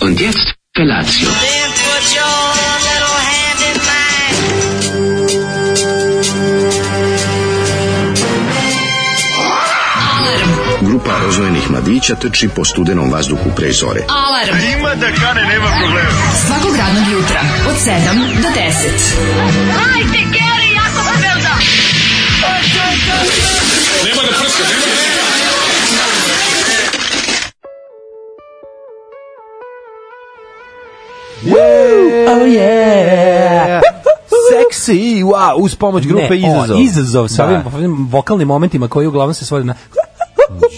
Und jetzt Felatio. Then put your little hand in mine. Grupa rozvojenih mladića trči po studenom vazduhu pre zore. Alarm. Ima da kane, nema problema. Svakog radnog jutra, od 7 do 10. Hajde, Geri, jako se velda! Oh yeah! Seksi, wow, uz pomoć grupe Izazov. O, izazov sa Da. ovim, ovim vokalnim momentima koji uglavnom se svode na...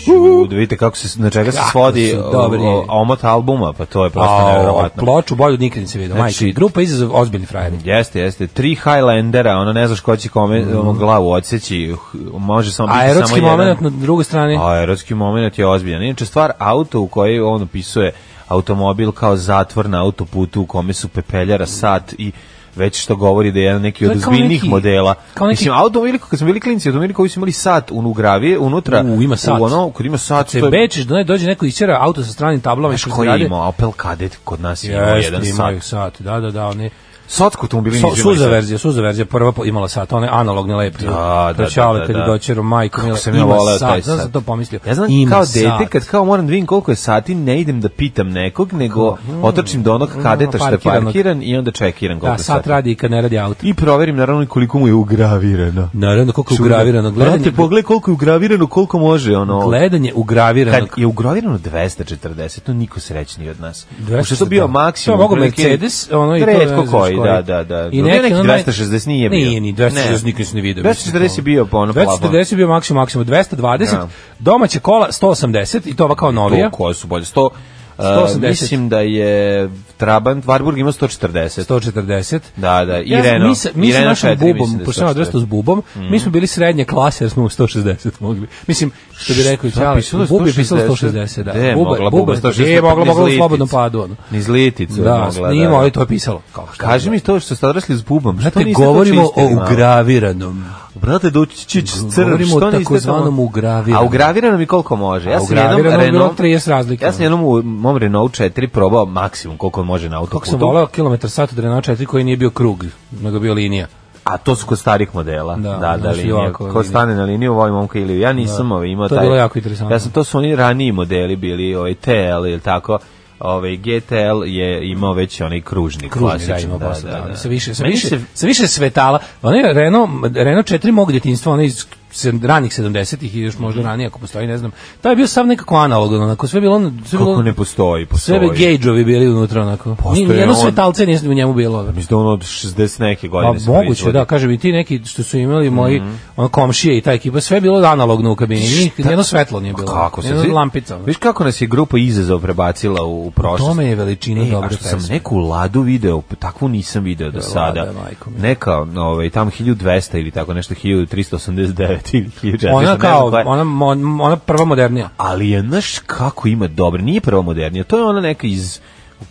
Čud, vidite kako se, na čega se Kako svodi su o- dobri. o- omot albuma, pa to je prosto Au, nevjerovatno. Ploču bolju nikad nisi vidio. Znači- Majke, grupa Izazov, ozbiljni frajeri. Jeste, jeste. Tri Highlandera, ono ne znaš ko će kome ono, glavu odseći, h- može samo biti A samo jedan. erotski moment na drugoj strani... A erotski moment je ozbiljan. Inače, stvar auto u kojoj on opisuje automobil kao zatvor na autoputu u kome su pepeljara sat i već što govori da je jedan neki To od je kao ozbiljnih neki- modela. kao neki- Mislim, automobili, kad smo bili klinci, automobili koji su imali sat u ugravi, unutra. U, ima sat. U ono, kad ima sat, Se bečiš, da ne dođe neko isćera auto sa stranim tablama i Znaš što koji je imao? Opel Kadett kod nas je imao jedan Jeste, imaju sat. sat. Da, da, da, oni... Sotko automobili Su- nisu imali suza sat. verzija, suza verzija prva po- imala sat, ona je analogni lepi. Pa, da, Proćale da, kad da, je da. doćero majko Kako mila, sam ja ima voleo taj sat. Znaš da sat. sam to pomislio. Ja znam Ima kao sat. dete kad kao moram da vidim koliko je sati ne idem da pitam nekog nego otrčim do onog kadeta što je Mm. parkiranog. parkiran i onda čekiram koliko Da, je sat sati. radi i kad ne radi auto. I proverim naravno i koliko mu je ugravirano. Naravno, koliko je ugravirano. Gledanje, Brate, pogledaj koliko je ugravirano, koliko može ono. gledanje Kad ugraviranog. je ugravirano 240, to niko srećniji od nas. 240, Pošto je to bio da. maksimum. To je mogo otprilike- Mercedes, ono i to ne Retko znaš koji, koji. da, da, da. I Bio neki neki onaj- 260 nije bio. Nije, ni 260 nikad nisam ni video, mislim, 240 je bio po ono plafon. 240 je bio maksimum, maksimum 220, Da. domaće kola 180 i to ova kao novija. To koje su bolje? 100, 180. Uh, mislim da je Trabant, Warburg ima 140. 140. Da, da, i Ja, Renault. Mi sa, mi I sa Renault našim 4, mislim bubom, da je Mm. pošto sam 140. odrastao s bubom, mi smo bili srednje klase jer smo u 160 mogli. Mislim, što bi rekao, Šta, ja, pisalo je bubi je pisalo 160, 160, da. Gde je mogla buba 160? Je mogla, Niz mogla u litica. slobodnom padu. Ono. Niz liticu je Da, mogla, snima, da. ali to je pisalo. Kao, šta Kaži je mi to što ste odrasli s bubom. što Brate, niste to govorimo o čistili, malo? ugraviranom. Brate, doći će crn, što Govorimo o niste takozvanom tamo- ugraviranom. A ugravirano mi koliko može. Ja A sam jednom ugravirano je bilo Renault... 30 razlike. Ja sam jednom u mom Renault 4 probao maksimum koliko može na autoputu. Kako ono. sam volao kilometar sat od Renault 4 koji nije bio krug, nego bio linija. A to su kod starih modela. Da, Da, da, znaš, i linija. ovako Ko linija. stane na liniju, ovaj momka ili ja nisam ovaj, imao To taj. je bilo jako interesantno. Ja sam to su oni raniji modeli bili, ovaj TL ili tako. Ovaj GTL je imao već onaj kružni, kružni klasičan, da ima posle, da, Sa više, sa Meni više, se- sa više svetala. Ona je Renault, Renault 4 mog djetinjstva, ona iz se- ranih 70-ih i još možda Mhm. ranije ako postoji, ne znam. To je bio sav nekako analogno, onako sve bilo... ono- Sve bilo, Kako ne postoji, Sve postoji. bi gejđovi bili unutra, onako. Ni, Postoji nijedno on. svetalce nije u njemu bilo. Mislim da ono od 60 neke Pa godine se Mhm. moguće, proizvodi. da, kažem i ti neki što su imali moji ono, komšije i ta ekipa, sve je bilo analogno u kabini, Nik- nijedno svetlo nije bilo. Kako se Nijedna svi- lampica. ono. Viš kako nas je grupa izazov prebacila u, u prošlost. tome je veličina E, a dobre što sam pesme. neku ladu video, p- takvu nisam video do sada. majko mi. Neka, ovaj tam 1200 ili tako nešto 1389 ili 1400. Ona ne znam kao, koja je. ona, mon- ona prva modernija. ali je znaš kako ima dobre, nije prva modernija, to je ona neka iz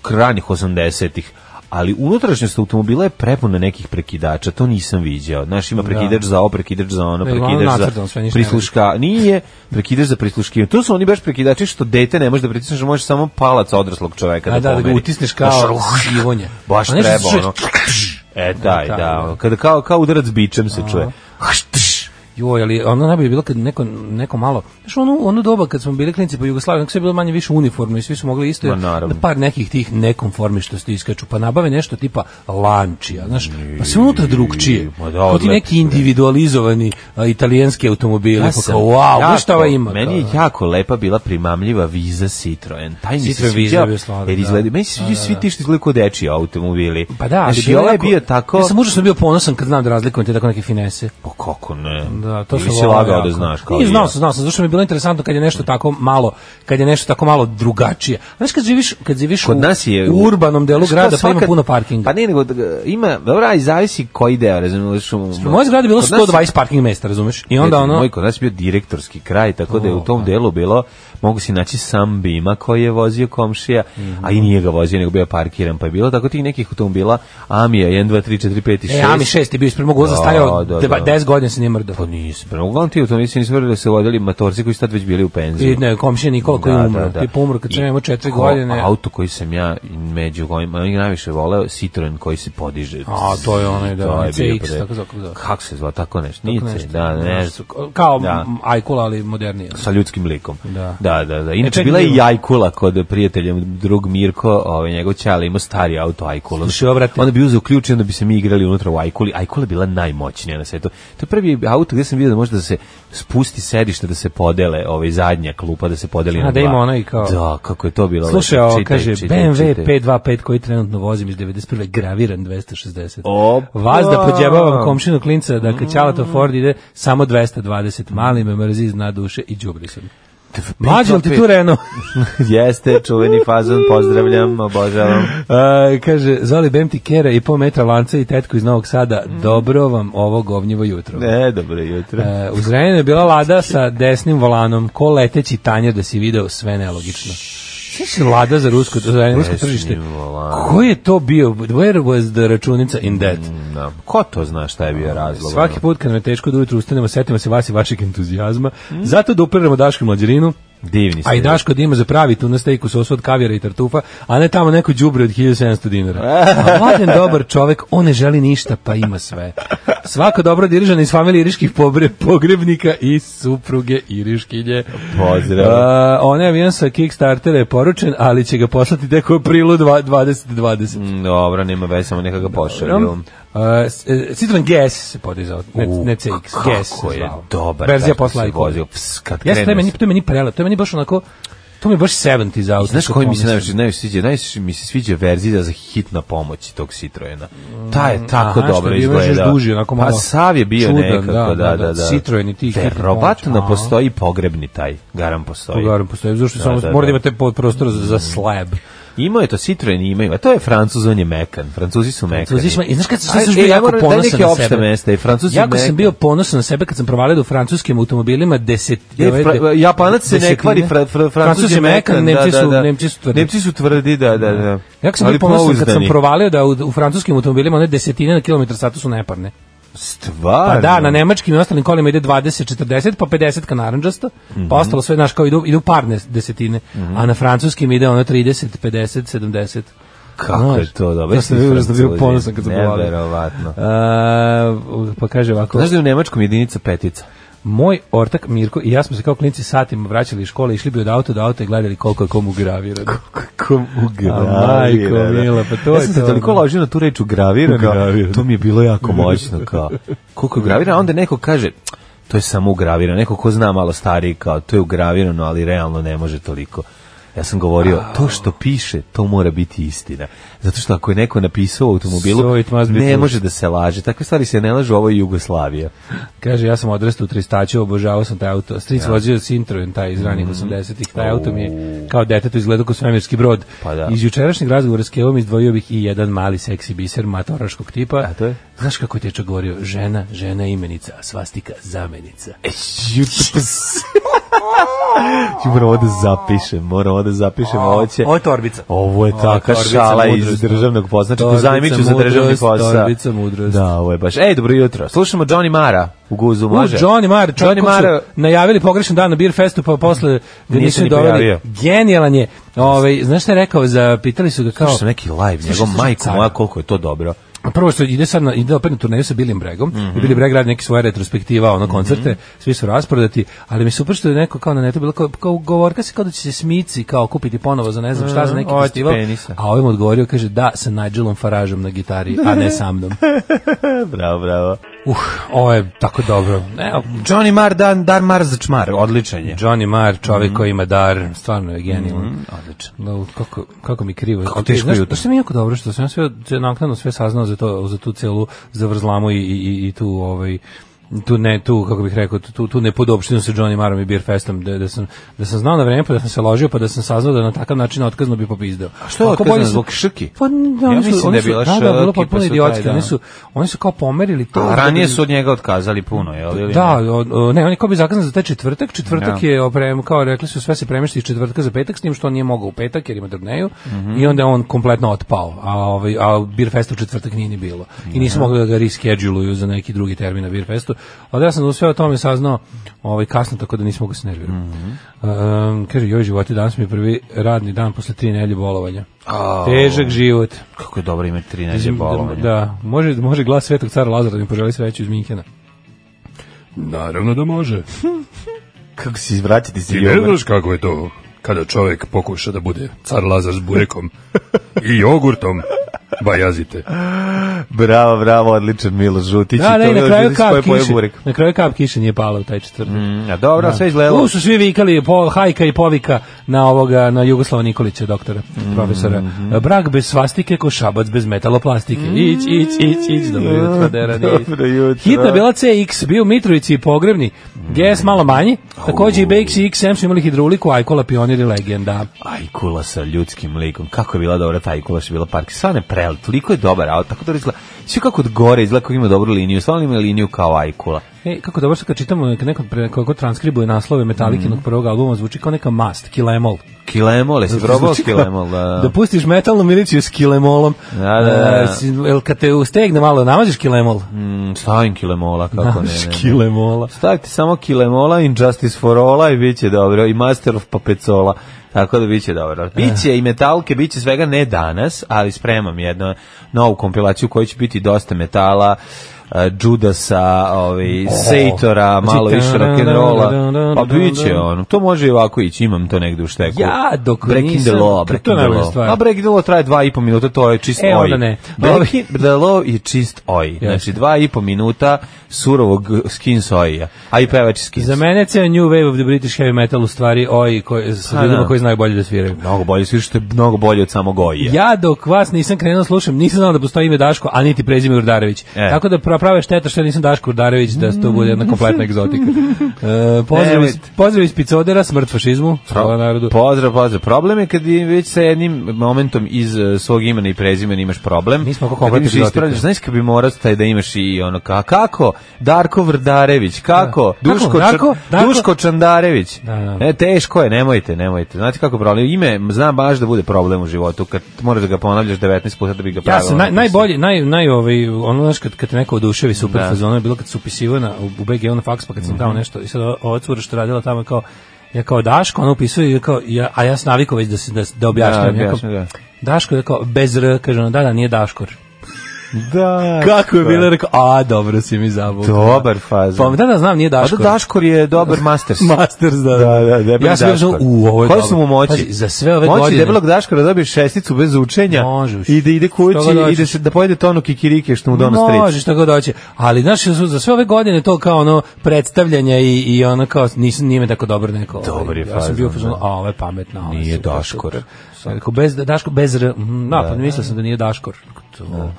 kranih 80-ih, ali unutrašnjost automobila je prepuna nekih prekidača, to nisam viđao. Znaš, ima prekidač za ovo, prekidač za ono, Ne, uglavnom prekidač nacrtano za sve, ništa ne prisluška, nije, prekidač za prisluškivanje. To su oni baš prekidači što dete ne može da pritisneš, može samo palac odraslog čoveka da, Da, da, da ga pomeri. utisneš Znaš, kao ono, sivonje. baš A nešto treba, se- ono. E, taj, Da, da, da. kada kao, kao udarac bičem se čuje. Joj, ali ono najbolje je bilo kad neko, neko malo, znaš ono, ono doba kad smo bili klinici po Jugoslaviji, onako sve je bilo manje više uniformno i svi su mogli isto, Ma, jer naravno. par nekih tih nekonformištosti iskaču, pa nabave nešto tipa lančija, znaš, pa sve unutra drugčije, Ma da, kao ti odlepi neki su, bre. individualizovani a, italijanski automobili, pa kao, wow, znaš šta ova ima? Meni je kao, jako lepa bila primamljiva viza Citroen. Taj mi se Citroen Visa sviđao. je bio sladak, Jer da. izgleda, meni se sviđaju svi ti što izgledaju kao dečiji automobili. Pa da, ali Znaš, i ovaj je jako- bio tako... Ja sam užasno bio ponosan kad znam da razlikujem te tako neke finese. Pa kako ne? Da, to Ili sam si volao lagao jako. da znaš kao Nije, i znao ja. sam, znao sam, zašto mi je bilo interesantno kad je nešto tako malo, kad je nešto tako malo drugačije. Znaš kad živiš, kad živiš Kod u, nas je u urbanom delu Znaš šta, grada, pa ima svaka- puno parkinga. Pa ne, nego da ga- ima, dobra, i zavisi koji deo, razumiješ. U mojoj zgradi je bilo Kod nas- 120 parking mesta, razumeš? I onda Eto, ono, Moj kod nas je bio direktorski kraj, tako da je u tom delu bilo, mogu si naći sam Bima koji je vozio komšija, a Mhm. i nije ga vozio, nego bio je parkiran, pa je bilo tako tih nekih automobila, Amija, 1, 2, 3, 4, 5 i 6. e, Ami 6 je bio ispred mog uza, Da, stajao da, deba- da. 10 godina se nije mrdao. Pa nisam. Prema, uglavnom ti automobili se nisu vrli da se vodili matorci koji su tad već bili u penziji. I ne, komšija Nikola koji je umro. Tip umro kad sam I imao četiri ko- godine. Auto koji sam ja među kojima ja najviše voleo, Citroen koji se podiže. A, to je onaj, da, To je bio CX, pre- tako se zove. Kako se zva, tako nešto. Tako Nice, nešto. da, ne znam. Kao Da. Ajkula, ali modernije. sa ljudskim likom. Da. E, da, da. da. Inače, čekaj, bila je i ima. Ajkula kod prijatelja, drug Mirko, ovaj, njegov ćale imao stari auto Ajkula. Slušaj, ovo, brate. Onda bi uzeo ključ i onda bi se mi igrali unutra u Ajkuli. Ajkula je bila najmoćnija na svetu. To je prvi auto gde sam vidio da može da se spusti sedište, da se podele, ovaj, zadnja klupa, da se podeli A, na da dva. ima ono i kao- Da, kako je to bilo. Slušaj, lepo. ovo Čitaj, kaže čitaj, BMW čitaj. 525 koji trenutno vozim iz 91. graviran 260. Opa! Vas da pođebavam komšinu klinca da kad Ćalato Ford ide samo 220. Mali me mrzi zna duše i džubri sam. Mlađe, li ti tu Renault? Jeste, čuveni fazon, pozdravljam, obožavam. A, kaže, Zoli, bem ti kera i po metra lanca i tetku iz Novog Sada, dobro vam ovo govnjivo jutro. Ne, dobro jutro. E, uz Renjanu je bila lada sa desnim volanom, ko leteći tanjer da si video sve nelogično. Znaš li lada za rusko, za rusko tržište? volan. Mm, Ko je to bio? Where was the računica in that? Da. Ko to zna šta je bio razlog? Svaki put kad nam je teško da ujutru ustanemo, setimo se vas i vašeg entuzijazma. Zato da upiramo Dašku mlađerinu, ono? Divni ste. a i Daško da ima za pravi tuna steak u sosu od kavijara i tartufa, a ne tamo neko đubre od 1700 dinara. A mladen dobar čovek, on ne želi ništa, pa ima sve. Svako dobro dirižan iz familije iriških pobre, pogrebnika i supruge iriškinje. Pozdrav. A, onaj avion sa Kickstartera je poručen, ali će ga poslati tek u aprilu dva- 2020. Mm, Dobro, nema veze, samo neka ga pošalju. Dobro. Uh, s- e, Citroen GS se podizao, ne, U, ne CX, kako GS se je zvao. dobar Verzija taj što posla se Icona. vozio. Ps, kad Jeste, to je krene meni, se. to je meni prela, to je meni baš onako, to mi je baš 70 za auto. Znaš što koji mi se pomislim. najviše najviše sviđa? Najviše mi se sviđa verzija za hitna pomoć tog Citroena. Ta je tako Mm, aha, što dobro je bio još izgleda. duži, onako pa malo sav je bio čudan, nekako, da, da, da. Citroen i ti hitna pomoć, Verovatno aha. postoji pogrebni taj, garam postoji. Ugaram postoji, zašto Da, samo da, mora da da. imate pod prostor za, za slab. Imao je to Citroen, imaju. A to je Francuz, on je mekan. Francuzi su mekani. Francuzi smo- i Znači, znaš kad sam- sad Aj, sam e, bio ja jako moram- daj ponosan neke na opšte sebe. mesta, i Francuzi Jako mekan. sam bio ponosan na sebe kad sam provalio u francuskim automobilima deset... Je, E, fra, devet- Japanac se ne desetine. kvari, fra, fra, Francuz Francuz je mekan, da, Nemci da, su, da. Nemci su tvrdi. Nemci su tvrdi, da, da, da. Jako sam Ali bio ponosan kad sam pouzdani. provalio da u, u francuskim automobilima one desetine na kilometar sata su neparne. Stvarno? Pa da, na nemačkim i ostalim kolima ide 20, 40, pa 50 ka naranđasto, Mhm. pa ostalo sve, znaš, kao idu, idu parne desetine, a na francuskim ide ono 30, 50, 70. Kako Znaš, je to dobro? Ja sam bio, ja sam bio ponosan kad sam provalio. Neverovatno. A, pa kaže ovako, Znaš da je u nemačkom jedinica petica? moj ortak Mirko i ja smo se kao klinci satima vraćali iz škole, išli bi od auta do auta i gledali koliko je komu gravirano. Kako ugravirano. A, majko mila, pa to ja je sam se to, toliko ono. ložio na tu reč ugravirano, Ugravirano. to mi je bilo jako moćno. Kao, koliko je ugravirano, a onda neko kaže, to je samo ugravirano, neko ko zna malo stariji, kao, to je ugravirano, ali realno ne može toliko. Ja sam govorio, to što piše, to mora biti istina. Zato što ako je neko napisao u So automobilu, it must be ne true. može da se laže. Takve stvari se ne lažu, ovo je Jugoslavija. Kaže, ja sam odrastao u Tristaću, obožavao sam taj auto. Stric vozio Sintroen, taj iz Mhm. ranih 80-ih. Taj auto mi je kao detetu izgledao kao svemirski brod. Pa da. Iz jučerašnjeg razgovora s Kevom izdvojio bih i jedan mali seksi biser matoraškog tipa. A to je? Znaš kako ti je čo govorio? Žena, žena je imenica, a svastika zamenica. Ti moram ovo da zapišem, moram ovo da zapišem, ovo će... Ovo je torbica. Ovo je Ovo je taka torbica šala iz mudrosti. državnog posla. Znači, Torbica pozajmit ću za državni mudrost, posao. torbica mudrost. Da, ovo je baš. Ej, dobro jutro. Slušamo Johnny Mara u guzu, U, može? Johnny Marr, čovjek Johnny kog su Mara, najavili pogrešan dan na Beer Festu, pa posle ga Nije nisu se ni doveli. pojavio. Genijalan je. Ovaj, znaš šta je rekao? Zapitali su ga kao... slušao sam neki live, njegov slušaj, majko cara. moja, koliko je to dobro. prvo što ide sad na, ide opet na turneju sa Bilim Bregom, mm Mhm. -hmm. Bili Breg radi neke svoje retrospektiva, ono koncerte, svi su rasprodati, ali mi se upravo što je neko kao na netu bilo kao, kao govorka se kao da će se Smici kao kupiti ponovo za ne znam šta za neki Mm, oči festival, penisa. a ovim odgovorio kaže da sa Nigelom Faražom na gitari, a ne sa mnom. E, bravo, bravo. Uh, ovo je tako dobro. Evo, Johnny Mar, dan, dar Mar za čmar, odličan je. Johnny Marr, Mhm. čovjek koji ima dar, stvarno je genijalan. Odličan. Da, u- kako, kako mi krivo. Kako E, teško znaš, jutro. Znaš što mi je jako dobro, što sam ja sve, sve naknadno sve saznao za, to, za tu celu zavrzlamu i, i, i tu, ovaj, tu ne tu kako bih rekao tu tu nepodopštinu sa Johnny Marom i Beer Festom da, da sam da sam znao na vreme pa da sam se ložio pa da sam saznao da na takav način otkazno bi popizdeo. A što je otkazano, zbog šrki? Pa da, Ja oni su, mislim oni da je su, bila da, da, bilo šrki, pa potpuno su taj idiotski. dan. Oni su oni su kao pomerili to. A da ranije bi- su od njega otkazali puno, jel? ili da, ne? o, o, ne, on je kao bi zakazan za taj četvrtak, četvrtak Da. je oprem, kao rekli su sve se premešta iz četvrtka za petak, s tim što on nije mogao u petak jer ima turneju Mhm. i onda je on kompletno otpao, a, ovaj, a Beer Festa u četvrtak nije ni bilo i nisu mogli da ga rescheduluju za neki drugi termin na Beer Festu Ali ja sam u sve o tome saznao ovaj, kasno, tako da nismo ga se nervirati. Mhm. Mm -hmm. um, kaže, joj životi, danas mi je prvi radni dan posle tri nelje bolovanja. Au. Težak život. Kako je dobro ime 13 bolovanja. Da, može, može glas Svetog cara Lazara da mi poželi sreću iz Minhena. Naravno da može. Kako se izvratiti se Ti ne znaš kako je to kada čovjek pokuša da bude car Lazar s burekom i jogurtom, bajazite. Bravo, bravo, odličan Miloš Žutić. Da, I to ne, na Miloš kraju Žutić kap koji poje kiše. burek. Na kraju kap kiše nije pala u taj četvrtak. Mm, a dobro, sve izgledalo. Tu su svi vikali po, hajka i povika na ovoga na Jugoslava Nikolića doktora, profesora. Brak bez svastike ko šabac bez metaloplastike. Ić, ić, ić, ić, dobro jutro, Deran. ić. Dobro jutro. Hitna bila CX, bio u Mitrovici i pogrebni. GS malo manji. Takođe i BX i XM su imali hidrauliku, Ajkola, pionir i legenda. Ajkula sa ljudskim likom. Kako je bila dobra ta Ajkula što je bila park. Stvarno je prel, toliko je dobar auto, tako dobro izgleda. Sve kako od gore izgleda kako ima dobru liniju. Stvarno ima liniju kao Ajkula. E, kako dobro se kad čitamo, kad neko, pre, kako transkribuje naslove Metalikinog prvog albuma, zvuči kao neka mast, kilemol. Kilemol, jesi probao Zvuči kao Kilemol? Da, da pustiš metalnu miliciju s kilemolom. Da, da, da. E, si- jel kad te ustegne malo, namaziš kilemol? Mm, stavim Kilemola, kako ne, Namaziš ne. ne. kilemola. Stavite samo Kilemola, Injustice for All i bit će dobro. I Master of Papecola. Tako da bit će Eh. dobro. Biće i metalke, bit će svega ne danas, ali spremam jednu novu kompilaciju koja će biti dosta metala, eh, Judasa, ovaj, Sejtora, malo Oh. Znači, više rock'n'rolla. Pa bit će ono. To može i ovako ići, imam to negde u šteku. Ja dok Breaking nisam- the law, to je Breaking the najbolja law. stvar. A Breaking the law traje dva i po minuta, to je čist E, oj. onda ne. Breaking the law je čist oj. Znači, Jeste. dva i po minuta surovog skin soja, a i pevač je skins. Za mene je ceo New Wave of the British Heavy Metal u stvari oj koji, A, sa ljudima Pa da. koji znaju bolje da sviraju. Mnogo bolje, svi što je mnogo bolje od samog oja. Ja dok vas nisam krenuo slušam, nisam znao da postoji ime Daško, a niti prezime Urdarević. E. Tako da pra- prava je šteta što ja nisam Daško Urdarević, da to bude jedna kompletna egzotika. E, pozdrav, iz, Nemojte. pozdrav iz Picodera, smrt fašizmu, hvala narodu. Pozdrav, pozdrav. Problem je kad je već sa jednim momentom iz eh, svog imena i prezimena imaš problem. Mi smo kako Kad kompletni imaš egzotike. ispravljaš, znaš kad bi morao taj da imaš i ono, ka, kako? Darko Vrdarević, kako? Da. Duško, Kako? Darko? Čr- Darko? Duško Čandarević. Da, da. E, teško je, nemojte, nemojte. Znate kako je problem? Ime, znam baš da bude problem u životu, kad moraš da ga ponavljaš 19 puta da bi ga Ja pravila. sam naj, najbolje, naj, naj ovaj, ono znaš kad, kad te neko oduševi super Da. Mhm. da. fazona, je bilo kad su upisivao na, u BG na faks, pa kad sam dao nešto, i sad ova- ova cura što je radila tamo je kao, ja kao Daško, ona upisuje, i kao, ja, a ja sam navikao već da, se, da, da objašnjam. Da, ja kao, objašnjam, da. Daško je kao, bez R, kaže ona, da, da, nije Daškor. Da. Kako je bilo, rekao, a, dobro si mi zabukao. Dobar fazon. Pa da, da, znam, nije A Daško. da Daškor je dobar masters. Masters, da, Da, da, debeli ja sam bio Daškor. znao, u, ovo je Koje dobro. su mu moći? Pazi, za sve ove Moći godine. debelog Daškora da dobije šesticu bez učenja Može, i da ide kući Što ga i da, se, da pojede tonu kikirike što mu dono Može stric. šta god hoće. Ali znaš su za sve ove godine to kao ono predstavljanja i i ono kao nisam nime tako dobro neko. ovaj, Dobar je Ja sam bio fazon, fazon, da. a ovo je pametno. ovo je Nije super, Daškor. super. Ja Rekao, bez, Daško, bez R, mhm, da, pa mislio sam da nije Daškor. To.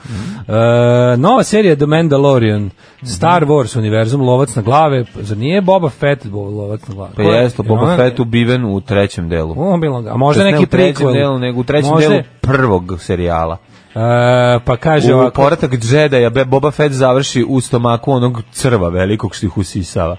E, nova serija The Mandalorian, Star Wars univerzum, lovac na glave, zar nije Boba Fett bo- lovac na glave? Pa Ko je- jeste, Boba ona- Fett ubiven u trećem delu. O, bilo ga. A možda Tj. ne neki u trećem prequel. delu, nego u trećem Možda- delu prvog serijala. E, pa kaže U ovako, poratak Jedi-a Be- Boba Fett završi u stomaku onog crva velikog što ih usisava.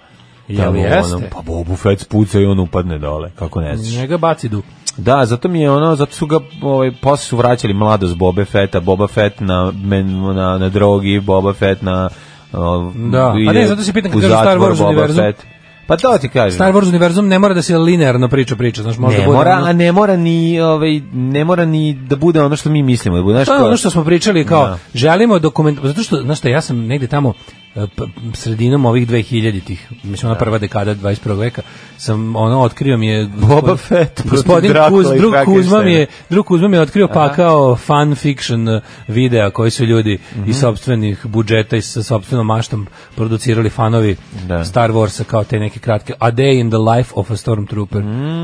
Jel Tamo jeste? ono, pa Bobu Fett spuca i on upadne dole, kako ne znaš. njega baci du. Da, zato mi je ono, zato su ga ovaj posle su vraćali mladost Boba Fetta, Boba Fett na men, na na drogi, Boba Fett na o, Da, ide pa ne, zato se pitam kad u kažu Star zatvor, Wars Boba univerzum. Fett. Pa to ti kažem. Star Wars univerzum ne mora da se linearno priča priča, znaš, možda ne bude mora, ono- a ne mora ni ovaj ne mora ni da bude ono što mi mislimo, da bude znaš To je kao- ono što smo pričali kao Da. želimo dokument zato što znaš šta ja sam negde tamo e, p- sredinom ovih 2000-ih, mislim ona prva dekada 21. veka, sam ono otkrio mi je Boba Fett protiv gospodin Drakula Kuz, i drug Kuzma mi je, Frankensteina. drug Kuzma mi je otkrio pakao fan fiction e, videa koji su ljudi Mhm. iz sopstvenih budžeta i sa sopstvenom maštom producirali fanovi Da. Star Warsa kao te neke kratke A Day in the Life of a Stormtrooper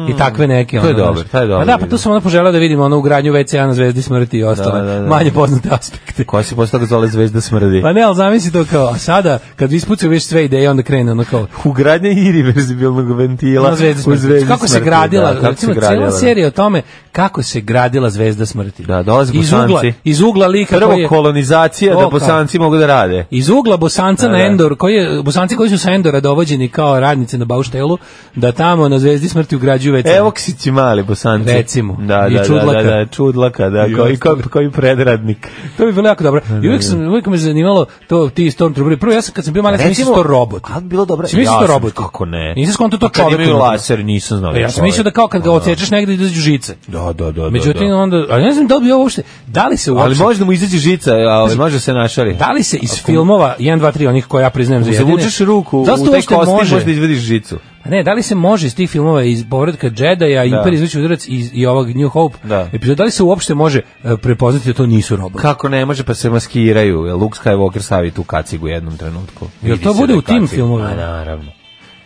i takve neke. Mm. To je ono, dobar, znaš. taj je dobar Pa da, pa video. tu sam onda poželao da vidim ono ugradnju WC-a na Zvezdi smrti i ostale da, da. manje poznate aspekte. koja se posle toga zove Zvezda smrdi. Pa ne, ali zamisli to kao, a sada, kad ispucaju već sve ideje, onda krene ono kao, Ugradnja irreverzibilnog ventila na Zvezdi u smrti. Zvezdi kako se smrti, gradila, da, kako se recimo, gradila. cijela serija o tome kako se gradila Zvezda smrti. Da, dolaze iz ugla, Bosanci. iz ugla lika Prvo koji je, kolonizacija da Oka. bosanci mogu da rade. iz ugla Bosanca Da, na da. Endor, koji je, Bosanci koji su sa Endora dovođeni kao radnici na Bauštelu, da tamo na Zvezdi smrti ugrađuju WC. Evo ksići mali bosanci. Recimo. Da, I da, Da, čudlaka. da, da, čudlaka, da, koji, koji, koji predradnik. To bi bilo jako dobro. I uvijek, sam, uvijek me zanimalo to ti Stormtrooperi. Prvo prvo ja sam kad sam bio mali ja sam mislio da su to robot. Ali bi bilo dobro. Sam mislio da su to sam- robot. Kako ne? Nisam skonto to Pa kad čovek. imaju unutra. laser, nisam znao. Ja sam mislio da kao kad ga odsečeš negde izađu žice. pa Da, da, da. Međutim da, da. onda, ali ne znam da li bi ovo uopšte, da li se Ali uopšte može da mu izađe žica, ali može da se našali. Da li se iz filmova 1, 2, 3, onih koje ja priznajem za Ako jedine... zavučeš ruku da li se u to taj uopšte kosti, može? možeš da izvadiš žicu. Pa Ne, da li se može iz tih filmova iz povratka Jedi-a, Imperij izveći udarac i, i ovog New Hope Da. epizoda, da li se uopšte može e, prepoznati da to nisu roboti? Kako ne može, pa se maskiraju. Jel Luke Skywalker stavi tu kacigu u jednom trenutku. Jel Vidi to se bude da u tim kaciga- filmovima? A, naravno.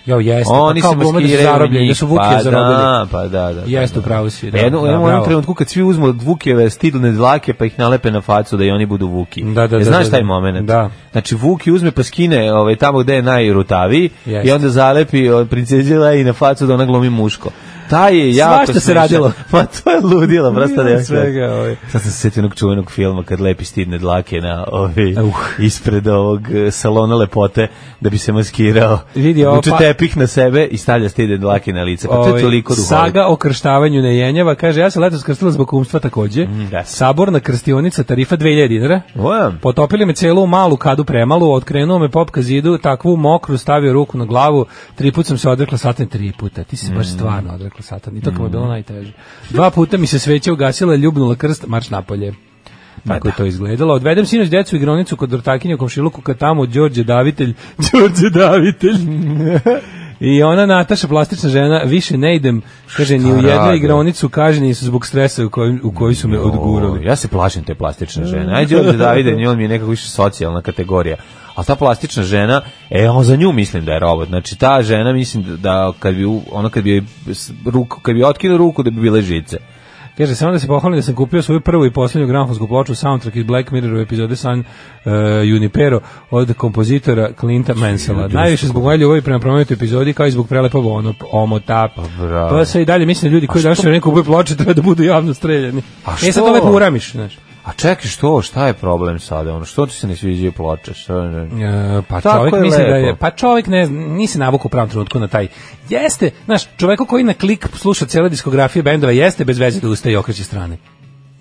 Jo, jeste, Oni pa se kao glume da su maskiraju zarobljeni, njih, da su Vukije pa zarobili. Da, pa da, da. da Jeste, da. u pravu si, da, Da, jedno, da, da, u bravo. jednom trenutku kad svi uzmu od Vukijeve stilne dlake pa ih nalepe na facu da i oni budu Vuki. Da, da, E, da, Znaš da, taj da. moment? Da. Znači Vuki uzme pa skine ovaj, tamo gde je najrutaviji Jeste. i onda zalepi od princeze i na facu da ona glumi muško. Taj je jako Svašta se smešan. radilo. Ma to je ludilo, brasta da ja Ima svega, ovaj. Sad sam se sjetio onog čuvenog filma kad lepi stidne dlake na ovi, Uh. ispred ovog eh, salona lepote da bi se maskirao. Vidi, ovo Vuče pa- tepih na sebe i stavlja stidne dlake na lice. Pa to je Ovaj, toliko duhovito. Saga o krštavanju nejenjava, kaže, ja se letos krstila zbog umstva takođe. da. Saborna krstionica, tarifa 2000 dinara. Wow. Potopili me celu malu kadu premalu, otkrenuo me pop ka zidu, takvu mokru, stavio ruku na glavu, tri put sam se odrekla satan, tri puta. Ti si se baš stvarno odrekla satan, i to kao je bilo najteže. Dva puta mi se sveća ugasila, ljubnula krst, marš napolje. Tako je to izgledalo. Odvedem sinoć decu u igronicu kod Dortakinja u komšiluku kad tamo Đorđe Davitelj, Đorđe Davitelj. I ona Nataša, plastična žena, više ne idem, kaže, ni u jednu rade? igronicu, kaže, nisu zbog stresa u kojoj, u kojoj su me odgurali. O, Ja se plašim te plastične žene. Ajde ovde Davide, nje on mi je nekako više socijalna kategorija. A ta plastična žena, e, on za nju mislim da je robot. Znači ta žena mislim da, da kad bi u- ona kad bi joj s- ruku kad bi otkinuo ruku da bi bile žice. Kaže, samo da se pohvalim da sam kupio svoju prvu i poslednju gramfonsku ploču soundtrack iz Black Mirror u epizode San uh, Junipero od kompozitora Clinta Mansella. Najviše zbog moje ljubavi prema promenutoj epizodi kao i zbog prelepog ono, omota. bravo. Pa se i dalje mislim da ljudi koji danas ne kupuju ploče treba da budu javno streljani. A E sad što? to lepo uramiš, znaš. A čekaj, što? Šta je problem sada? Ono, što ti se ne sviđaju ploče? Šta, ne? E, pa Tako čovjek je misli da je lepo. pa čovjek ne zna- nisi navukao u pravom trenutku na taj jeste znaš čovjeku koji na klik sluša cele diskografije bendova jeste bez veze da ustaje i okreće strane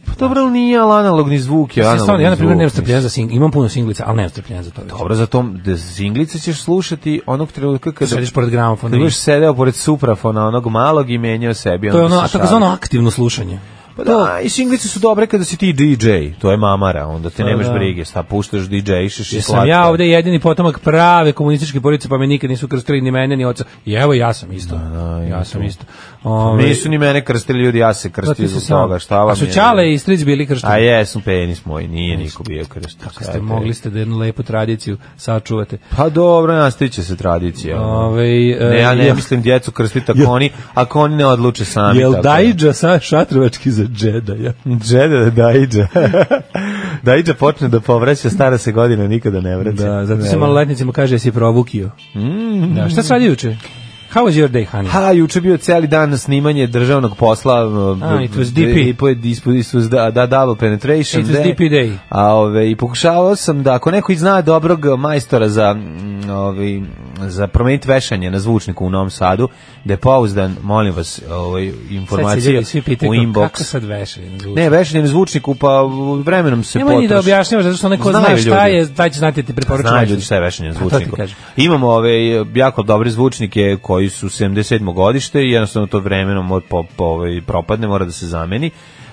Pa dobro, ali nije ali analogni zvuk je ja, analogni stvarno, ja na primjer zvuk, nemam mislim. strpljenja za sing imam puno singlica ali nemam strpljenja za to Dobro, za tom da singlice ćeš slušati onog trenutka kada Sediš Znači, pored gramofona Kad i- budeš sedeo pored suprafona onog malog i menjao sebi. To je onda ono se takozvano aktivno slušanje. Pa da, i singlice su dobre kada si ti DJ, to je mamara, onda te nemaš Pa da. brige, sta puštaš DJ, išeš i Jer sam slatko. ja ovde jedini potomak prave komunističke porodice, pa me nikad nisu krstili ni mene ni oca. I evo ja sam isto. ja sam isto. Ove, Ono, Nisu ni mene krstili ljudi, ja se da, Pa ti krstio si zbog sam. toga, šta vam A su je? Ćale i Stric bili kršteni. A jesu, penis moj, nije niko bio krstio. Kako ste mogli ste da jednu lepu tradiciju sačuvate. Ovaj, Pa dobro, nastavit će se tradicija. ono. Ove, ne, e, ja ne mislim djecu krstiti ako oni, ako oni ne odluče sami. Jel tako Dajđa sa šatrovački za džedaja? Džede da dajđa. dajđa počne da povraća, stara se godina nikada ne vraća. Da, zato se maloletnicima kaže jesi provukio. Da, šta se radi juče? How was your day, honey? Ha, juče bio celi dan snimanje državnog posla. A, eh, it was eh, DP. I po, ispod, ispod, da, da, double penetration. It was de. DP day. A, ove, I pokušavao sam da, ako neko i zna dobrog majstora za, mm, ove, za promeniti vešanje na zvučniku u Novom Sadu, da je pouzdan, molim vas, ove, Sad se informacije ljudi svi pitaju u kako- kako inbox. sad veše. zvuči. Ne, vešanjem zvučniku, pa vremenom se Nemoj ni da potroši. objašnjavaš, zato što neko Znaju zna šta ljudi. je, taj će znati da ti preporučujem. Znaju ljudi šta je vešanje A to ti zvučnikom. kažem. Imamo ove jako dobre zvučnike koji su 77. godište i jednostavno to vremenom od po, po, ovaj, propadne, mora da se zameni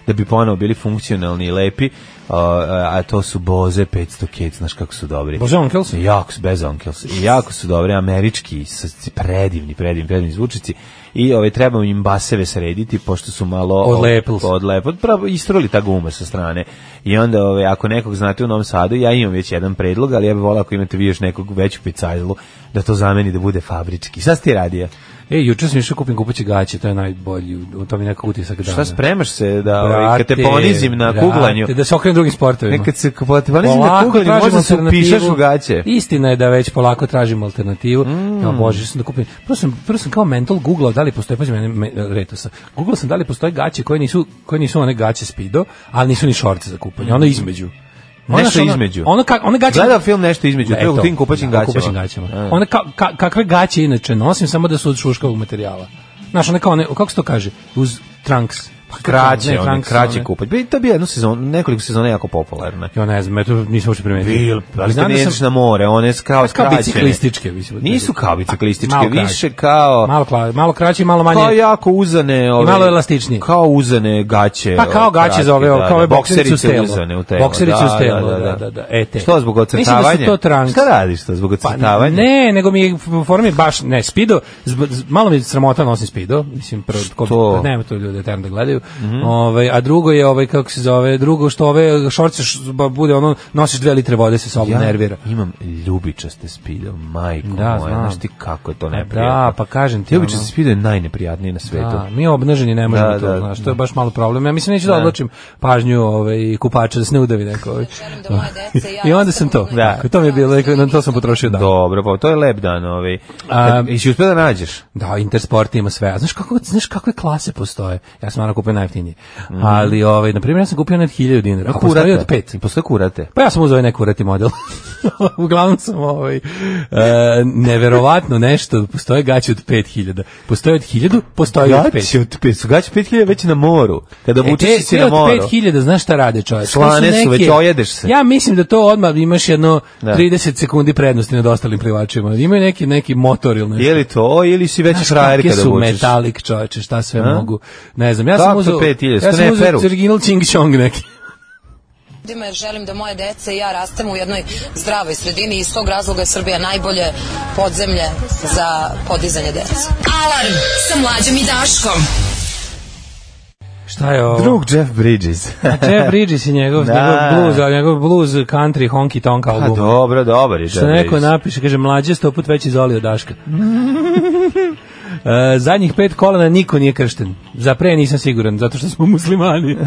da bi ponovo bili funkcionalni i lepi, a, a a to su Boze 500 Kids, znaš kako su dobri. Bože, Onkels? Jako su, bez Onkels. I Jako su dobri, američki, s- predivni, predivni, predivni zvučici. I ove, trebamo im baseve srediti, pošto su malo... Odlepili su. Odlepili, pravo, istruli ta guma sa strane. I onda, ove, ako nekog znate u Novom Sadu, ja imam već jedan predlog, ali ja bih volao ako imate vi još nekog veću pecajlu, da to zameni da bude fabrički. Šta si ti radio? E, juče sam išao kupim kupaće gaće, to je najbolji, to mi je nekako utisak dana. Šta spremaš se da, ove, kad te Brate, ponizim na brate, kuglanju? Da se okrenem drugim sportovima. Nekad se kad te ponizim na Polako kuglanju, tražim možda se alternativu. upišeš u gaće. Mm. Istina je da već polako tražim alternativu. Ja bože, sam da kupim. Prvo sam, prvo sam kao mental googlao da li postoje, pazi mene me, retosa. Googlao sam da li postoje gaće koje nisu, koje nisu one gaće spido, ali nisu ni šorce za kupanje, ono između. Ono Nešto što ono- između. Ono, ka, one gaće... E, Gledao film nešto između, to je u tim kupaćim da, gaćama. kupaćim gaćama. E. One ka, ka, kakve gaće inače nosim, samo da su od šuškavog materijala. Znaš, one kao one, kako se to kaže? Uz trunks. krađe, ne, one Franks, krađe one. kupać. Bi- To je bio jednu sezonu, nekoliko sezona jako popularna. Ja ne znam, ja to nisam uopšte primetio. Bil, ali kad Znam da ne sam- ideš na more, one s kao Kao skraćene. biciklističke, mislim. Nisu kao biciklističke, Malo kraće. više kao... Malo, kla, malo kraće i malo manje. Kao jako uzane, ove, malo elastičnije. Kao uzane gaće. Pa kao ove, gaće za ove, kratke, da, kao ove da, bokserice uz telo. uzane u telo. Bokserice uz telo, da, da, da, e, te. Što, zbog Mislim da su ocrtavanja? to trunks. Šta radiš to, zbog ocrtavanja? Ne, nego mi je u formi baš, ne, Speedo, zb, z- malo mi je sramota nosim Speedo, mislim, prvo, ko, Što? Mhm. nema to ljude eterno da gledaju, ovaj, a drugo je, ovaj, kako se zove, drugo što ove šorce, š, ba- bude ono, nosiš dve litre vode sa sobom, Ja nervira. imam ljubičaste spilje, majko Da, moja, znam. znaš ti kako je to neprijatno. Da, pa kažem ti, Ljubičaste ono. spilje je najneprijatnije na svetu. Da, mi obnaženi ne možemo Da, to, da, znaš, to je baš malo problem. Ja mislim neću da, Da. odločim pažnju ovaj, kupača, da se ne udavi neko. Ovaj. I onda sam to. Da. Tako, to mi je bilo, na to sam potrošio dan. Dobro, pa to je lep dan, ovaj. Kad- A- I si uspio da nađeš? Da, Intersport ima sve. A znaš kako, znaš kakve klase postoje? Ja sam naravno kupio najjeftinije. Mhm. Ali, ovaj, na primjer, ja sam kupio net 1000 dinara. A Pa postoji od pet. I postoje kurate. Pa ja sam uzeo neku urati model. Uglavnom sam ovaj, e, neverovatno nešto. Postoje gaće od 5000. Postoje od 1000, postoje od 5. Gaće od pet, su gaće pet hiljada već na moru. Kada E, vučeš si te na od moru. 5000, znaš šta rade čovječ? Slane su, već ojedeš se. Ja mislim da to odmah imaš jedno Da. 30 sekundi prednosti nad ostalim plivačima. Imaju neki, neki motor ili nešto. Je li to ili si već Znaš frajer kakve kada su vučeš? metalik čoveče, šta sve A? mogu. Ne znam, ja Kako sam uzeo... 5000, ja sam ne, uzeo Peru. Cerginal Ching Chong neki. ljudima jer želim da moje dece i ja rastemo u jednoj zdravoj sredini i iz tog razloga je Srbija najbolje podzemlje za podizanje dece. Alarm sa mlađom i Daškom. Šta je ovo? Drug Jeff Bridges. Jeff Bridges i njegov, Da. njegov blues, ali njegov blues country honky tonk Pa album. dobro, dobar je Jeff Što neko Bridges. napiše, kaže, mlađe sto put veći zoli od Daška. E, zadnjih pet kolena niko nije kršten. Za pre nisam siguran, zato što smo muslimani.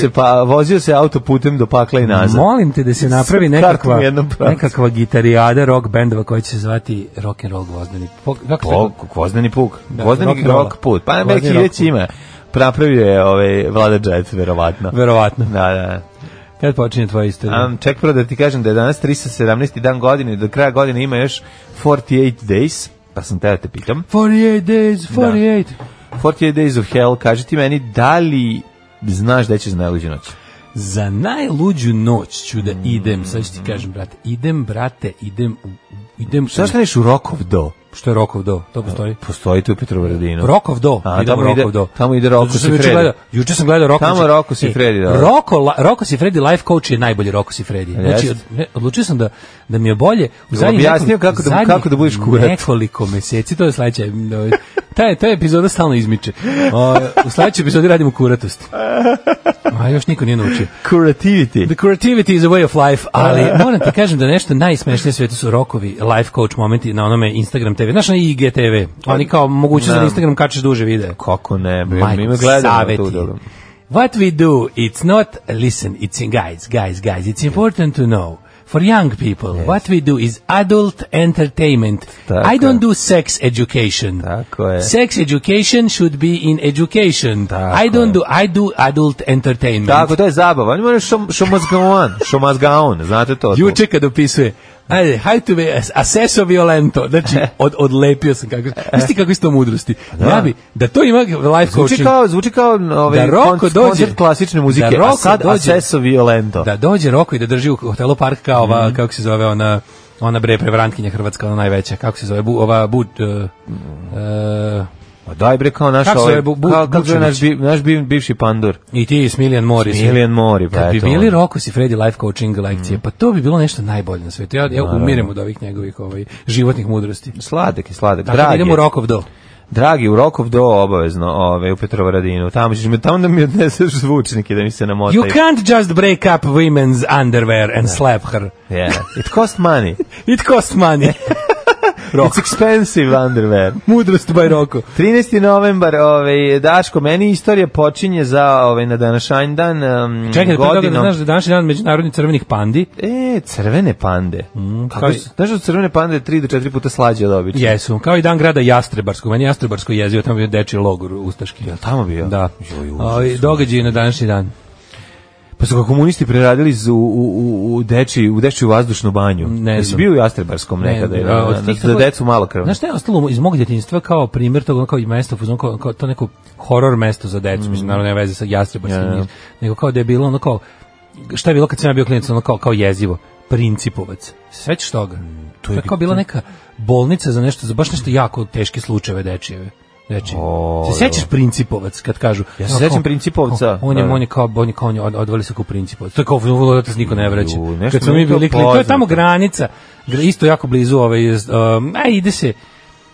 se, pa, vozio se autoputem do pakla i nazad. Molim te da se napravi Sad nekakva kartom jednom pravcu. nekakva gitarijada rock bendova koja će se zvati rock and roll gvozdeni. Po, kako se Po, to? gvozdeni puk. Da, gvozdeni rock'n'rolla. rock put. Pa Gvozdeni neki rock već put. ima. Napravio je ovaj, Vlada Džajac, verovatno. Verovatno. Da, da. Kad počinje tvoja istorija? Um, ček prvo da ti kažem da je danas 317. dan godine, do kraja godine ima još 48 days, pa sam te da te pitam. 48 days, 48. 48 days of hell, kaži ti meni, da li znaš da ćeš na najluđu noć? Za najluđu noć ću da idem, sad ću ti kažem, brate, idem, brate, idem, u, idem, Šta šta neš u Rokov do? što je Rokov do, to postoji. Postoji tu u Petrovaradinu. Rokov do, A, idemo tamo ide- Rokov do. tamo ide Roko Zato što si sam juče Fredi. gledao- Juče sam gledao Roko. Tamo si- Roko si E, Fredi, da. Roko, la- Roko si Fredi, Life Coach je najbolji Roko si Fredi. Znači, Jeste. od- ne, odlučio sam da, da mi je bolje. U zadnjih objasnio nekoliko- kako da- zadnjih kako da budeš kurat? Nekoliko meseci, to je sledeća. ovaj, Ta, je- ta epizoda stalno izmiče. O, u sledećoj epizodi radimo kuratost. A još niko nije naučio. The Curativity. creativity is a way of life, Pa, ali moram ti kažem da nešto najsmešnije sve to su rokovi, life coach momenti na onome Instagram TV. Znaš na IGTV, oni kao mogućnost da na Pa, Da. Instagram kačeš duže videe. Kako ne, bre, mi ima Majko, gledamo saveti. tu dobro. What we do, it's not, listen, it's in guys, guys, guys, it's important to know. For young people, what we do is adult entertainment. Tako I don't je. do sex education. Tako je. Sex education should be in education. Tako I don't je. do, I do adult entertainment. Tako, to je zabava. Oni moraju šom, šomazgaon, šomazgaon, znate to. Juče kad opisuje Ajde, hajde tu me, aseso violento. Znači, od, odlepio sam kako... Isti kako isto mudrosti. Ja bi, da to ima life Pa Zvuči coaching. kao, zvuči kao ovaj, Da Roko koncert, dođe. koncert klasične muzike, Da a Roko sad dođe. Acesso Violento. Da dođe Roko i da drži u hotelu park kao ova, Mhm. kako se zove ona, ona bre prevrantkinja hrvatska, ona najveća, kako se zove, bu, ova bu... Uh, uh, Ma Pa daj bre kao naš Kako se ovaj, zove, Bu- Bu- kao, kako se zove naš, bi, Bučević? naš bi, bivši pandur. I ti s Milijan Mori. Milijan Mori, pa Kad bi eto. Mhm. bili on. Rokus i Freddy life coaching lekcije, pa to bi bilo nešto najbolje na svetu. Ja, ja umirem od ovih njegovih ovaj, životnih mudrosti. Sladak je, sladak. Tako da Dragi, idemo je. u Rokov do. dragi, u Rokov do obavezno, ove, u Petrovaradinu. Tamo ćeš me, tamo da mi odneseš zvučnike da mi se namotaju. You can't just break up women's underwear and slap her. Yeah. It cost money. It costs money. It's expensive underwear. Mudrost by Roko. 13. novembar, ovaj, Daško, meni istorija počinje za ovaj, na današanj dan um, Čekaj, da pre toga da godinom. znaš da je današnji dan međunarodnih crvenih pandi. E, crvene pande. Kako kao i- su, znaš da su crvene pande 3 do 4 puta slađe od obične? Jesu, kao i dan grada Jastrebarskog. Meni je Jastrebarsko jezio, tamo je bio dečji logor Ustaški. Jel tamo bio? Da. Joj, užas. Ovi, događaj na današnji dan. Pa su ga komunisti preradili z- u, u, u, u, deči, u dečiju vazdušnu banju. Ne Jesi znam. bio u Jastrebarskom nekada? ili a, na- od na- tih za tako- decu malo krvno. Znaš šta je ostalo iz mog djetinjstva kao primjer tog ono kao i mesto, fuzon, kao, kao to neko horor mesto za decu, mislim, naravno nema veze sa jastrebarskim, Ja, ja. nije, nego kao da je bilo ono kao, šta je bilo kad sam ja bio klinac, ono kao, kao jezivo, principovac, svećaš toga? To je, kao bila neka bolnica za nešto, za baš nešto jako teške slučajeve dečijeve. Dečije. O, se sećaš principovac kad kažu? Ja se Ono, sećam kao, Principovca, kao, On je, da. on je kao, on je kao, on je od- odveli se kao principovac. To je kao, da se niko ne vraća. Ju, nešto Znači, Kad smo mi mi je to bili klinac, to je tamo poznato. granica, gra- e, isto jako blizu, ovaj, um, a ide se,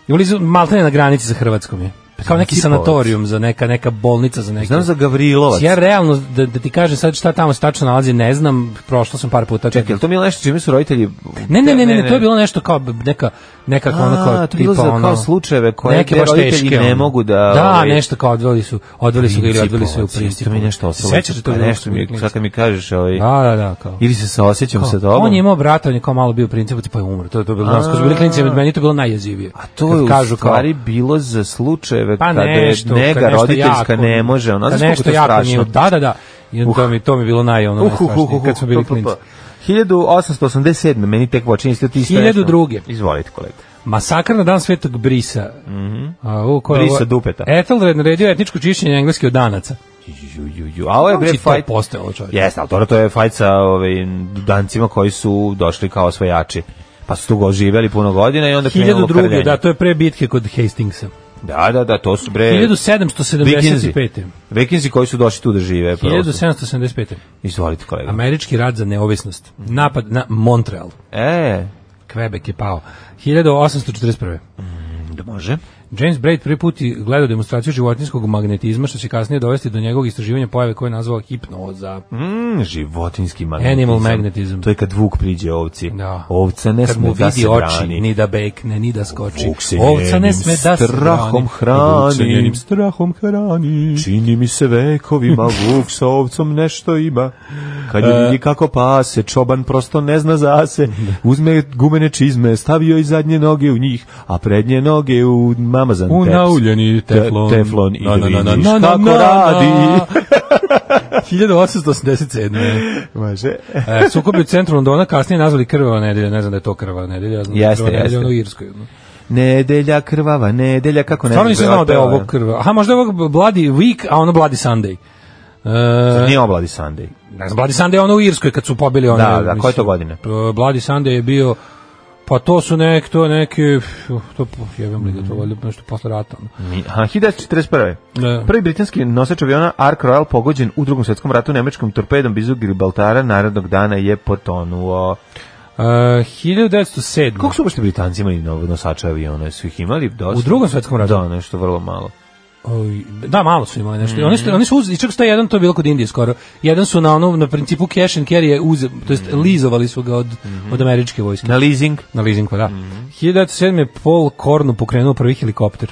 blizu, maltene na granici sa Hrvatskom je. Pa kao neki Josipovac. sanatorijum za neka neka bolnica za neke. Znam za Gavrilovac. Ja realno da, da ti kažem sad šta tamo se tačno nalazi, ne znam, prošlo sam par puta. Čekaj, je li to mi je nešto čime su roditelji... Ne, ne, ne, ne, ne, to je bilo nešto kao neka neka A, ono kao to je bilo tipa za kao ono slučajeve koje neke gde baš roditelji teške, ne ono. mogu da, Da, ovaj, nešto kao odveli su, odveli su ga ili odveli su ga u Principovac, principu. To mi je nešto ostalo. Sećaš se to Pa bilo nešto mi, je- klinci? sad kad mi kažeš, ovaj, Da, da, da, kao. ili se saosećam sa Kao, tobom. On je imao brata, on je kao malo bio princip, pa je umro. To je to bilo danas, kad su bili klinici, meni je to bilo najjezivije. A to Kad je u kažu kao- stvari bilo za slučajeve pa kada je nešto, nega kad nešto roditeljska jako- ne može. Ono, kad znaš koliko nešto to jako strašno? Uh-huh. nije, da, da, da. I to mi to mi je bilo naj ono Uh, uh, uh, najstrašnije uh, kad smo bili pa, pa, pa. klinici. 1887. Meni tek počinje isto ti isto. nešto. 1002.. Izvolite, kolega. Masakr na dan Svetog Brisa. Mhm. A u koja Mm-hmm. Brisa Dupeta. Ethelred naredio etničko čišćenje engleske od danaca. Ju, ju, ju. A ovo je bre Znači, to je fajt. postojalo, čovječe. Jeste, ali to, to je fajt sa ovaj, dancima koji su došli kao osvajači. Pa su tu go živeli puno godina i onda krenulo 1002. krvljenje. Da, to je pre bitke kod Hastingsa. da, da, da, to su bre... 1775. Vikinzi koji su došli tu da žive. prosto. 1775. Izvolite, kolega. Američki rad za neovisnost. Napad na Montreal. E, Quebec je pao. 1841. da može. James Braid prvi put je gledao demonstraciju životinskog magnetizma, što će kasnije dovesti do njegovog istraživanja pojave koje je nazvao hipnoza. Mm, životinski magnetizam. Animal magnetizam. To je kad vuk priđe ovci. Da. Ovca ne Kad sme mu da vidi se oči, brani. ni da bekne, ni da skoči. Vuk se Ovca njenim Znači, ne sme da se strahom brani. hrani. Vuk se njenim strahom hrani. Čini mi se vekovima vuk sa ovcom nešto ima. Kad E. je vidi kako pase, čoban prosto ne zna za se. Uzme gumene čizme, stavio i zadnje noge u njih, a prednje noge u mamazan U teps. nauljeni teflon. Te- teflon i Na, na, na, da na, vidiš na, na, kako na, na. radi. 1887. Može. E, sukobi u centru Londona kasnije nazvali krvava nedelja, ne znam da je to krvava nedelja, ja znam da je Jeste, krvava nedelja jeste. ono u Irskoj. ono. Nedelja krvava, nedelja kako ne Stvarno znam, nisam znao da je pevao. ovo krvava. Aha, možda je ovo Bloody Week, a ono Bloody Sunday. E, Nije obladi Sunday. ne znam, Bloody Sunday je ono u Irskoj kad su pobili one. Da, da, mislim, koje to godine? e, Bloody Sunday je bio Pa to su nek, to neke, uf, to puf, jebem li ga, to valjda nešto posle rata. ono. Mi- Aha, 1941. Da. Prvi britanski nosač aviona Ark Royal pogođen u drugom svetskom ratu nemačkom torpedom blizu Gibraltara narodnog dana je potonuo. E, 1907. E, Koliko su uopšte Britanci imali novo- nosača aviona? Su ih imali dosta? U Drugom svetskom ratu? Da, nešto vrlo malo. Oj, Da, malo su imali nešto. Oni Mhm. su, oni su uzeli, čak što je jedan, to je bilo kod Indije skoro, jedan su na onom, na principu cash and carry je uze, to jest Mhm. lizovali su ga od, od američke vojske. Na leasing? Na leasingu, da. Mhm. 1907. je Paul Kornu pokrenuo prvi helikopter.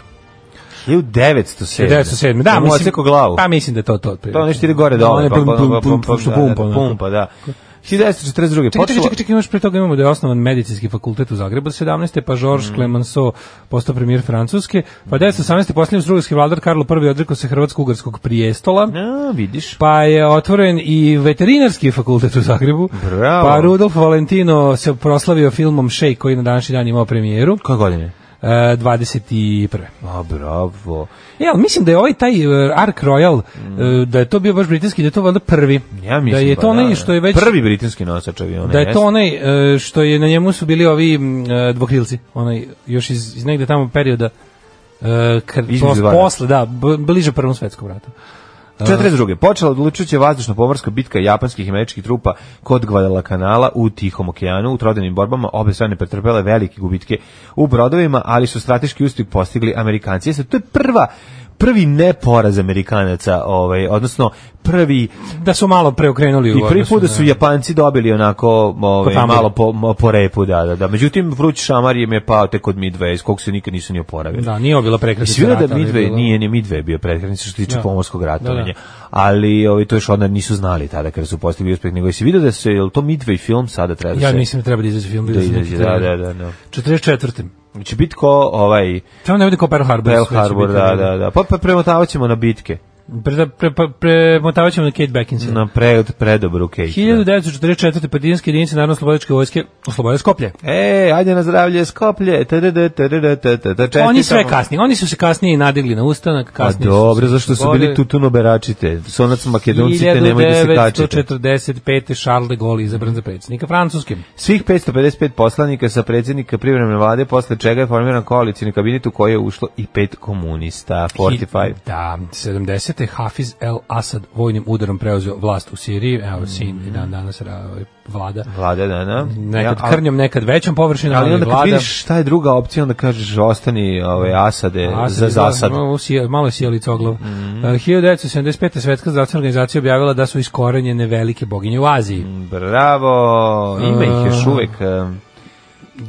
1907. 1907. Da, Mu mislim, odsekao glavu. pa mislim da je to to. otprilike. To nešto ide gore dole. Ono je pa- pum, pa- pum, pa- pum, pa- što da, pumpa, da, ono. Pumpa, da. 1942. Čekaj, čekaj, počelo- čekaj, čekaj, imaš pre toga imamo da je osnovan medicinski fakultet u Zagrebu 17. pa Mm. Georges Clemenceau postao premijer Francuske, pa 1918. posljednji strugarski vladar Karlo I odrekao se Hrvatsko-Ugarskog prijestola. A, vidiš. Pa je otvoren i veterinarski fakultet u Zagrebu. Bravo. Pa Rudolf Valentino se proslavio filmom Shake koji je na današnji dan imao premijeru. Koje godine? E, 21. A, bravo. E, ali mislim da je ovaj taj e, Ark Royal, e, da je to bio baš britanski, da je to valjda prvi. Mm. Ja mislim, da je pa to onaj da, što je već... Prvi britanski nosač aviona. Da je to jeste. onaj e, što je na njemu su bili ovi m, e, dvokrilci, onaj još iz, iz negde tamo perioda e, kad, Između pos- dva rata. posle, da, b- bliže prvom svetskom ratu. 42. Počela odlučujuća vazdušno-pomorska bitka japanskih i američkih trupa kod Guadalacanala u Tihom okeanu. U trodenim borbama obe strane pretrpele velike gubitke u brodovima, ali su strateški uspjeh postigli Amerikanci. Jeste, to je prva prvi neporaz Amerikanaca, ovaj, odnosno prvi Da su malo preokrenuli u i prvi odnosu put da na- su Japanci dobili onako ovaj, tamaru. malo po, mo- po repu, da, da, da. Međutim, vruć šamar im je pao tek od Midway, iz kog se nikad nisu ni oporavili. Da, nije ovo bila prekretnica Svi da rata, ali je Midway bilo- nije ni Midway bio prethodnica što se tiče Da. pomorskog ratovanja. Da, da. Ali ovi to još onda nisu znali tada kada su postigli uspeh, nego si video da se jel to Midway film sada treba da Ja se mislim da treba da izađe film. da izađe, da, da, da, da. 44. Će biti ko ovaj Tamo ne bude kao Pearl Harbor. Pearl sve će Harbor, biti, da, da, da. Pa, pa premotavaćemo na bitke, Pre, pre, pre, premotavat ćemo na Kate Beckinsale. na pre, predobru Kate. da. 1944. partizanske jedinice Narodno-slobodičke vojske oslobode Skoplje. E, ajde na zdravlje, Skoplje. tdd, tdd, tdd, čestitamo. Pa Oni sve kasnije. Oni su se kasnije i nadigli na ustanak. A Kasnije Pa dobro, zašto su bili tu tutunoberačite? Sonac makedoncite, nemoj da se kačite. 1945. Charles de Gaulle izabran za predsjednika Francuske. Svih 555 poslanika sa predsjednika privremene vlade, posle čega je formiran koalicijni kabinet u koji je ušlo i pet komunista. 45. Da, 70. 1999. Hafiz El Asad vojnim udarom preuzeo vlast u Siriji, evo sin i dan danas ra- vlada. Vlada dana. Nekad Ja, a- krnjom, nekad većom površinom, ali, Ali onda kad vlada. vidiš šta je druga opcija, onda kažeš ostani ove, Asade A, E, za sad zasad. Mhm. Malo, sija- malo je sjelica oglav. Mm -hmm. 1975. Svetska zdravstvena organizacija objavila da su iskorenjene velike boginje u Aziji. Mm, Bravo, ima ih još uvek. e, em,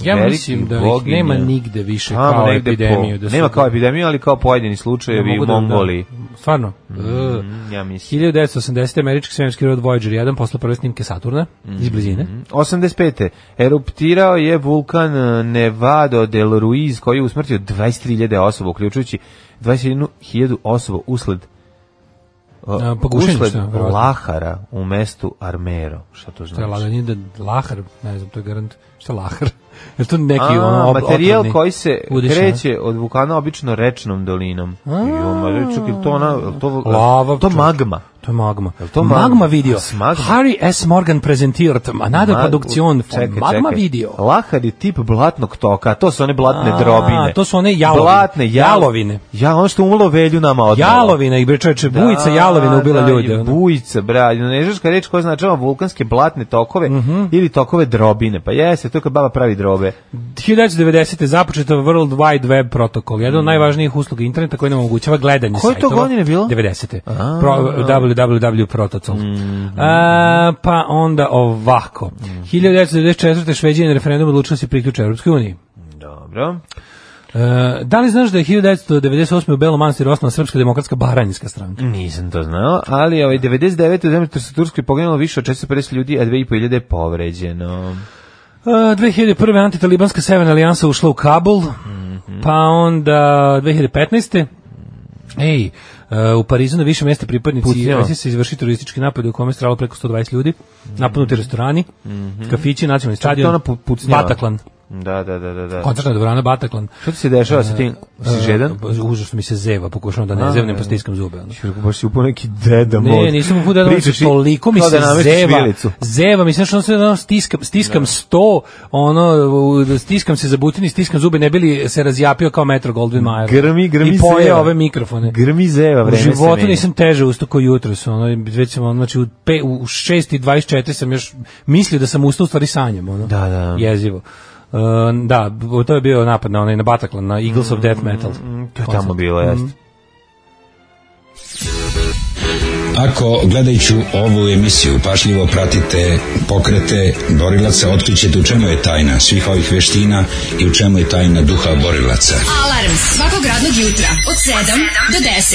Ja Velikih mislim da ih boginja. nema nigde više tamo kao negde po- epidemiju. Da su- nema kao epidemiju, ali kao pojedini da slučajevi mogu u da- da- Mongoliji. Stvarno. E, Mm, Ja mislim. 1980. američki svemirski rod Voyager 1 posle prve snimke Saturna Mm. iz blizine. 85. Eruptirao je vulkan eh, Nevado del Ruiz koji je usmrtio 23.000 osoba, uključujući 21.000 osoba usled eh, A, pa gušenje, usled šta, verovatno. Lahara u mestu Armero. Šta to To je znači? laganje da lahar, ne znam, to je garant. Šta je lahar? Je to neki A, ono ob, materijal otrovni koji se udiš, kreće od vulkana obično rečnom dolinom. Jo, ma čekaj, jel to ona, jel to Lava, to čovječe. magma. a? To je magma. to magma? magma? video. A, s magma? Harry S. Morgan prezentirt Another Ma- produkcion von čekaj, Magma čekaj. video. Lahar je tip blatnog toka, a to su one blatne A, drobine. to su one jalovine. Blatne jal- Jalovine. Ja, ono što umalo velju nama odnelo. Jalovina i bre čoveče, Da, bujica jalovina ubila da, ljude. i ono. Bujica, bra, nežeška reč koja označava znači, ono, vulkanske blatne tokove Mhm. ili tokove drobine. Pa jeste, to je kad baba pravi drobe. 1990. započeto World Wide Web protokol, jedan od najvažnijih usluga interneta koji nam omogućava gledanje Mm. Koje to sajtova. godine bilo? 90. Pro, www protocol. Mm. A, pa onda ovako. 1994. Šveđanin referendum odlučio da se priključe Europskoj uniji. Dobro. E, da li znaš da je 1998. u Belom Manastiru osnovna Srpska demokratska baranjinska stranka? Nisam to znao, ali ovaj 99. u Demetrsu Turskoj poginulo više od 450 ljudi, a 2500 je povređeno. E, 2001. antitalibanska Severna alijansa ušla u Kabul, pa onda 2015. Ej, e, u Parizu na više mjesta pripadnici Pucnjava. ISIS izvrši teroristički napad u kome je stralo preko 120 ljudi, napadnuti restorani, kafići, nacionalni To je ona pu- stadion, pucnjava. Bataklan, Da, da, da, da. da. koncertna dvorana Bataklan. Što ti se dešava sa tim? Si žedan? E, Užasno mi se zeva, pokušavam da ne A, zevnem, ne. pa stiskam zube. ono. Ću rekao, baš si upao neki deda mod. Ne, nisam u da Pričaš i- toliko mi kao se da namestiš zeva. vilicu. Zeva mi se znači, ono sve ono, stiskam, stiskam 100, ono u- stiskam se za butin i stiskam zube ne bili se razjapio kao Metro Goldwyn Mayer. Grmi, grmi I pojeo zeva. ove mikrofone. Grmi zeva, U vreme se životu meni. nisam teže ustao kao jutros, ono već sam ono, znači u pe, u 6:24 sam još mislio da sam ustao u stvari sanjam, ono. Da, da. Jezivo. E, da, to je bio napad na onaj na Bataclan, na Eagles of Death Metal. Mm, To je tamo bilo, jeste. Mm. Ako gledajući ovu emisiju pašljivo pratite pokrete borilaca, otkrićete u čemu je tajna svih ovih veština i u čemu je tajna duha borilaca. Alarm svakog radnog jutra od 7 do 10.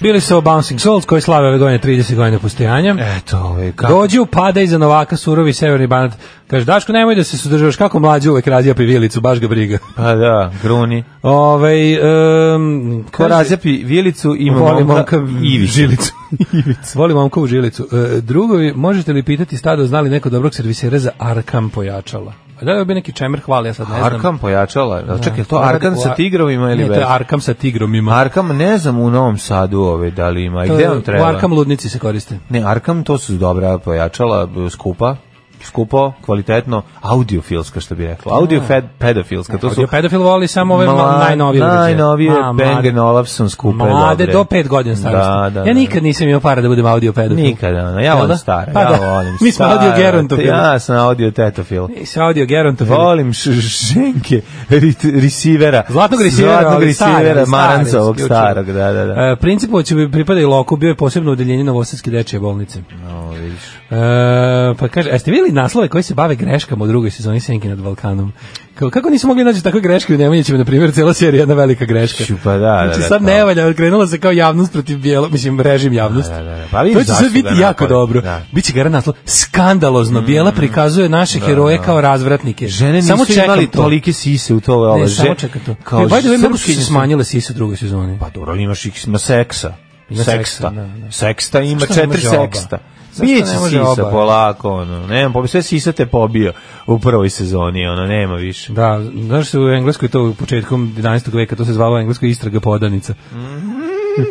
Bili su Bouncing Souls koji slave ove godine 30 godina postojanja. Eto, ovaj, kako? Dođi u pada iza Novaka, surovi severni banat. Kaže, Daško, nemoj da se sudržavaš, kako mlađi uvek razjapi vilicu, baš ga briga. Pa da, gruni. Ovaj um, Ko razjapi vilicu, ima Voli momka momka Ivić. žilicu. Voli momka u žilicu. E, drugovi, možete li pitati stado znali neko dobrog servisera za Arkam pojačala? A da li bi neki čemer hvali, ja sad ne znam. Arkam pojačala. Da. Čekaj, je to Da. Arkam sa tigrovima ili Ne, to je bez? Arkam sa tigrovima. Arkam, ne znam u Novom Sadu ove, da li ima. I To gde je- on treba? U Arkam ludnici se koriste. Ne, Arkam to su dobra pojačala, b- skupa, skupo, kvalitetno, audiofilska što bi rekla. Audio fed, pedofilska, to su Audio pedofil voli samo ove ma, mla- najnovije. uređaje. najnovije Ma, mlade. Bang Olufsen skupe Mlade dobre. do 5 godina starosti. Da, da, ja da. nikad nisam imao para da budem audio pedofil. Nikada, ono, ja Jel volim da? stare, Pa ja da. volim Mi smo audio stare, gerontofili. Ja sam audio tetofil. Nisi audio gerontofil. Volim š- ženke rit- risivera. Zlatnog risivera, Zlatnog ali stari, risivera, stari, Marancovog isključivo. starog, da, da, da. E, Principovaću bi pripada i Loku, bio je posebno udeljenje Novosadske dečje bolnice. O, vidiš. E, pa kaže, a ste vidjeli naslove koji se bave greškama u drugoj sezoni Senke nad Balkanom? Kao, kako nisu mogli naći takve greške u Nemanjićima, na primjer, cijela serija je jedna velika greška. Ću, pa da, da, Znači da, sad to. ne valja, krenula se kao javnost protiv bijelo, mislim, režim javnost. Da, da, da, da. Pa vidim to će zašto sad biti ga jako napadaju, dobro. da. Mm, Biće gara naslov, skandalozno, bijela prikazuje naše heroje kao razvratnike. Žene nisu samo čekam imali to. tolike sise u to, ovo. Ne, samo čekam to. Kao, e, by the way, mnogo su se smanjile sise u drugoj sezoni. Pa dobro, ali imaš ih ima seksa. Ima seksa, seksta. da, da. Seksta ima Zašto ne četiri može oba? seksta. Zašto Biće ne može sisa oba? polako, ono. Nemam pobio, sve sisa te pobio u prvoj sezoni, ono, nema više. Da, znaš se u Engleskoj to u početkom 11. veka, to se zvalo u Engleskoj istraga podanica. Mhm.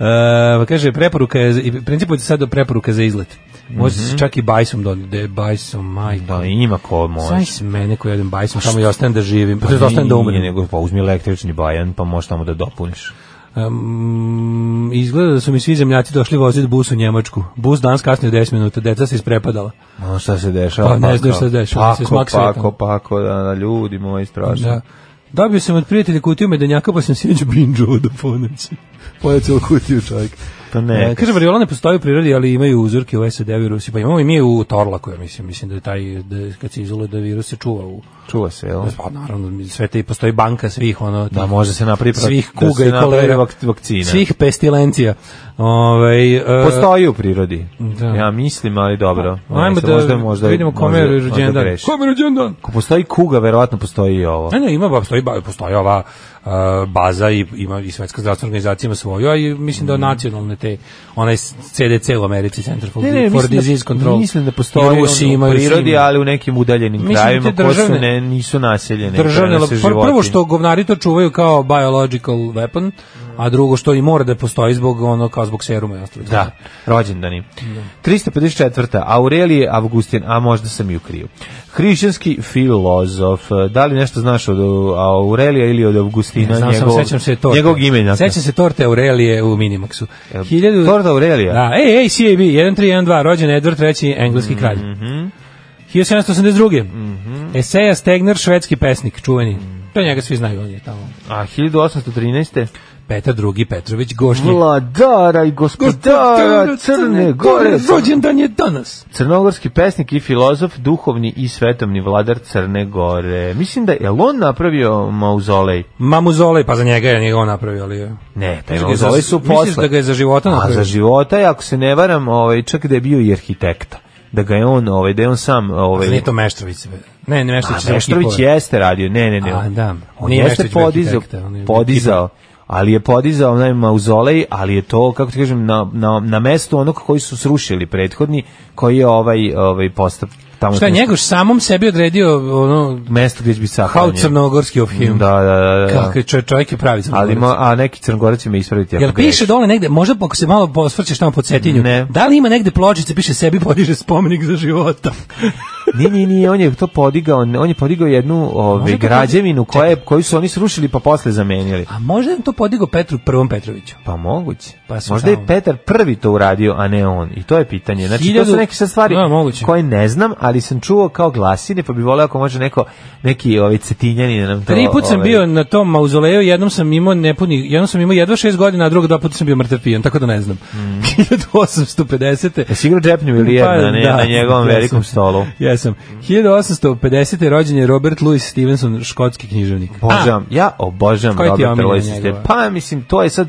E, pa kaže, preporuka je, i principu je sad do preporuka za izlet. Može Mhm. se čak i bajsom doniti, da je bajsom, majko. Da, ima ko može. Saj s mene koji jedem bajsom, samo i ostanem da živim, pa, Nije, ostanem da umrem. Nego, pa uzmi električni bajan, pa možeš tamo da dopuniš. Um, izgleda da su mi svi zemljaci došli voziti bus u Njemačku. Bus danas kasnije 10 minuta, deca se isprepadala. A Ono šta se dešava? Pa, ne znaš šta se dešava, Pako, se smak sveta. pako, pako, da, Pa da, ljudi moji, strašno. Da. Dobio sam od prijatelja kutiju medenjaka, pa sam sinoć binđuo do ponoći. Pojao celu kutiju čovjek. Pa ne, E, kaže, variola ne postoji u prirodi, ali imaju uzorke u SAD-u i Rusiji. Pa imamo i mi u Torlaku, ja mislim. Mislim da je taj, da, je- kad se izoluje da virus se čuva u... čuva se, jel? Pa naravno, sve te, postoji banka svih, ono... Da, tih- može se napravi pro- svih da kuga se i napravi kolera, vak- vakcina. svih pestilencija. Ovaj e, Postoji u prirodi. Da. Ja mislim, ali dobro. Ajmo Ajde, da možda, možda, vidimo kome je možda rođendan. grešim. Kome je rođendan? Ako postoji kuga, verovatno postoji i ovo. Ne, ne, ima, ba- postoji, ba- postoji ova a, baza i, ima, i Svetska zdravstvena organizacija ima svoju, a i mislim da nacionalne te, onaj CDC u Americi, Center for, for Disease Control. mislim da postoji Imaju u svi, imaju svi, prirodi, imaju. ali u nekim udaljenim Mislim da krajevima te koje su državne- ne, nisu naseljene. državne prenose lab- pr- prvo životinje. što govnari to čuvaju kao biological weapon, a drugo što i mora da postoji zbog ono kao zbog seruma i ostalo. Da, rođendani. 354. Aurelije Avgustin, a možda sam i u kriju. Hrišćanski filozof. Da li nešto znaš od uh, Aurelija ili od Avgustina? Ne, znam, njegovog- sam, sećam se torte. Njegovog imena. Sećam se torte Aurelije u Minimaxu. Jel, Hiljadu- torta Aurelija? Da, ej, ej, CAB, 1312, rođen Edward III, Mhm. engleski kralj. 1782. Eseja Stegner, švedski pesnik, čuveni. Mhm. To njega svi znaju, on je tamo. A 1813. Petar II. Petrović Gošnji. Vladara i gospodara Crne Gore. rođendan je danas. Crnogorski pesnik i filozof, duhovni i svetovni vladar Crne Gore. Mislim da je jel on napravio mauzolej. Mamuzolej, pa za njega je njega on napravio, ali... je- Ne, taj Misliš ga je mauzolej za- su misliš posle. da ga je za života A napravio? za života, je, ako se ne varam, ovaj, čak da je bio i arhitekta. Da ga je on, ovaj, da je on sam... Ovaj, Nije to Meštrović. sve. Ne, ne Meštrović. A je Meštrović kipove. jeste radio, ne, ne, ne. A, da. On Nije jeste Meštrović bio podizao, arhitekta, on je bio podizao, ali je podizao onaj mauzolej, ali je to, kako ti kažem, na, na, na mestu onog koji su srušili prethodni, koji je ovaj, ovaj postav tamo... Šta je njegov samom sebi odredio ono, Mesto gdje će biti Kao sahranjen. crnogorski of him. Da, da, da. da. Kakvi čo, čovjek je pravi Mm. crnogorac. Ali mo, a neki crnogorac će me ispraviti ako Jel piše dole negde, možda ako se malo osvrćeš tamo po Cetinju, Ne. da li ima negde pločice, piše sebi podiže spomenik za života. Ni, ni, ni, on je to podigao, on je podigao jednu ovaj Može to građevinu koja je, koju su oni srušili pa posle zamenili. A možda je to podigao Petru prvom Petroviću. Pa moguće. Pa su Možda je tamo. Petar prvi to uradio, a ne on. I to je pitanje. Znači, to su Hiljadu- neke sad stvari Da, moguće. koje ne znam, ali sam čuo kao glasine, pa bi voleo ako može neko, neki ovaj cetinjani da nam to... Tri put sam ovaj, bio na tom mauzoleju, jednom sam imao nepuni, jednom sam imao jedva šest godina, a drugo dva puta sam bio mrtav pijan, tako da ne znam. Mhm. 1850. Jesi igrao džepnju ili Pa, jedna, ne, na njegovom jesam. velikom stolu? Jesam. 1850. rođen je Robert Louis Stevenson, škotski književnik. Obožavam, ja obožavam Koji ti je Roberta omiljena Louisa njegova? Stevensa. Pa mislim, to je sad,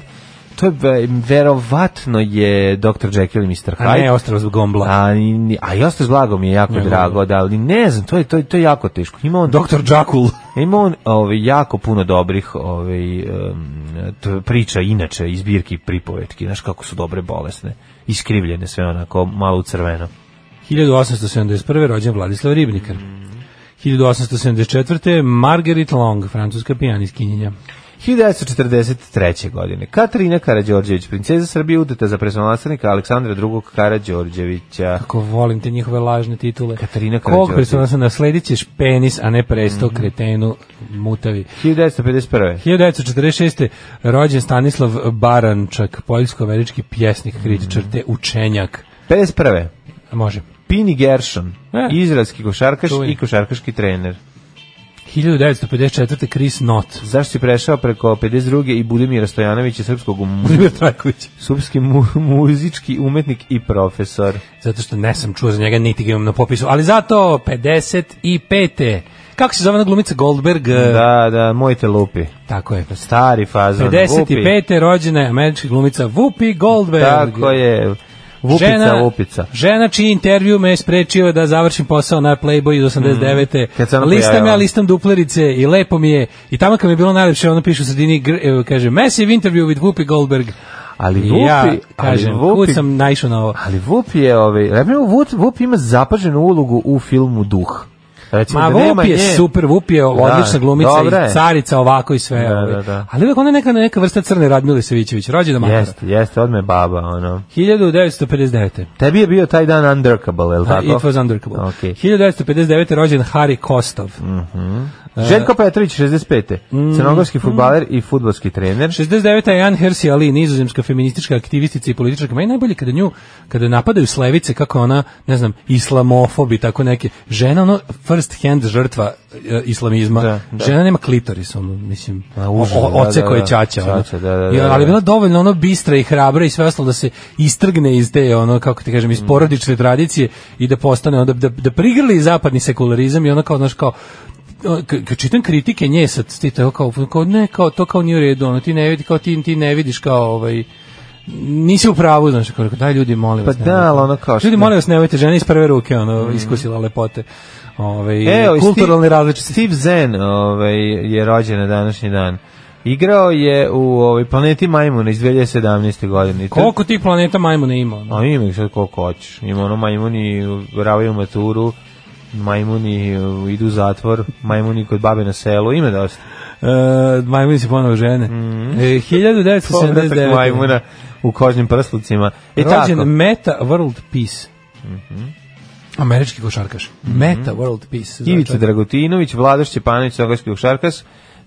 to je ve- verovatno je Dr. Jekyll i Mr. A Hyde. ne ostrava zbog gombla. A, ni- ni- a i osto zlago mi je jako drago, da, ali ne znam, to je, to je, to je jako teško. Ima on, Doktor Džakul. ima on ovaj, jako puno dobrih ovaj, em, t- priča, inače, iz zbirki pripovetki, znaš kako su dobre bolesne, iskrivljene sve onako, malo u crveno. 1871. rođen Vladislav Ribnikar. 1874. Margaret Long, francuska pijaniskinjenja. 1943. godine. Katarina Karađorđević, princeza Srbije, udeta za presonalastvenika Aleksandra II. Karađorđevića. Kako volim te njihove lažne titule. Katarina Kog Karađorđević. Mhm. predstavlja sam nasledit ćeš penis, a ne presto kretenu mutavi. 1951. 1946. rođen Stanislav Barančak, poljsko-američki pjesnik, kritičar te učenjak. 51. Može. Pini Gershon, E. izraelski košarkaš Čuveni. i košarkaški trener. 1954. Chris Not. Zašto si prešao preko 52. i Budimira Stojanovića, srpskog mu Vladimir Trajković. srpski mu muzički umetnik i profesor. zato što ne sam čuo za njega, niti ga imam na popisu, ali zato 55. Kako se zove ona glumica Goldberg? Da, da, moj te lupi. Tako je. Stari fazon. Vupi. 55. rođena je američka glumica Whoopi Goldberg. Tako je. Vupica, vupica. Žena čiji intervju me je sprečio da završim posao na Playboy iz 89. Mm. Kad se ona listam pojavila. ja, listam duplerice i lepo mi je. I tamo kad mi je bilo najlepše, ono piše u sredini, gr- evo, kaže, massive interview with Whoopi Goldberg. Ali I Vupi, ja, ali kažem, Vupi- kud sam naišao na ovo. Ali Vup je, ovaj, Vup, Vup ima zapaženu ulogu u filmu Duh. Recimo, Ma da Vup nema je nje. super, Vup je odlična Da, glumica dobra je. i carica ovako i sve. Da, ovaj. da, da. Ali uvek ona je neka, neka vrsta crne Radmile Savićević, rođena makara. Jeste, jeste, odme baba, ono. 1959. Tebi je bio taj dan undrkable, je li Da, Pa tako? it was E. undercover. Okay. 1959. rođen Harry Kostov. Mm. Željko Petrović, 65. Mm. Crnogorski futbaler i futbolski trener. 69. je Jan Hersi Ali, nizozemska feministička aktivistica i političarka. Meni je najbolje kada nju, kada napadaju slevice, kako je ona, ne znam, islamofobi, tako neke. Žena, ono, first hand žrtva e, islamizma. Da, da. Žena nema klitoris, ono, mislim, A, užas, o- o- oce da, da, koje da. čača. ono. Čača, da, da, I- da, da. ali je bila dovoljno ono bistra i hrabra i sve ostalo da se istrgne iz te, ono, kako ti kažem, Mm. iz porodične tradicije i da postane, onda, da, da prigrli zapadni sekularizam i ono kao, znaš, kao, k- kad čitam kritike nje sad ti to kao, kao ne kao to kao nije u redu ono, ti ne vidi kao ti ti ne vidiš kao ovaj nisi u pravu znaš kao rekao, daj ljudi molim Pa vas da, nemojte. ali ono kao što- Mm. ljudi molim vas nemojte žene iz prve ruke ono iskusila lepote ovaj Evo, i kulturalne Steve- različitosti Steve Zen ovaj, je rođen na današnji dan. Igrao je u ovaj, Planeti Majmuna iz 2017. godine. I to- koliko tih planeta majmuna ima ono? A ima ih sad koliko hoćeš. Ima ono majmuni ravaju maturu, majmuni uh, idu u zatvor, majmuni kod babe na selu, ima dosta. Uh, majmuni se ponovo žene. E, Povratak 1979. Mhm. majmuna u kožnim prslucima. I rođen tako. Meta World Peace. Mhm. Američki košarkaš. Meta World Peace. zove Ivica čovjek. Dragutinović, Vladoš Ćepanović, Sogorski košarkaš,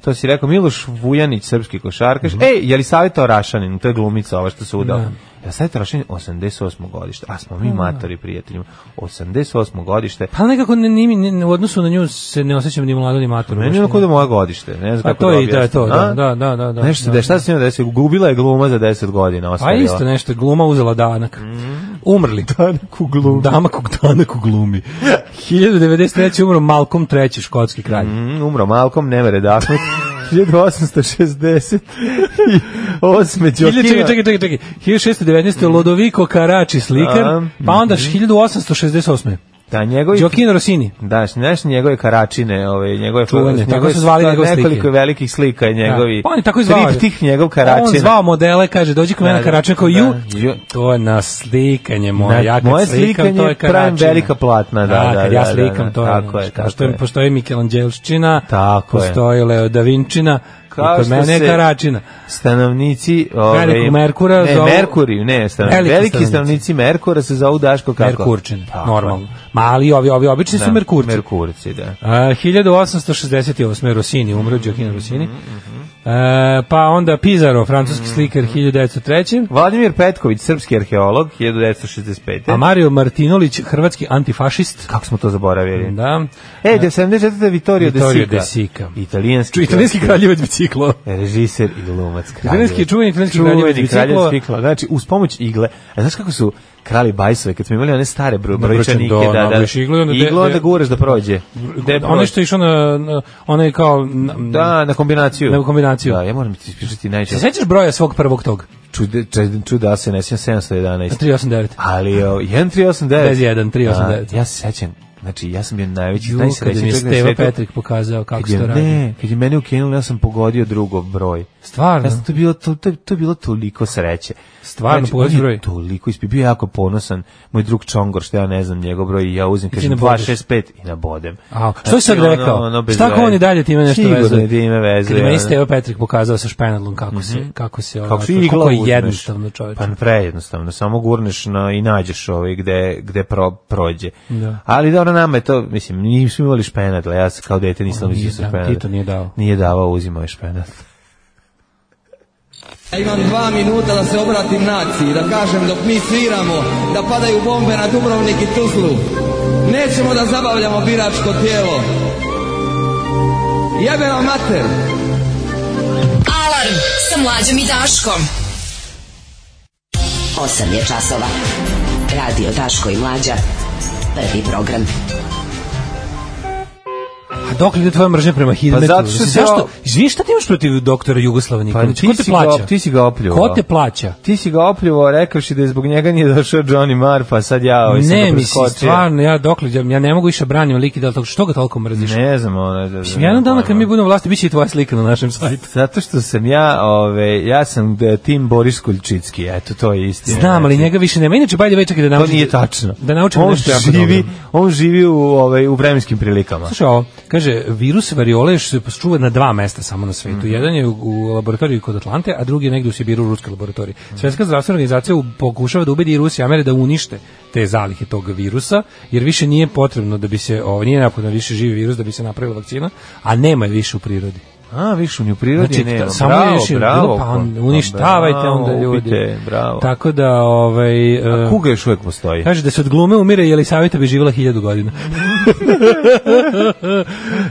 to si rekao, Miloš Vujanić, srpski košarkaš. E, je li savjetao Rašanin, to je glumica ova što se udao. Mhm. Da. Ja savjetao Rašanin 88. godište, a smo mi matori prijateljima. 88. godište, Pa nekako ne, ni- ni- ni- u odnosu na nju se ne osjećam ni mlado ni maturu. Meni je onako da moja godište, ne znam A kako Pa to da je i da, objasnim, to, a? da, da, da, da, nešto se da. da, šta se njima desilo? Gubila je gluma za 10 godina, Pa ostavila. isto nešto, gluma uzela danak. Mhm. Umrli. Danak u glumi. Damak u, danak u glumi. 1993. umro Malcolm III. škotski kralj. Mm, umro Malkom, ne mere dakle. 1860 i osme Hiljadu- Čekaj, Đokina. čekaj, čekaj, čekaj. Mhm. 1619. Lodovico Karači slikar, A, pa onda 1868. Da, njegovi... Gioacchino Rossini. Da, znaš njegove karačine, ove, njegove... Čuvene, njegove- tako su zvali njegove slike. Nekoliko velikih slika je njegovi. Da. Pa on je tako i zvao. Triptih njegov karačina. On zvao modele, kaže, dođi kod mene Da, da. karačina, kao Da, ju, ju. to je na slikanje moje, Na- ja kad moje slikam, slikanje to je karačina. pravim velika platna, da, da, kad da, ja da, slikam, da, to je, tako je, znaš, tako postoji, je. postoji Michelangelovščina, Tako je. postoji Leo da Vinčina, Kao i kod što mene je se- karačina. stanovnici ovaj Velikog Merkura ne, zovu- Merkuriju, ne, stanovnici, Veliki veliki, stanovnici. stanovnici. Merkura se zovu Daško kako? Merkurčine, Tako je. normalno. Mali ovi, ovi obični su Da, Merkurci. Merkurci, da. A, 1868. Rossini, umro Gioacchino Rossini. E, pa onda Pizarro, francuski slikar 1903. Vladimir Petković, srpski arheolog, 1965. A Mario Martinolić, hrvatski antifašist. Kako smo to zaboravili? Da. E, da 74. Vittorio, Vittorio De De Sica. Sica. Italijanski, Ču, italijanski kraljevac biciklo. režiser i glumac. Italijanski- čuveni Znači, italijanski kraljevac biciklova. bicikla. Znači, uz pomoć igle. A znaš kako su krali bajsove, kad smo imali one stare bro, Na brojčanike, brojčan, da, da, da, nabaviš iglu i onda de- iglo, de- onda guraš da prođe. De- Ono što je išao na, na onaj kao... Na, Da, na kombinaciju. Na kombinaciju. Da, ja moram ti ispričati najčešće. Se sećaš broja svog prvog tog? Čude, čude, čuda se ne sjećam 711. 389. Ali o, 1389. Bez 1, 389. A, Ja se sećam. Znači, ja sam bio najveći, Ju, kada mi najsrećniji je čovjek na Steva svetu. Petrik pokazao kako Kad se to je, radi. ne, kad je mene ukinulo, ja sam pogodio drugo broj. Stvarno? Ja sam to bilo, to, to, to je bilo toliko sreće. Stvarno, znači, pogodio on je broj? Toliko ispio, bio je jako ponosan. Moj drug Čongor, što ja ne znam njegov broj, i ja uzim, kažem nabodeš? 265 i nabodem. A, što si sad Znači, ono- rekao? ono bez Šta ako veze. on i dalje time nešto Sigurno vezuje? je time vezuje, Kada me ono. Mhm. Steva Petrik pokazao sa špenadlom kako se, kako se ono, Kako kako si igla je uzmeš? jednostavno čoveče. Pa prejednostavno, samo gurneš na, i nađeš ovaj gde, gde pro, prođe. Da. Ali dobro, nama je to, mislim, nismo imali špenadle, ja se kao dete nisam nije vidio sa dao, špenadle. Tito nije dao. Nije davao, uzimao je špenadle. Ja imam dva minuta da se obratim naciji, da kažem dok mi sviramo, da padaju bombe na Dubrovnik i Tuzlu. Nećemo da zabavljamo biračko tijelo. Jebe vam mater! Alarm sa mlađom i Daškom. 8 je časova. Radio Daško i Mlađa. Prvi program. A dok li je tvoja mržnja prema Hidmetu? Pa zato što Mislim, se zašto? o- Izvini, šta ti imaš protiv doktora Jugoslava Nikolića? Pa ti Ko te si plaća? ga- ti si ga opljuvao. Ko te plaća? Ti si ga opljuo, rekavši da je zbog njega nije došao Johnny Marr, pa sad ja ovaj sam ne, ga mislim, preskočio. stvarno, ja dokle, ja ja ne mogu više branim lik i da li toliko, što ga toliko mrziš? Ne znam, ono... Da, Mislim, jednog dana kad mi budemo vlasti, bit će i tvoja slika na našem sajtu. Zato što sam ja, ove, ja sam e, tim Boris Kuljčicki, eto, to je istina. Znam, ali Znači, njega više nema. Inače, by the way, čekaj da To naučim. nije tačno. Da naučim on nešto jako živi, dobro. on živi u, ovaj, u vremenskim prilikama. Slušaj ovo, kaže, virus variole još se čuva na dva mesta samo na svetu. Mhm. Jedan je u, u laboratoriji kod Atlante, a drugi je negde u Sibiru u ruskoj laboratoriji. Mhm. Svetska zdravstvena organizacija u- pokušava da ubedi i Rusija i Amere da unište te zalihe tog virusa, jer više nije potrebno da bi se, ovo, nije neophodno više živi virus da bi se napravila vakcina, a nema je više u prirodi. A, više u prirodi Znači, nema. samo bravo, još je bilo, bravo. pa pa- on- pa uništavajte bravo, onda ljudi. ubite, bravo. Tako da, ovaj... e, A kuga još uvek postoji. Kaže da se od glume umire, je li savjeta bi živjela hiljadu godina.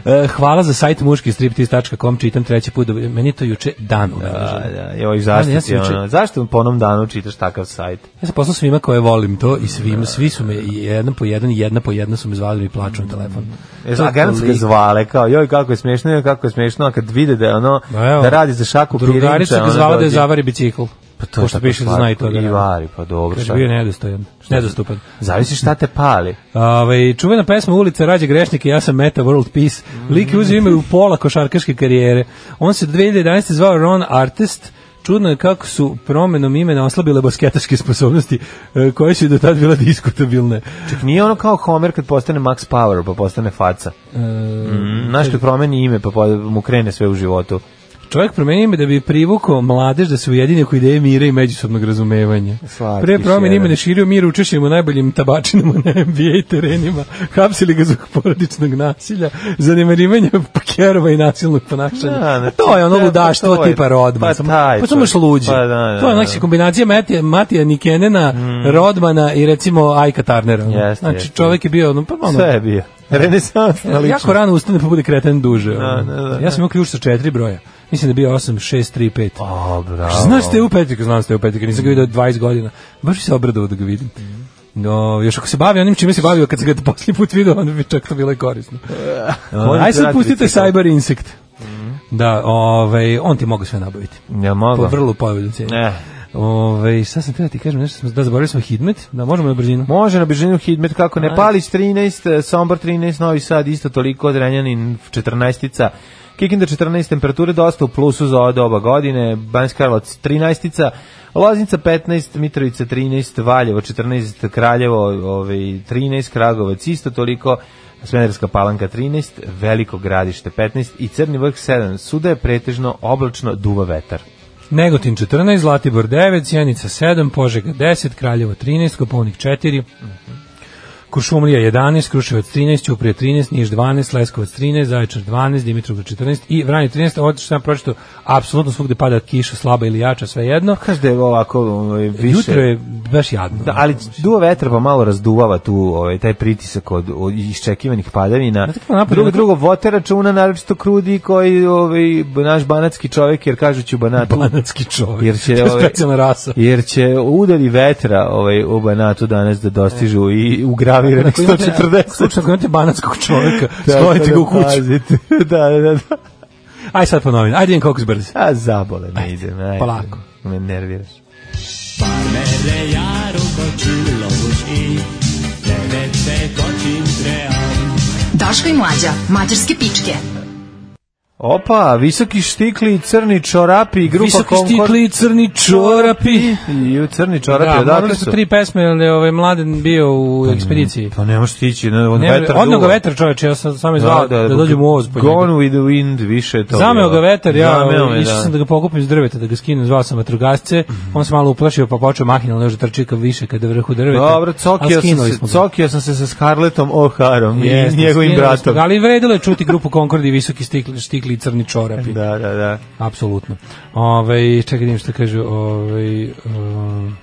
E, Hvala za sajt muški striptease.com, čitam treći put, dob- meni je to juče dan Da, ubeležilo. da, joj, Ali zašto ja sam ti juče- ono, zašto po onom danu čitaš takav sajt? Ja sam poslao svima koje volim to i svim, svi su me i jedan po jedan, i jedna po jedna su me zvali da mi plaču na telefon. E, To je a garant su ga toliko- zvale, kao, joj, kako je smešno, joj, kako je smešno, a kad vide da je ono, Ma evo, da radi za šaku pirinča, Drugarica ga ona zvala da je dođe- zavari bicikl. Pa To je Pošto tako piše da zna i slatko. to da I radi. vari, pa dobro, Kaže, šta? bio je nedostojan, nedostupan. Zavisi šta te pali. Ove, čuvena pesma Ulica rađa grešnike, ja sam Meta World Peace. Lik je uzio ime u pola košarkaške karijere. On se 2011. zvao Ron Artist. Čudno je kako su promenom imena oslabile basketaške sposobnosti e, koje su i do tad bile diskutabilne. Čak nije ono kao Homer kad postane Max Power, pa postane faca. E, Mm, Znaš kad promeni ime, pa po- mu krene sve u životu. Čovjek promenio ime da bi privukao mladež da se ujedini oko ideje mira i međusobnog razumevanja. Slatkiš Pre promjene jedan. imena širio mir učešćem u najboljim tabačinama na NBA terenima, hapsili ga zbog porodičnog nasilja, zanemarivanja pakerova i nasilnog ponašanja. Da, da, to je ono da, pa ludaštvo to je- tipa rodman. pa Samo- taj pa samo još čovjek. luđe. Pa da, da, to je da. Mm. znači kombinacija Matija, Matija Nikenena, Rodmana i recimo Ajka Tarnera. ono. Jeste, znači jeste. čovjek je bio ono, pa ono, Sve je bio. Renesansna E, Jako ličnost. rano ustane pa bude kreten duže. ono. da, da, ja sam imao ključ sa četiri broja. Mislim da je bio 8, 6, 3, 5. O, bravo. Znaš ste u Petrika, znam ste u Petrika, nisam ga vidio 20 godina. Baš bi se obradovao da ga vidim. Mhm. No, još ako se bavi onim čime se bavio kad se ga posljednji put vidio, onda bi čak to bilo i korisno. Molim Aj te, sad vrati pustite bicikl. Cyber Insect. Mhm. Da, ovaj, on ti mogu sve nabaviti. Ja mogu. Po Pa vrlo povoljnu cijenu. Ne. Ovaj, sad sam treba ti kažem nešto, smo- da zaboravili smo Hidmet, da možemo na brzinu. Može na bližinu Hidmet, kako ne. Palić 13, Sombor 13, Novi Sad isto toliko, Drenjanin 14-ica. Kikinda 14, temperature dosta u plusu za od oba godine, Banjska Karlovac 13-ica, Loznica 15, Mitrovica 13, Valjevo 14, Kraljevo ovaj, 13, Kragovac isto toliko, Smederska palanka 13, Veliko gradište 15 i Crni vrh 7. Suda je pretežno oblačno, duva vetar. Negotin 14, Zlatibor 9, Sjenica 7, Požega 10, Kraljevo 13, Kopovnik 4, Kuršumlija 11, Kruševac 13, Ćuprije 13, Niš 12, Leskovac 13, Zaječar 12, Dimitrov 14 i Vranje 13. Ovo što sam pročito, apsolutno svugde pada kiša, slaba ili jača, sve jedno. Kaže da je ovako ovaj, više... Jutro je baš jadno. Znači, Da, ali duva vetar pa malo razduvava tu ovaj, taj pritisak od, od iščekivanih padavina. Znate kako napad- Drugo, drugo, vote računa, naročito krudi koji ovaj, b- naš banatski čovjek, jer kažu ću banatu. Banatski čovjek. Jer će, to je ovaj, specijalna rasa. Jer će udari vetra ovaj, u banatu danas da dostižu i Ako ugraviranih imate- 140. Slučajno ako imate banatskog čovjeka, Tako stojite ga u kuću. pazite. da, da, da. Aj sad ponovim, ajde idem koliko zbrz. A zabole me ide. ajde. polako. Me nerviraš. Daško i mlađa, mađarske pičke. Opa, visoki štikli, crni čorapi, grupa Visoki Konkord. štikli, crni čorapi. I crni čorapi, Da, odakle morali su tri pesme, jer je ovaj mladen bio u ekspediciji. Pa ne možeš stići, ne, od Ne, vetar odno ga duva. vetar čoveče, ja sam sam izvao da, dođem u ovoz po Gone njega. with the wind, više je to. Zameo bilo. ga vetar, ja ovaj, Zameo me, Mhm. išao sam da ga pokupim iz drveta, da ga skinem, zvao sam vatrogasce, on se malo uplašio pa počeo mahinalno još da trči ka više kada vrhu drveta. Dobro, ali cokio sam, skinuli smo se, ga. cokio sam se sa Scarletom O'Harom i Jeste, njegovim skinuli smo bratom. ga, Ali vredilo je čuti grupu Concord i visoki stikli, štikli i crni čorapi. Da, da, da. Apsolutno. Ovaj čekaj da vidim šta kaže, ovaj um,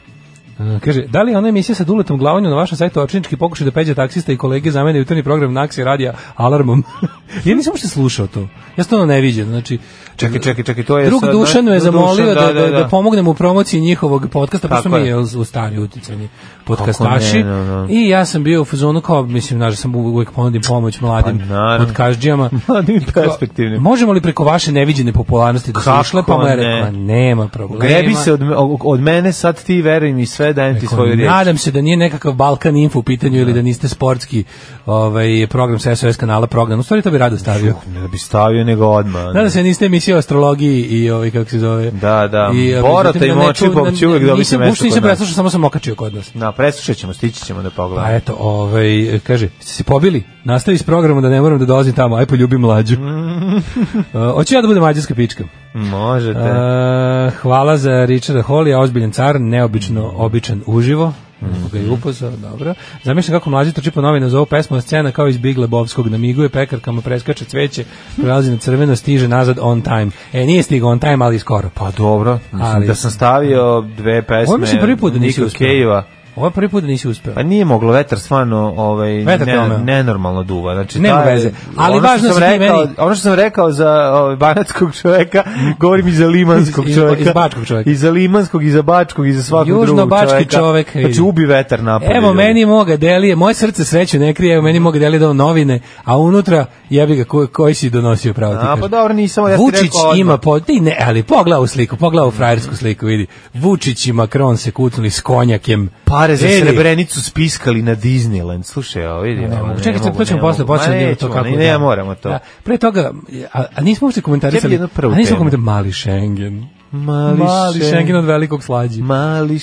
E, Kaže, da li je ona emisija sa duletom glavanju na vašem sajtu očinički pokušaj da peđa taksista i kolege zamene jutarnji program Naksi radija alarmom? ja nisam uopšte slušao to. Ja stvarno ne viđem. Znači, Čekaj, čekaj, čekaj, to je Drug E sad- Dušan me Drug zamolio Dušan, da, da, da, pomognemo u promociji njihovog podcasta, pošto Tako mi je. je u stari uticani podcastaši. ne, da, da. I ja sam bio u fazonu kao, mislim, znaš, da sam uvek ponudim pomoć mladim Pa, naravno. podcašđijama. Mladim I kao, perspektivnim. Možemo li preko vaše neviđene popularnosti da se Kako ušlepamo? ne? Ja rekao, "Ma, nema problema. Grebi se od, me- od mene, sad ti verujem i sve dajem ti Rekao, svoju riječ. Nadam se da nije nekakav Balkan Info u pitanju ili da niste sportski ovaj, program sa SOS kanala program. U stvari to bi rado stavio. Ne da bi stavio nego odmah. ono. Nadam se da niste emisija o astrologiji i ovaj, kako se zove. Da, da. ovaj, Borata međutim, i na neku- Močipov na- će uvek dobiti nisam- mesto uopšte kod nisam nas. preslušao, samo sam okačio kod nas. Na, preslušat ćemo, stići ćemo da pogledamo. Pa eto, ovaj, kaže, ste se pobili? Nastavi s programom da ne moram da dolazim tamo, aj poljubi mlađu. Mm. E, Hoću ja da budem mađarska pička. Možete. E, hvala za Richarda Hollija, ozbiljen car, neobično običan uživo. Mhm. Mm. Ga je upozao, dobro. Zamišljam kako mlađi trči po novinu za ovu pesmu, a scena kao iz Big Lebovskog, namiguje pekarkama, preskače cveće, prelazi na crveno, stiže nazad on time. E, nije stigao on time, ali skoro. Pa dobro, mislim Ali- da sam stavio dve pesme Ovo mislim prvi put da nisi Nika uspeo. Kejeva. Ovo je prvi put da nisi uspeo. Pa nije moglo, vetar stvarno ovaj, Vetar ne- tome. nenormalno duva. Znači, Nema taj- veze, ali ono važno što sam si ti rekao, meni- Ono što sam rekao za ovaj, banatskog čoveka, govorim i za limanskog Iz- iz- čoveka. iz bačkog čoveka. I za limanskog, i za bačkog, i za svakog drugog čoveka. Južnobački čovek, vidi. Znači, ubi vetar napolje. Evo ljudi. meni moga delije, moje srce sreću ne krije, evo meni moga delije dao novine, a unutra jebi ga ko, koji si donosio pravo ti A, kažem. pa dobro, nisam, ja sam Vučić rekao odmah. ima po, ti ne, ali pogleda u sliku, pogleda u frajersku sliku, vidi. Vučić i Macron se kucnuli s konjakem. Pare za Vidi. Srebrenicu spiskali na Disneyland. Slušaj, ovo vidi. Ne, ovo, mogu. ne Pa, Čekaj, mogu, to ćemo ne posle mogu. Ma početi da to nećemo, kako. Ne, ne moramo to. Da. Pre toga, a, a nismo uopšte komentarisali, Ja bi jednu prvu a nismo temu. komentarisali mali Schengen. Mali, Mali Schengen. Schengen od velikog slađi. Mali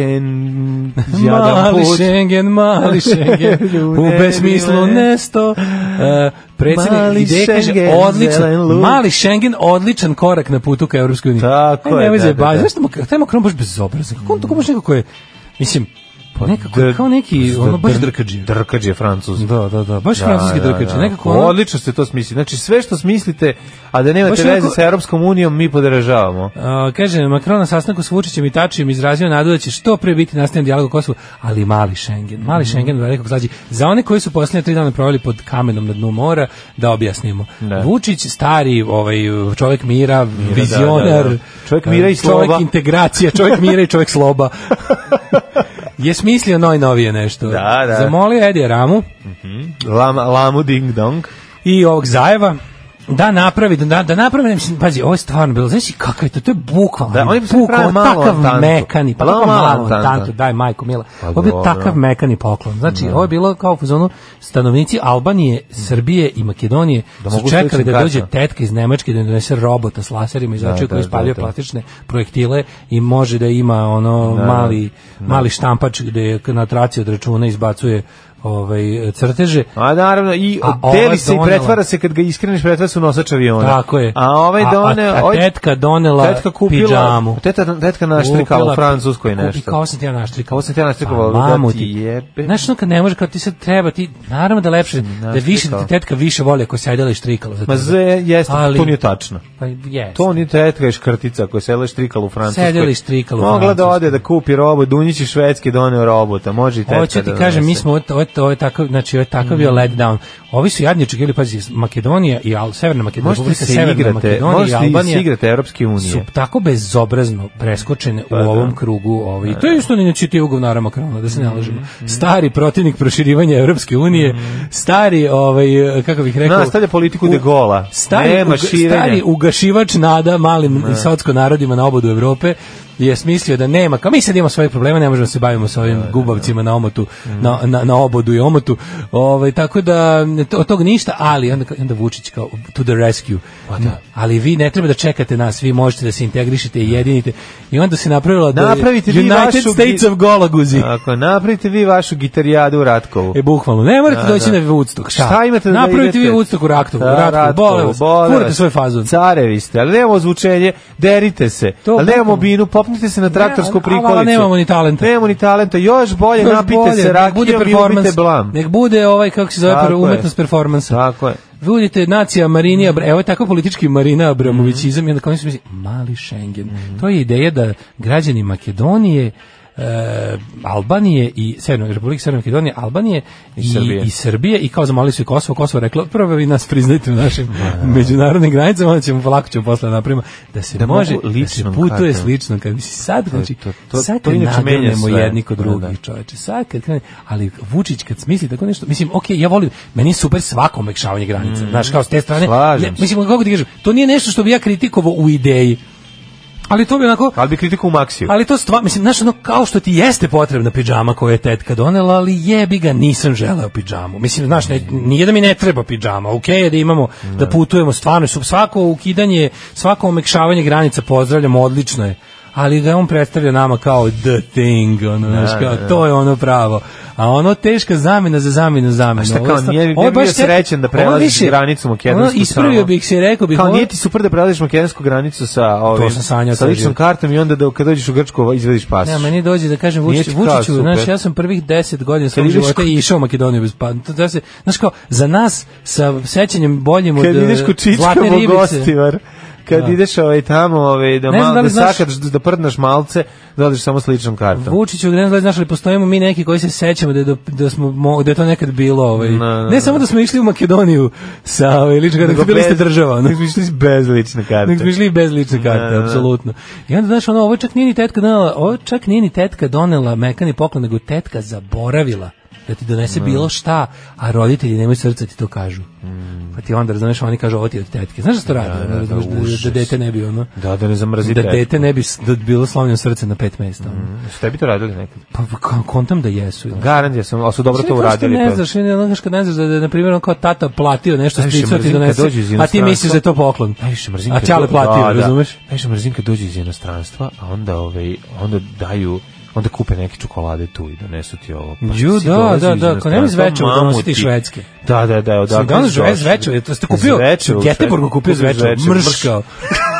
Schengen, jadan Mali put. Schengen, mali Schengen, Lune, u besmislu lune. nesto. E, predsjednik Mali ideje kaže, Schengen, odličan, zelen luk. mali Schengen, odličan korak na putu ka Evropskoj uniji. Tako Aj, je, nemoj da, zajebavati. da, da. Znaš što mu, taj Macron baš bezobrazan, kako on to baš nekako je, mislim, Pa nekako je Dr- kao neki, dr- ono baš dr- drkađi. Drkađe francuz. Da, da, da, baš francuski drkađi, nekako ono- Odlično ste to smislili. Znači sve što smislite, a da nemate Baš veze onako- sa Europskom unijom, mi podržavamo. A, kaže, Macron na sastanku s Vučićem i Tačijem izrazio nadu da će što pre biti nastavljen dijalog o Kosovu, ali mali Schengen, Mhm. mali Schengen od velikog slađi. Za one koji su posljednje tri dana proveli pod kamenom na dnu mora, da objasnimo. Da. Vučić, stari ovaj, čovjek mira, vizionar, da, da. Čovjek mira i sloba. čovjek integracije, čovjek mira i čovjek sloba, je smislio najnovije nešto. Da, da. Zamolio Edija Ramu, Lam, lamu ding dong. i ovog Zajeva da napravi da, da napravi mislim pazi ovo je stvarno bilo znači kako je to to je bukvalno Da, ali oni su prave malu takav Antantu. mekani pa Pa tako malu malo Antantu. tanto daj majko mila ovo je bio Pa dobro. takav mekani poklon znači ovo je bilo kao u zonu stanovnici Albanije Srbije i Makedonije Da su mogu čekali sledećeg da dođe kata. tetka iz Nemačke da im donese robota s laserima iz očiju da, koji da, ispaljuje da. plastične projektile i može da ima ono mali mali štampač gde je na traci od računa izbacuje ovaj crteže A naravno, i A ova deli se i donela- pretvara se kad ga iskreneš, pretvara se u nosač aviona. Tako je. A ovaj A- done... a- a ovaj- tetka donela tetka kupila, pidžamu. Teta, tetka naštrikala u Francuskoj nešto. I kao sam ti ja naštrikao. Pa, Kao sam ti ja naštrikao, da ti jebe. Znaš, ono kad ne može, kao ti sad treba, ti, naravno da je lepše, da više, da naštrikao. te tetka više voli ako je sedela i štrikala. Za Ma tebe. ze, jeste, Ali- to nije tačno. Pa jes. To ni tetka je škrtica koja je sedela i štrikala u Francuskoj. Sedela i štrikala u Mogla da Francuskoj. ode da kupi robot, Dunjić i Švedski doneo robota, može i tetka Hoću ti da kažem, mi donese. Mm. smo ovo, ovo, ovo je takav, znači ovo je takav bio letdown. Ovi su jadni očekivali, pazi, iz Makedonija i Al, Severna Makedonija, Možete Republika se Severna igrate, Makedonija i možete Albanija se igrate Evropske unije. su tako bezobrazno preskočene u ovom krugu. Ovaj. To je isto inicijativa govnara Makrona, da se ne lažemo. Stari protivnik proširivanja Evropske unije, stari, ovaj, kako bih rekao... Nastavlja politiku u- de Gola. Stari, Nema uga- širenja. stari ugašivač nada malim i sotsko narodima na obodu Evrope je smislio da nema, kao mi sad imamo svoje probleme, ne možemo da se bavimo sa ovim gubavcima na omotu, Mm. na, na, na obodu i omotu, ovaj, tako da ne, to- od tog ništa, ali onda, onda Vučić kao to the rescue. Pa Ali vi ne treba da čekate nas, vi možete da se integrišete i jedinite. I onda se napravila da Napravite vi United vašu States gi- of Golaguzi. Ako napravite vi vašu gitarijadu u Ratkovu. E, bukvalno. Ne morate Da, doći da. na Woodstock. Šta? Šta imate da Napravite idete? vi Woodstock u Raktovu. Da, Da, Raktovu. Ratkovu, Bole vas. bole Furate vas. svoj fazon. Carevi ste, ali nemamo zvučenje, derite se. To ali nemamo bukvalno. binu, popnite se na traktorsku ali- ali prikolicu. nemamo ni talenta. Nemamo ni talenta. Još bolje, Još napite bolje, se nek bude rakijom i performans, ubite blam. Nek bude ovaj, kako se zove, Tako per- je. umetnost performansa. Tako je. Budite nacija Marini, Abra- evo je tako politički Marina Mhm. Abramovićizam i onda kao oni su mislili, mali Schengen. To je ideja da građani Makedonije, e, e, Albanije i Severnog Republike Severne Makedonije, Albanije i, Srbije. i, Srbije i kao zamolili su i Kosovo, Kosovo je reklo, prvo vi nas priznajte u našim međunarodnim granicama, onda ćemo polako ćemo posle da napravimo da se Da može, mogu da se ličnom putuje kartom. s ličnom kad mislim sad, znači, to- to- sad to kad inače menja nagrnemo sve. jedni kod Da, drugih, da. čoveče, sad kad krene, ali Vučić kad smisli tako nešto, mislim, okej, ja volim, meni je super svako omekšavanje granica, znaš, kao s te strane, Mm. Slažem se. mislim, kako ti kažem, to nije nešto što bi ja kritikovao u ideji, ali to bi onako, Ali bi kritiku u maksiju. ali to stvarno, mislim, znaš, ono, kao što ti jeste potrebna pidžama koju je tetka donela, ali jebi ga, nisam želeo pidžamu. Mislim, znaš, ne, nije da mi ne treba pidžama, okej je da imamo, da putujemo, stvarno, su- svako ukidanje, svako omekšavanje granica pozdravljamo, odlično je ali ga on predstavlja nama kao the thing, ono, znaš, kao, to je ono pravo. A ono teška zamena za zamenu zamenu. A šta Ovo kao, je sta- nije- ne ovo je bi baš bio te- srećan da ovo prelaziš više- granicu makedonsku ono, Ispravio samo? bih se, rekao bih, Kao ovo- nije ti super da prelaziš makedonsku granicu sa ovim, sam sanjao sa ceo ličnom život. kartom i onda da, kad dođeš u Grčku ovaj, izvediš pas. Ja, meni dođe da kažem Pa Nije Vučić, ti kao Vučiću, znaš, super. ja sam prvih 10 godina svog ideš života kod- i išao u Makedoniju bez pa. to Da se, znaš kao, za nas sa sećanjem boljim od kad e, ideš kod Čička zlatne u ribice. gostivar, kad ideš ovaj tamo, ovaj, da, Ne znam mal, da da, li znaš- sakaš, da prdnaš malce, da odeš samo s ličnom kartom. Vučiću, ne znam, znaš, ali postojimo mi neki koji se sećamo da, je do- da, smo, mo- da je to nekad bilo. Ovaj. Na, na, na. ne samo da smo išli u Makedoniju sa ovaj, lička, nego bili ste država. ono. Nego smo išli bez lične karte. Nek smo išli i bez lične Da, karte, da, da. apsolutno. I onda, znaš, ono, ovo čak nije ni tetka donela, ovo čak nije ni tetka donela mekani poklon, nego tetka zaboravila da ti Mm. donese bilo šta, a roditelji nemaju srca ti to kažu. Pa ti onda, razumeš, oni kažu ovo ti je od tetke. Znaš što radi? ono, Mm. da, razumeš, Da, da, užas. dete ne bi, ono, Da, da ne zamrzi da tetku. Mm. dete ne bi s- da bilo slomljeno srce na pet mesta. ono. Su tebi to radili nekad? Pa k- kontam da jesu. ili? Garant ja sam, ali su dobro Sve to kao uradili. pa? Što ne to. znaš, ne, ono kad ne znaš da, da je, na primjer, on kao tata platio nešto Najviše stricu ti mrzim kad donese, dođe iz a ti misliš inostranstva. da je to poklon. Najviše mrzim A kad Ćale do- platio, da, da. razumeš? Najviše mrzim kad dođu iz inostranstva, a onda, ovaj, onda daju onda kupe neke čokolade tu i donesu ti ovo. Pa Ju, si da, dolazi da, iz da, kao inostranstva, nemoj iz Zvečeva mamu donositi ti. švedske. Da, da, da, odakle Sam danas si žove došao? zveče, jeste ste kupio? Zvečevo, U Geteborgu kupio kupio zveče, Zvečevo, mrškao.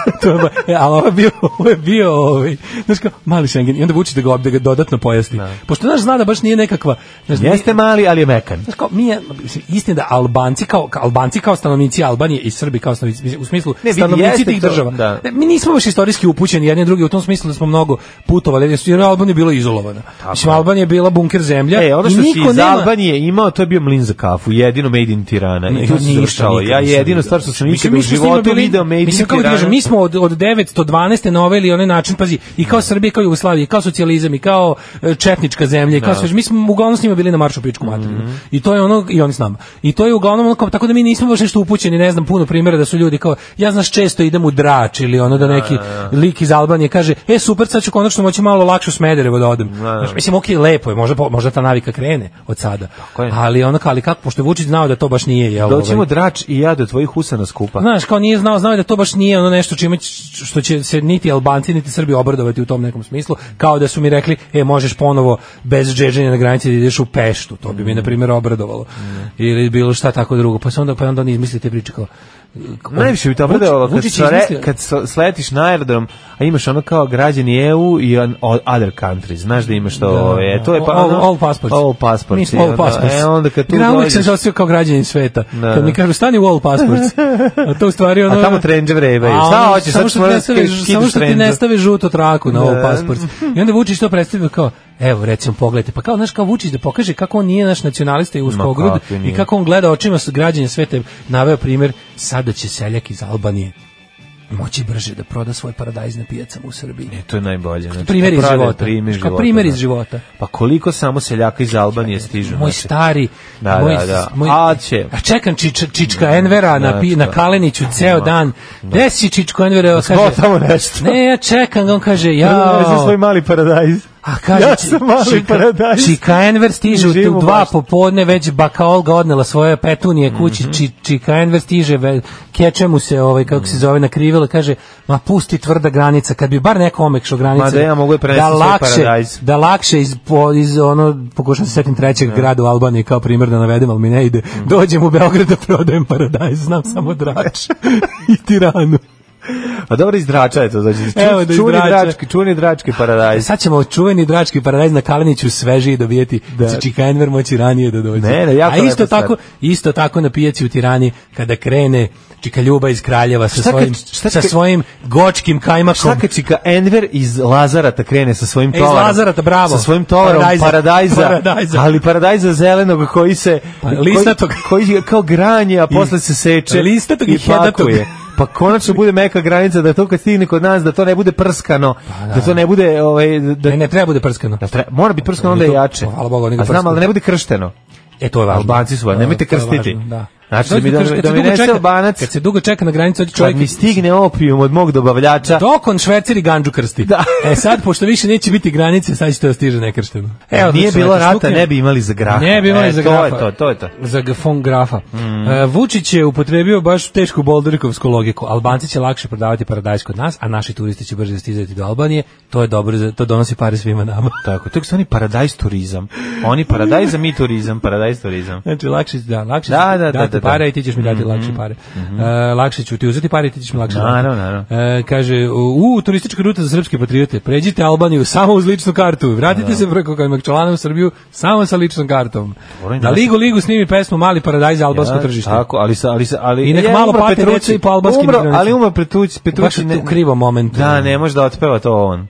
to je, ba- e, ali ovo je bio, ovo je bio, ovaj, znaš kao, mali Schengen, i onda vuči da ga, ob- da ga dodatno pojasni. Pošto naš zna da baš nije nekakva, znaš, nije- Jeste mali, ali je mekan. Znaš kao, mi je, mislim, istina da Albanci kao, kao- Albanci kao stanovnici Albanije i Srbi kao stanovnici, mislim, u smislu Ne, vidi, stanovnici jeste tih to, država. da. Ne, mi nismo baš istorijski upućeni jedni drugi u tom smislu da smo mnogo putovali, jer su- jer Albanija je bila izolovana. Mislim, Albanija je bila bunker zemlja E, ono što i si niko iz nema... Albanije imao, to je bio mlin za kafu, jedino Made in Tirana. I tu se završalo. Ja jedino stvar što sam nikada u životu video Made in Mislim, kako ti Tirana. kažem, mi smo od, od 912. na ovaj ili onaj način, pazi, i kao Srbija, kao Jugoslavija, i kao socijalizam, i kao e, četnička zemlja, i kao sve, mi smo uglavnom s njima bili na maršu pičku materinu. I to je ono, i oni s nama. I to je uglavnom ono, kao, tako da mi nismo baš nešto upućeni, ne znam, puno primjera da su ljudi kao, ja znaš, često idem u drač ili ono da neki lik iz Albanije kaže, e, super, sad ću konačno moći malo lakše u Smederevo da odem. Znaš, mislim, okej, lepo je, možda, po- možda ta navika krene od sada. je. Ali ono, kao, ali kako, pošto je Vučić znao da to baš nije, jel? Doćemo ovaj, drač i ja do tvojih usana skupa. Znaš, kao nije znao, znao je da to baš nije ono nešto čime ć- što će se niti Albanci niti Srbi obradovati u tom nekom smislu, kao da su mi rekli, e, možeš ponovo bez džedženja na granici da ideš u Peštu, to bi mi, na primjer, obradovalo. Mm. Ili bilo šta tako drugo. Pa se onda, pa onda oni izmisli te priče kao... Najviše bi to Vučić- obradovalo kad, Vučić je sore- izmislio- kad so- sletiš na aerodrom, a imaš ono kao građani EU i on- o- other countries. Znaš da imaš to, ove, e, to je pa all, ono... all passports. All passports. Mi smo i all onda- passports. E, onda kad tu ja uvijek sam dođeš- se osjećao kao građanin sveta. Da, Kad mi da. kažu stani u all passports. A to u stvari ono... A tamo trendže vrebaju. A Šta ono, hoćeš, Samo sad što, ćemo ti da ne stave- skidaš samo što ti trendže. ne stave žutu traku na all Da. passports. I onda Vučić to predstavio kao Evo, recimo, pogledajte, pa kao, znaš, kao Vučić da pokaže kako on nije naš nacionalista i uskogrud kakvi i nije. kako on gleda očima s građanja sveta. Naveo primjer, sada će seljak iz Albanije moći brže da proda svoj paradajz na pijacama u Srbiji. E, to je najbolje. Znači, Primjer to iz pravi života. Primjer Kao primjer iz da. života. Pa koliko samo seljaka iz Albanije stižu. Moj znači. stari, Da, moj, da, da. moj- A će. A čekam čič, Čička Envera na, pi, Znači, da. na Kaleniću ceo dan. Gde si Čičko Envera? On Smo kaže, tamo nešto. ne, ja čekam, ga, on kaže, Ja sam jao. Pa svoj mali paradajz. A kaže, ja sam mali paradajz. Čika Enver stiže u- Živim u u dva bašti. popodne, već baka Olga odnela svoje petunije kući, Mhm. Či- Čika Enver stiže, ve, keče mu se, ovaj, kako Mhm. se zove, nakrivila, kaže, ma pusti tvrda granica, kad bi bar neko omekšao granice. Ma da ja mogu da prenesem svoj paradajz. Da lakše iz, po, iz ono, pokušam se setim trećeg grada u Albaniji kao primjer da navedem, ali mi Mhm. ne ide. Dođem u Beograd da prodajem paradajz, znam samo drač i tiranu. A Pa dobro iz drača je to, znači, ču, Evo, da iz čuveni Drača. drački, čuveni drački paradajz. E, Sad ćemo čuveni drački paradajz na Kaleniću svežiji dobijeti, da će Čikajenver moći ranije da dođe. Ne, ne, jako A isto lepa stvar. tako, isto tako na pijaci u Tirani, kada krene Čika Ljuba iz Kraljeva sa Šta kad- svojim, šta sa kad- svojim gočkim kajmakom. Šta kad čika Enver iz Lazarata krene sa svojim E, iz tovarom? Lazarata, bravo. Sa svojim tovarom Paradajza. paradajza, Paradajza. ali paradajza zelenog koji se... Pa, koji- listatog. Koji, je kao granje, a posle se seče. listatog i i hedatog. pakuje. Pa konačno bude meka granica da to kad stigne kod nas, da to ne bude prskano, Pa da, to ne bude... Ovaj, da, Ne, ne, treba bude prskano. da tre- mora biti prskano onda je To- jače. hvala Bogu, oni ga a znam, prskaju. ali da ne bude kršteno. E, to je važno. Albanci su, To je- nemojte to je važno, krstiti. Da. Znači, Dođe da mi- krš- da kad se mi dugo nese čeka- Albanac. Kad se dugo čeka na granici, od Kad čovjek mi stigne opijum od mog dobavljača, Dok on švecer i ganđu krsti. Da. e sad, pošto više neće biti granice, sad će to da stiže nekršteno. Evo, E, nije znači, bilo eto, rata, Štukin- ne bi imali za grafa. Ne bi imali E, za to grafa. je to, to je to. Mm. Za g- von grafa. E, Vučić je upotrebio baš tešku bolderikovsku logiku. Albanci će lakše prodavati paradajz kod nas, a naši turisti će brže stizati do Albanije. To je dobro, za- to donosi pare svima nama. Tako, to su oni paradajz turizam. Oni paradajz, a mi turizam, paradajz turizam. Znači, lakše, da, lakše Da, ću da, ti da, dati da, da. pare i ti ćeš mi dati lakše pare. E, lakše ću ti uzeti pare i ti ćeš mi lakše dati. Naravno, naravno. E, kaže, u, u, turistička ruta za srpske patriote, pređite Albaniju samo uz ličnu kartu, vratite se preko Kajmakčalana u Srbiju samo sa ličnom kartom. Dobro, i Da nas- ligu ligu snimi pesmu Mali paradajz za albansko Ja, tržište. Znači, Tako, ali sa ali sa ali I nek malo umro pate Petrucci, deca i po albanskim umro, igranicama. ali umro Petrucci, Petrucci Baš u tu krivom momentu. Da, ne može da otpeva to on.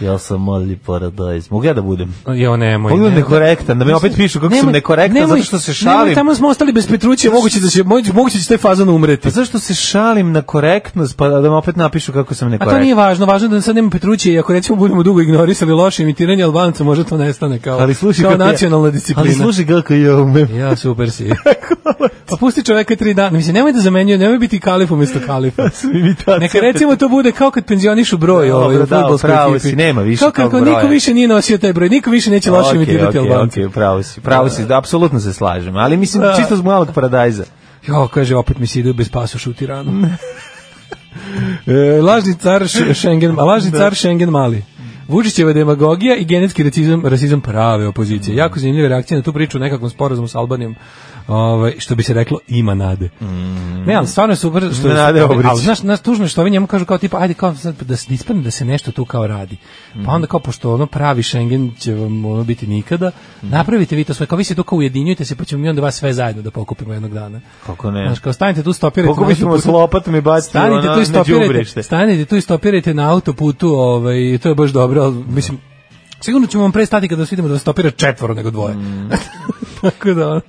Ja sam mali paradajz. Mogu ja da budem? Jo, nemoj. Mogu da budem nemoj. nekorektan, da me opet pišu kako sam Nemoj- nekorektan zato što se Nemoj, šalim. tamo smo ostali bez Petruće, moguće da će, moguće moguće će taj fazan umreti. Pa zašto se šalim na korektnost, pa da me opet napišu kako sam A to nekorektan? nije važno, važno je da sad nema Petruće i ako recimo budemo dugo ignorisali loše imitiranje Albanca, možda to nestane kao, Ali slušaj kao kako je- nacionalna disciplina. Ali slušaj kako ja umem. Ja, super si. pa pusti čoveka tri dana. Mislim, nemoj da zamenjuje, nemoj biti kalif umjesto kalifa. Imitacija Neka recimo to bude kao kad penzionišu broj Dobro, ovaj, u da, fudbalskoj pravo ekipi. si, nema više Kao tog kako broja. niko više nije nosio taj broj, niko više neće loše Okej, imitirati okej, Albanca. okej, pravo si, pravo si, da, apsolutno se slažem, ali mislim Da. čisto zbog malog paradajza. Jo, kaže, opet mi se ide bez pasuša u tiranu. e, lažni car Š- Schengen, a lažni car Schengen mali. Vučićeva demagogija i genetski rasizam, rasizam prave opozicije. Mm. Jako zanimljiva reakcija na tu priču o nekakvom sporazumu s Albanijom. Ovaj što bi se reklo ima nade. Ne, ali stvarno je super što Mm. Nade Obrić. ali znaš, znaš tužno je što ovi njemu kažu kao tipa ajde kao sad da se ispadne da se nešto tu kao radi. Mhm. Pa onda kao pošto ono pravi Schengen će vam ono biti nikada, Mhm. napravite vi to sve kao vi se tu kao ujedinjujete se pa ćemo mi onda vas sve zajedno da pokupimo jednog dana. Kako ne? Znaš, kao stanite tu, stopirajte. Koliko na bismo s autoputu. lopatom i baciti ono, Stanite tu i na stopirajte, džubrište. stanite tu i stopirajte na autoputu, ovaj, to je baš dobro, ali, mislim, sigurno ćemo vam pre stati kada vas vidimo da vas stopira četvoro nego dvoje. Mm. Tako da, ono.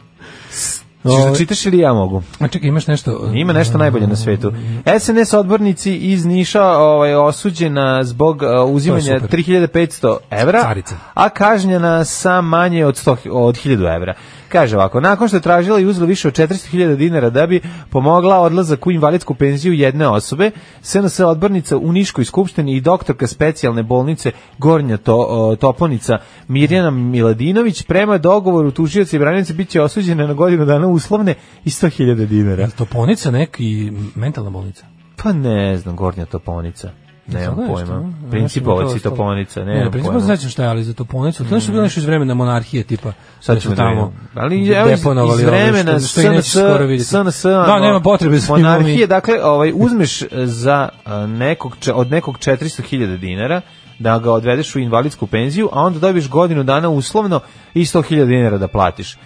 Češ da Ovaj, čitaš ili ja mogu? a čekaj, imaš nešto? Ima nešto najbolje na svetu. SNS odbornici iz Niša ovaj, osuđena zbog uh, To je uzimanja super. 3500 evra, Carice. a kažnjena sa manje od, 100, od 1000 evra. Kaže ovako, nakon što je tražila i uzela više od 400.000 dinara da bi pomogla odlazak u invalidsku penziju jedne osobe, SNS odbornica u Niškoj skupštini i doktorka specijalne bolnice Gornja to, o, Toponica Mirjana Miladinović prema dogovoru tužioca i branjenice bit će osuđena na godinu dana uslovne i 100.000 dinara. Jel Toponica neki mentalna bolnica? Pa ne znam, gornja toponica. Tako Nemam nešto, pojma. a? Principovac Nešto i mi to ostalo. toponica, Ne, nemam principovac pojma. znači šta je, ali za Toponicu, to je nešto bilo nešto iz vremena monarhije, tipa, da Sad su ćemo tamo tamo. Ali evo iz, deponovali iz ovo, vremena što, što i nećeš SNS, skoro vidjeti. SNS, da, ono, nema potrebe za njim, ono, mi- Monarhije, dakle, ovaj, uzmeš eh, za eh, nekog, če- od nekog 400.000 dinara, da ga odvedeš u invalidsku penziju, a onda dobiješ godinu dana uslovno i 100.000 dinara da platiš.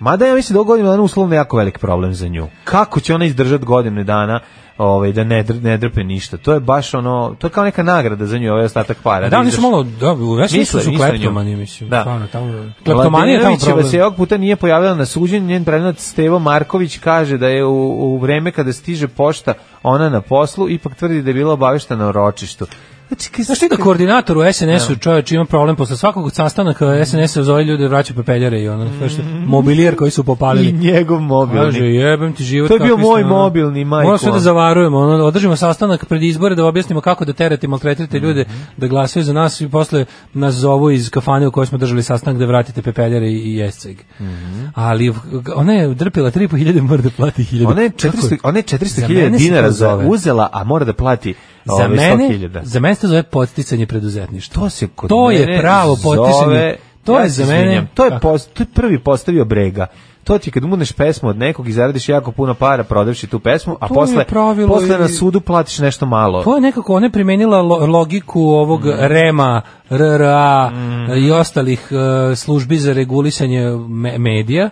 Mada ja mislim da ovo godinu dana uslovno je jako velik problem za nju. Kako će ona izdržati godine dana ovaj, da ne, dr- ne drpe ništa? To je baš ono, to je kao neka nagrada za nju, ovaj ostatak para. Da, oni su izdrži. malo, da, već nisu Misle, su misle kleptomani, nju. mislim. Da. Stvarno, tamo, kleptomanija je tamo Mladenovićeva problem. se ovog puta nije pojavila na suđenju, njen prenovac Stevo Marković kaže da je u, u vreme kada stiže pošta ona na poslu, ipak tvrdi da je bila obaveštena o ročištu. Znači, kaj, Znaš ti da koordinator u SNS-u čovječ ima problem posle svakog sastanaka SNS-a zove ljude vraća pepeljare i ono, sve što, mobilijer koji su popalili. I njegov mobilni. Kaže, jebem ti život. To je bio kakvi ste, moj ono. mobilni, majko. Moramo sve da zavarujemo. Ono, održimo sastanak pred izbore da objasnimo kako da terate i maltretirate ljude Mhm. da glasaju za nas i posle nas zovu iz kafane u kojoj smo držali sastanak da vratite pepeljare i, i jesceg. Mhm. Ali ona je drpila 3.500 mora da plati 1.000. Ona je Kako 400 ona je Za mene 400.000 se dinara to za zove. uzela, a mora da plati Za ove mene, 100.000. za mene se to zove podsticanje preduzetništva. To se kod to je mene pravo zove podsticanje. To Ja je se za mene- izvinjam, To je, Kako? pos- to je prvi postavio brega. To ti je kad umuneš pesmu od nekog i zaradiš jako puno para prodavši tu pesmu, a To je posle, pravilo posle na i- sudu platiš nešto malo. To je nekako, ona je primenila lo- logiku ovog E REMA, RRA i ostalih e, službi za regulisanje me- medija.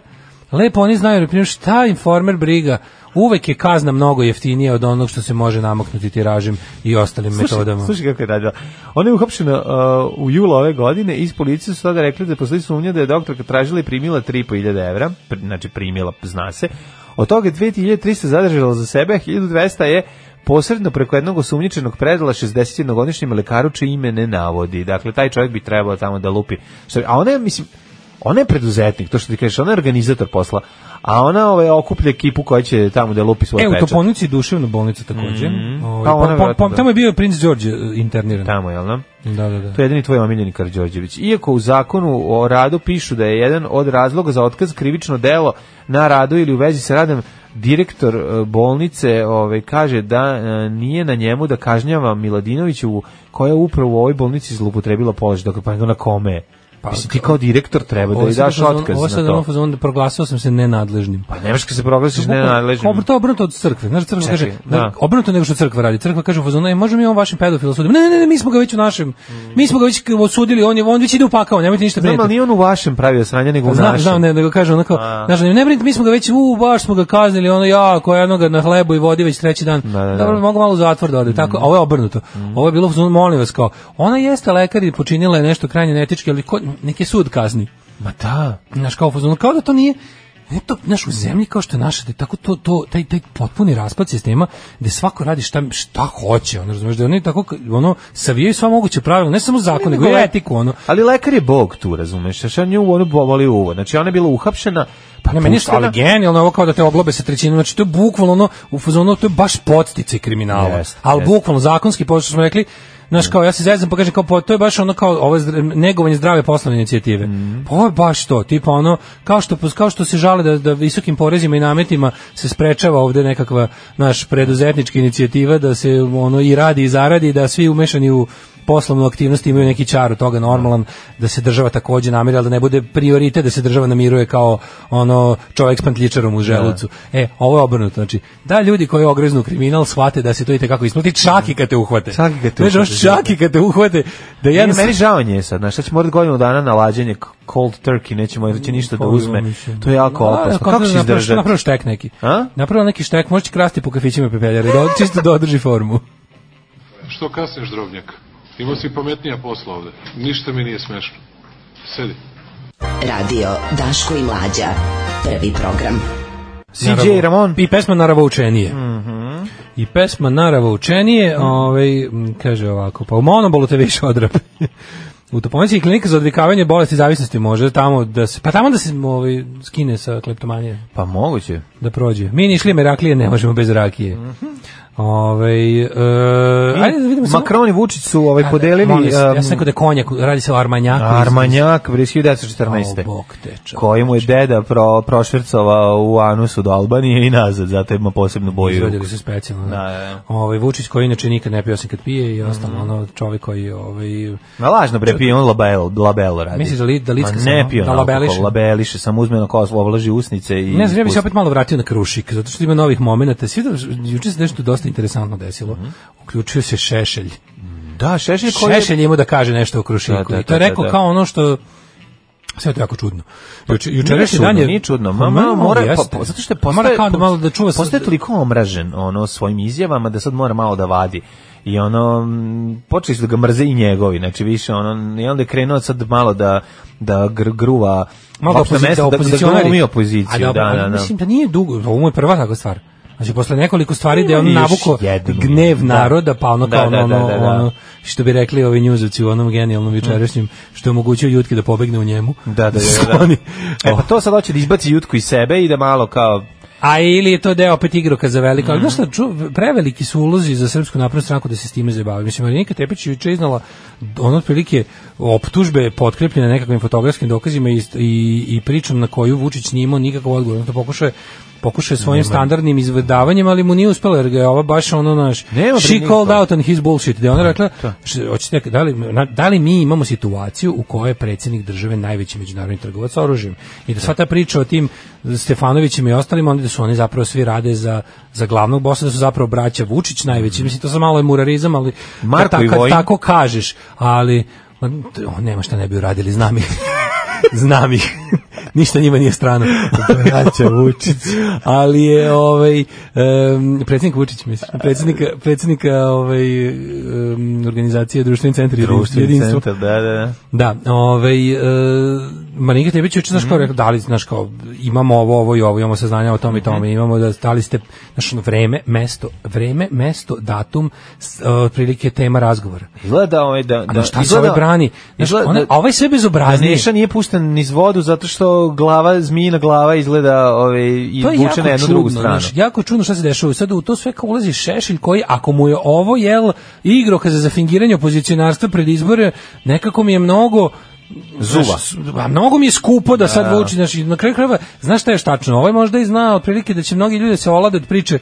Lepo oni znaju, na primjer, šta informer briga, uvek je kazna mnogo jeftinija od onog što se može namaknuti tiražem i ostalim metodama. Slušaj kako je radila. Ona je uhapšena uh, u julu ove godine i iz policije su tada rekli da postoji sumnja da je doktorka tražila i primila 3.500 evra, pr, znači primila, zna se. Od toga je 2.300 zadržala za sebe, a 1.200 je posredno preko jednog osumnjičenog predala 61-godišnjem lekaru čije ime ne navodi. Dakle, taj čovjek bi trebao tamo da lupi. Šta- A ona je, mislim, ona je preduzetnik, to što ti kažeš, ona je organizator posla, a ona ovaj, okuplja ekipu koja će tamo da lupi svoj E, u pečat. Toponici je duševna bolnica takođe. Ovaj, Pa ona pom- pom- vjerojatno da. tamo je bio princ Đorđe e, interniran. Tamo, jel da? Da, da, da. To je jedini tvoj omiljeni Karđorđević. Iako u zakonu o radu pišu da je jedan od razloga za otkaz krivično delo na radu ili u vezi sa radom, direktor e, bolnice ovaj, kaže da e, nije na njemu da kažnjava Miladinoviću koja je upravo u ovoj bolnici zlupotrebila položaj, dok pa na kome? Pa, Mislim, ti kao direktor treba da Ovo joj sad daš ono fazon- otkaz Ovo na sad ono to. fazon da proglasio sam se nenadležnim. Pa nemaš kad se proglasiš Bukvalno, nenadležnim. obr- To je obrnuto od crkve. Znaš, crkva Čekaj, kaže, da. da. obrnuto nego što crkva radi. Crkva kaže, u fazonu, e, možemo mi on vašim pedofilu sudimo. Ne, ne, ne, mi smo ga već u našem. Mi smo ga već osudili, on, je, on već ide u pakao, nemojte ništa Znam, ali briniti. nije on u vašem pravio sranja, nego u Znam, našem. znam, ne, nego kaže onako, A. znaš, ne brinite, mi smo ga već, u, baš smo ga kaznili, ono ja, koja jednoga na hlebu i vodi već treći dan, Da, Mm. da, da. dobro, mogu malo u zatvor da ode, tako, a ovo je obrnuto, ovo je bilo, u fazonu, molim vas, kao, ona jeste lekar i počinila je nešto krajnje netički, ali ko, neki sud kazni, Ma da. Mm. Znaš, kao, u fazonu, kao da to nije, ne to, znaš, u zemlji kao što je naša, da je tako to, to, taj, taj potpuni raspad sistema, gde svako radi šta, šta hoće, ono, razumeš, da oni tako, ono, savijaju sva moguće pravila, ne samo zakon, nego i le- etiku, ono, Ali lekar je bog tu, razumeš? Znaš, ja nju ono bovali uvo. Znači, ona je bila uhapšena, pa Pa ne, meni je što- ali puštena. genijalno ovo kao da te oglobe sa trećinom, znači to je bukvalno ono, u fazonu, to je baš podstice kriminala, Jeste, ali jeste. bukvalno zakonski, pošto smo rekli, Znaš, kao ja se zezam pa kažem kao pa, to je baš ono kao ovo je zdra- negovanje zdrave poslovne inicijative. Pa ovo je baš to, tipa ono kao što kao što se žale da da visokim porezima i nametima se sprečava ovde nekakva naš preduzetnička inicijativa da se ono i radi i zaradi i da svi umešani u poslovnu aktivnost imaju neki čar od toga normalan da se država takođe namiri, ali da ne bude prioritet da se država namiruje kao ono čovjek s pantljičarom u želucu. E, ovo je obrnuto, znači da ljudi koji ogreznu u kriminal shvate da se to i kako isplati, čak i kad te uhvate. Čak i kad te Znaš, ono, uhvate, Čak i kad te uhvate da Ja jedan meni žao nje je sad, znaš, sad će morati godinu dana na lađenje k- cold turkey, nećemo jer Mm, će pa ništa da uzme. To je jako A, opasno. kako Kako će napraviš- izdržati? Napraviš štek neki. A? Napravio neki štek, možeš krasti po kafićima i pepeljare, da, čisto da održi formu. Što kasniš, drobnjak? Imao si pametnija posla ovde. Ništa mi nije smešno. Sedi. Radio Daško i Mlađa. Prvi program. CJ Ramon. Mhm. I pesma Narava učenije. I pesma Narava učenije, ovaj, m, kaže ovako, pa u monobolu te više odrape. u Toponici je klinika za odvikavanje bolesti i zavisnosti može tamo da se, pa tamo da se ovaj, skine sa kleptomanije, Pa moguće. da prođe. Mi ni išli Meraklije, ne možemo bez rakije. Mhm. Ovaj, e, ajde da vidimo samo- Macron i Vučić su ovaj, A, podelili molim vas, ja em, sam rekao da je konjak, radi se o Armanjaku. iz- Armanjak, bre, O, 1914. bog te čast. koji mu je deda pro, prošvercovao u anusu do Albanije i nazad, zato ima posebnu boju. Izvadio ga se specijalno. Da. Da, da, Mhm. Ovaj Vučić koji inače nikad ne pije osim kad pije i ostalo ono čovjek koji ovaj Ma lažno bre, pije on label, labelo radi. Misliš da li- da licka Ma samo? ne pije on Da alkohol, labeliše? labeliše, samo uzme na kosovo, oblaži usnice i... Ne znam, ja bih ispusti. se opet malo vratio na Krušik, zato što ima novih momenata. Svi da, juče se nešto dosta interesantno desilo. Uključio se Šešelj. Da, Šešelj koji Mhm. je... Šešelj je imao da kaže nešto o Krušiku. Da, da, I to je da, rekao da, da. kao ono što sve je to jako čudno. Juče jučerašnji Nije dan čudno, je nije čudno. Ma, Pa ma, mnogo mora, pa, jeste. pa, zato što je Mora postaje, kao da malo da čuva sa- postaje toliko omražen ono, svojim izjavama da sad mora malo da vadi. I ono, mm, počeli su da ga mrze i njegovi, znači više ono, i onda je krenuo sad malo da, da gr, gruva malo opšta da opozicija, mesta, da da, da glumi opoziciju. A Da, da, da, ali Mislim da nije dugo, ovo mu je prva takva stvar. Znači, posle nekoliko stvari da je on Ima još navuko jednu. gnev Da. naroda, pa ono Da, kao da, ono, da, da, da. ono, što bi rekli ovi njuzovci u onom genijalnom jučerašnjem, što je omogućio Jutki Mm. da pobegne u njemu. Da, da, da, da. Oni- Oh. E pa to sad hoće da izbaci Jutku iz sebe i da malo kao A ili je to deo opet igroka za veliko, ali znaš šta, ču- preveliki su ulozi za srpsku naprednu stranku da se s time zabavi. Mislim, Marinika Tepić je juče iznala ono otprilike optužbe potkrepljene nekakvim fotografskim dokazima i, i, i pričom na koju Vučić nije imao nikakav odgovor. On to pokušao je pokušao je svojim standardnim izvedavanjem, ali mu nije uspelo jer ga je ova baš ono naš Nema bre she called nikog. out on his bullshit. Da je ona rekla, š- hoćete, da, li, na- da li mi imamo situaciju u kojoj je predsjednik države najveći međunarodni trgovac sa oružjem? I da sva ta priča o tim Stefanovićima i ostalima, onda da su oni zapravo svi rade za, za glavnog bosa, da su zapravo braća Vučić najveći. Mislim, to sam malo je murarizam, ali kad Marko ta- i kad Vojin. tako kažeš, ali on, nema šta ne bi uradili, znam ih. znam ih. Ništa njima nije strano. Braća Vučić. Ali je ovaj em, predsjednik Vučić mislim, predsjednika predsjednika ovaj em, organizacije društveni centri Društveni jedinstvo. centar, da, da, da. Da, ovaj e, Marinika Tepić juče znaš kao rekla, da li znaš kao imamo ovo, ovo i ovo, imamo saznanja o tome i tome, imamo da da li ste znaš ono, vreme, mesto, vreme, mesto, datum, s- e, otprilike tema razgovora. Izgleda ovaj da... A da da, šta se izgleda- ovaj brani? Znaš, izgleda ona, da- a ovaj sve Da bezobraznije. Neša nije pušten niz vodu zato što glava, zmijina glava izgleda ovaj, i to je vuče jako na jednu čudno, drugu stranu. znaš, jako čudno šta se dešava. Sada u to sve kao ulazi Šešelj koji, ako mu je ovo, jel, igrokaza za fingiranje opozicionarstva pred izbore, nekako mi je mnogo Zuva. Znaš, s- a mnogo mi je skupo da sad vuči, znaš, i na kraju krajeva, znaš šta je štačno, ovaj možda i zna otprilike da će mnogi ljudi da se olade od priče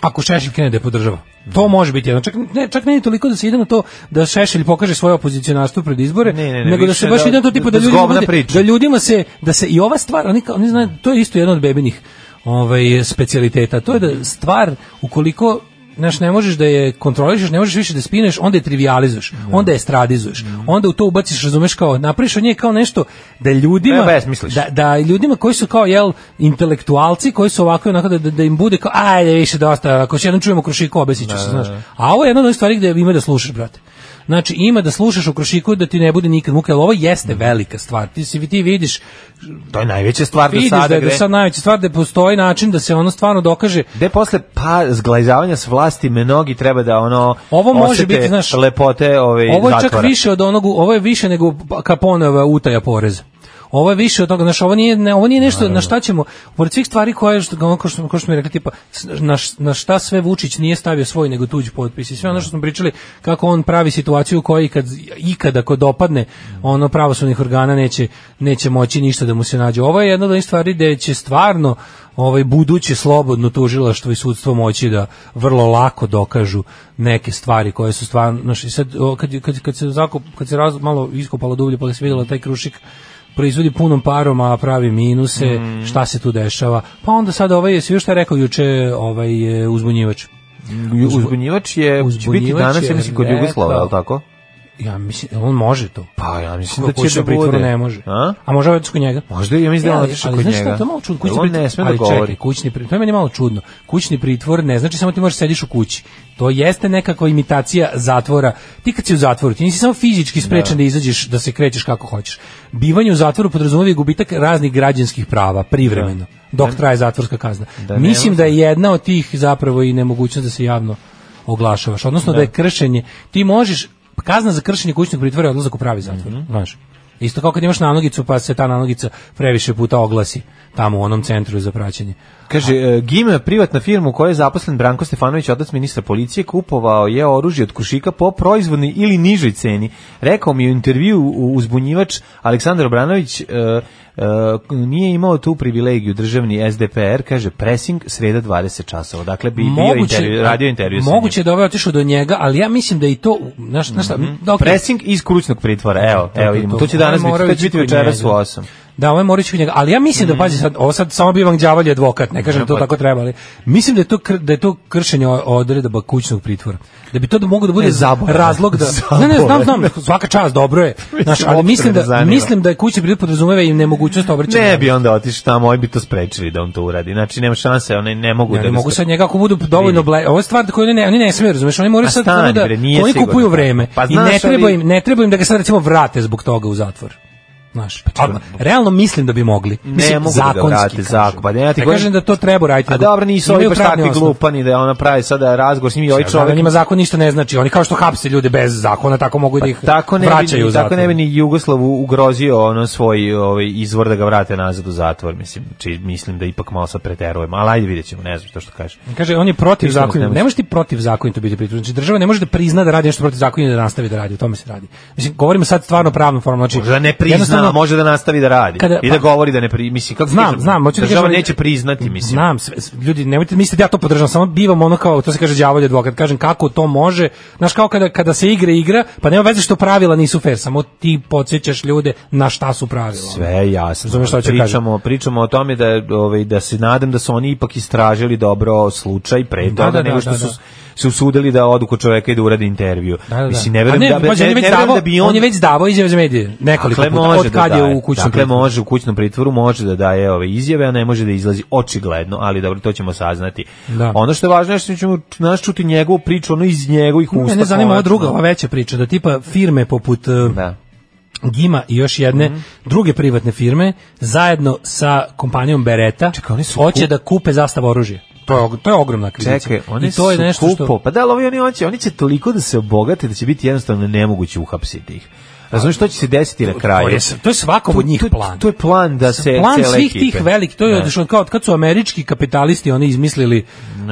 ako Šešelj krene da je podržava. To može biti jedno. Čak ne, čak ne ni toliko da se ide na to da Šešelj pokaže svoje opozicionarstvo pred izbore, Ne, ne, ne, nego da više se baš da- ide na to tipa da, da ljudi zgobna bude- priča. da ljudima se da se i ova stvar oni kao oni znaju to je isto jedan od bebinih ovaj specijaliteta to je da stvar ukoliko znaš, ne možeš da je kontrolišeš, ne možeš više da je spineš, onda je trivializuješ, onda je stradizuješ, onda u to ubaciš, razumeš kao, napraviš od nje kao nešto da ljudima, Da je besmisliš. da, da ljudima koji su kao, jel, intelektualci, koji su ovako i onako da, da, da im bude kao, ajde više dosta, ako se jednom čujemo krušiku, obesit ću se, znaš. A ovo je jedna od onih stvari gde ima da slušaš, brate. Znači ima da slušaš o Krušiku da ti ne bude nikad muka, ali ovo jeste velika stvar. Ti si ti vidiš, To je najveća stvar do vidiš sada. da je do gre. sad najveća stvar da postoji način da se ono stvarno dokaže Gde posle pa zglajzavanja s vlasti mnogi treba da ono Ovo može osete biti, znaš, lepote ovaj Ovo je čak zatvora. više od onog, ovo je više nego Kaponeva utaja poreza. Ovo je više od toga, znaš, ovo nije, ne, ovo nije nešto na šta ćemo, pored svih stvari koje, što, ono, ko što, ko što mi rekli, tipa, s- na, š- na šta sve Vučić nije stavio svoj nego tuđi potpis i sve ono što smo pričali, kako on pravi situaciju u kojoj kad, ikada ako dopadne ono pravosudnih organa neće, neće moći ništa da mu se nađe. Ovo je jedna od onih stvari gde će stvarno ovaj buduće slobodno tužilaštvo i sudstvo moći da vrlo lako dokažu neke stvari koje su stvarno znači sad o, kad je- kad kad se zakop kad se raz, malo iskopalo dublje pa se videlo taj krušik proizvodi punom parom, a pravi minuse, Mm. šta se tu dešava. Pa onda sad ovaj, svi šta je rekao juče ovaj, e, uzbunjivač. Ju- Uzbunjivač je će biti Uzbunjivač danas, je ja mislim, kod Jugoslava, rekao- je li tako? Ja mislim, jel on može to. Pa ja mislim Kuća da će u da pritvoru bude. ne može. A? A može ovaj kod njega? Možda ja mislim da je on ali- otišao ali kod znaš njega. šta, to je malo čudno, kućni Jer on pritvor- ne sme da ali govori. Čekaj, kućni pritvor, to je meni malo čudno. Kućni pritvor ne znači samo ti možeš sediš u kući. To jeste nekakva imitacija zatvora. Ti kad si u zatvoru, ti nisi samo fizički sprečen da, izađeš, da se krećeš kako hoćeš. Bivanje u zatvoru podrazumeva i gubitak raznih građanskih prava, privremeno, dok traje zatvorska kazna. Da, nema Mislim da je jedna od tih zapravo i nemogućnost da se javno oglašavaš, odnosno da, je kršenje. Ti možeš, kazna za kršenje kućnog pritvora je odlazak u pravi zatvor, Mhm. znaš. Isto kao kad imaš nanogicu pa se ta nanogica previše puta oglasi tamo u onom centru za praćenje. Kaže, e, Gima, privatna firma u kojoj je zaposlen Branko Stefanović, otac ministra policije, kupovao je oružje od Kušika po proizvodnoj ili nižoj ceni. Rekao mi je u intervju u- uzbunjivač Aleksandar Obranović, e, e, nije imao tu privilegiju državni SDPR, kaže, pressing sreda 20 časova. Dakle, bi bio intervju, radio intervju sa njim. e, moguće da je ovaj otišao do njega, ali ja mislim da i to, znaš, znaš šta, Mhm. da, okej. Pressing iz krućnog pritvora, evo, to, evo to, vidimo. to. To će danas Ovaj biti, morao to će ići biti kod večeras u njega. 8. Da, ovo je Morić kod njega, ali ja mislim Mm. da pazi sad, ovo sad samo bivam đavolji advokat, ne kažem da pa- to tako treba, ali mislim da je to kr- da je to kršenje o- odredaba kućnog pritvora. Da bi to da mogu da bude Ne, zaborav. razlog da Ne, ne, znam, znam, svaka čast, dobro je. Znaš, ali uopšte mislim me ne da zanima. mislim da je kućni pritvor podrazumeva i nemogućnost obraćanja. Ne bi onda otišao tamo, oni bi to sprečili da on to uradi. Znači, nema šanse, one ne mogu Ja da ne ga mogu spre- sad njega ako budu dovoljno ble. Ovo je stvar koju oni ne, oni ne smeju, razumeš? Oni moraju A sad Pa stani, samo da bre, nije oni sigurno. kupuju vreme Pa i ne znaš, treba ali- im ne treba im da ga sad recimo vrate zbog toga u zatvor. Znaš, a, realno mislim da bi mogli. Mislim, ne mogu da ga zakonski, vrate, zakon. Pa ne, ja ti Ne kažem da to treba raditi. A dobro, nisu ovi baš takvi glupani da ona pravi sada razgovor s njim i ovaj čovjek. čovjek Njima zakon ništa ne znači. Oni kao što hapse ljude bez zakona, tako mogu i da ih Pa tako ne vraćaju u bi, tako zatvor. ne bi ni Jugoslavu ugrozio ono svoj ovaj izvor da ga vrate nazad u zatvor mislim či mislim da ipak malo sad preterujemo ali ajde videćemo ne znam to što kažeš Kaže, on je protiv Ništa mu se ne zakona. može. Ne možeš ti protiv zakona to biti pritužen. Znači, država ne može da prizna da radi nešto protiv zakona i da nastavi da radi. O tome se radi. Mislim, govorimo sad stvarno pravno formalno. Znači, može da ne prizna jednostavno- može da nastavi da radi Kada- i da pa- govori da ne pri mislim kako ti Znam, kažem, znam, hoću da država kažem- neće priznati mislim Znam, sve, s- ljudi, nemojte misliti da ja to podržavam, samo bivam ono kao, to se kaže đavolje advokat, kažem kako to može, znaš kao kada, kada se igra igra, pa nema veze što pravila nisu fair, samo ti podsjećaš ljude na šta su pravila. Sve je jasno. Razumeš šta hoću da pričamo, pričamo o tome da ovaj da se nadam da su oni ipak istražili dobro slučaj pre toga Da, da, nego da, što da, su da. se usudili da odu kod čoveka i da urade intervju. Da, da, da. Mislim ne A verujem da pazi, on je ne već verujem davao- da bi on je već davao izjave za medije nekoliko Dakle, puta može od kad da je daje. u kućnom dakle, pritvoru. može u kućnom pritvoru, može da daje ove izjave, a ne može da izlazi očigledno, ali dobro, to ćemo saznati. Da. Ono što je važno je što ćemo nas čuti njegovu priču, ono iz njegovih usta. Mene zanima ova konačno. druga, ova veća priča, da tipa firme poput e, Da. Gima i još jedne Mhm. druge privatne firme zajedno sa kompanijom Beretta Čekaj, oni su hoće kup- da kupe zastav oružje. To je, og- to je ogromna krivica. Čekaj, oni I to je su nešto kupo. što... Pa da, ali ovi oni hoće, oni će toliko da se obogate da će biti jednostavno nemoguće uhapsiti ih. Razumeš što će se desiti na kraju? To je, to je svakom od njih Pa To- to- plan. To je plan da se plan cele svih ekipe- tih velikih, to je Da. odšao kao od kad su američki kapitalisti oni izmislili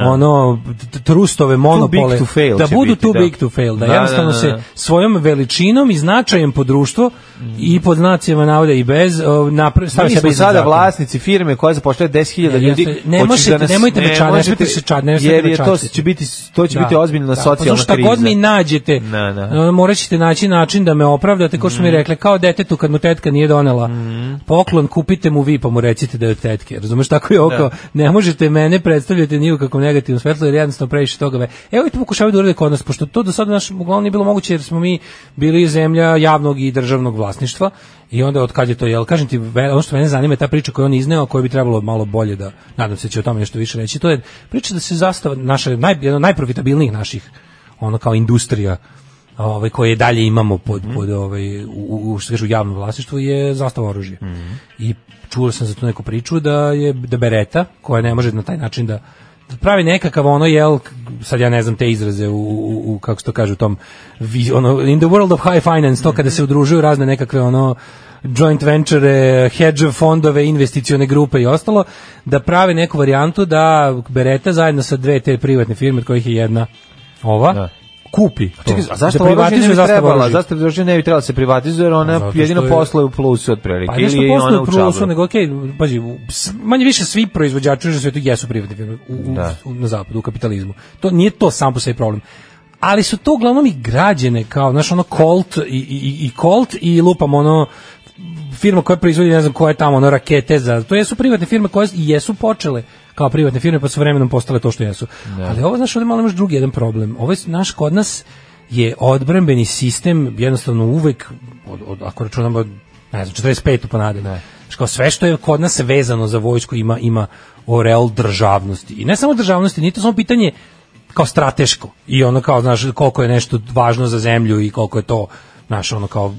ono t- trustove monopole big to fail da će budu biti, too da. big to fail, da, Da, jednostavno da, da, se da. svojom veličinom i značajem po društvo i pod znacima navoda i bez napre, Mi stavi sebe smo iznad sada zakona. vlasnici firme koja zapošljava 10.000 Ne, ljudi. jeste, ne hoćeš možete- nas- nemojte me ča- ne možete- smete se ča- ne smete jer me je to častiti. će biti to će biti ozbiljna socijalna pa, kriza. zato šta god mi nađete, Da, da. ono, morat ćete naći način da me opravdate, kao što mi rekli, kao detetu kad mu tetka nije donela poklon, kupite mu vi pa mu recite da je od tetke. Razumeš, tako je oko. Ne možete mene predstavljati ni u kakvom negativnom svetlu, jer jednostavno previše toga. Ve. Evo i to pokušavaju da urade kod nas, pošto to do sada naš, uglavnom nije bilo moguće, jer smo mi bili zemlja javnog i državnog vlasništva i onda od kad je to jel kažem ti ve- ono što mene zanima je ta priča koju je on izneo koju bi trebalo malo bolje da nadam se da će o tome nešto više reći to je priča da se zastava naša naj, jedna od najprofitabilnijih naših ono kao industrija ovaj koje dalje imamo pod Mhm. pod ovaj u, u što se kaže u javnom vlasništvu je zastava oružja. Mhm. I čuo sam za tu neku priču da je da Bereta koja ne može na taj način da da pravi nekakav ono jel k- sad ja ne znam te izraze u, u, u kako se to kaže u tom vi- ono in the world of high finance Mhm. to kada se udružuju razne nekakve ono joint venture, hedge fondove, investicione grupe i ostalo, da prave neku varijantu da Bereta zajedno sa dve te privatne firme, od kojih je jedna ova, Da. kupi. Čekaj, to. a zašto Da oružje ne privatizuje bi zastavu trebala? oružja. Zašto oružje ne bi trebalo da se privatizuje, jer ona Pa Zato što jedino je- posluje u plusu otprilike. Pa nešto ili je postoje ona u u plusu, čabru. nego okej, pazi, u- s- manje više svi proizvođači u svetu jesu privatne firme u, u- Da. u- na zapadu, u kapitalizmu. To nije to sam po sebi problem. Ali su to uglavnom i građene kao, znaš, ono Colt i, i, i Colt i lupam ono firma koja proizvodi, ne znam koje tamo, ono rakete za, to jesu privatne firme koje i jesu počele kao privatne firme, pa su vremenom postale to što jesu. Ali ovo, znaš, ovdje malo imaš drugi jedan problem. Ovo je naš kod nas je odbrambeni sistem jednostavno uvek, od, od, ako računamo, od, ne znam, 45. pa nadalje. Znaš, kao sve što je kod nas vezano za vojsku ima, ima oreal državnosti. I ne samo državnosti, nije to samo pitanje kao strateško i ono kao znaš koliko je nešto važno za zemlju i koliko je to znaš ono kao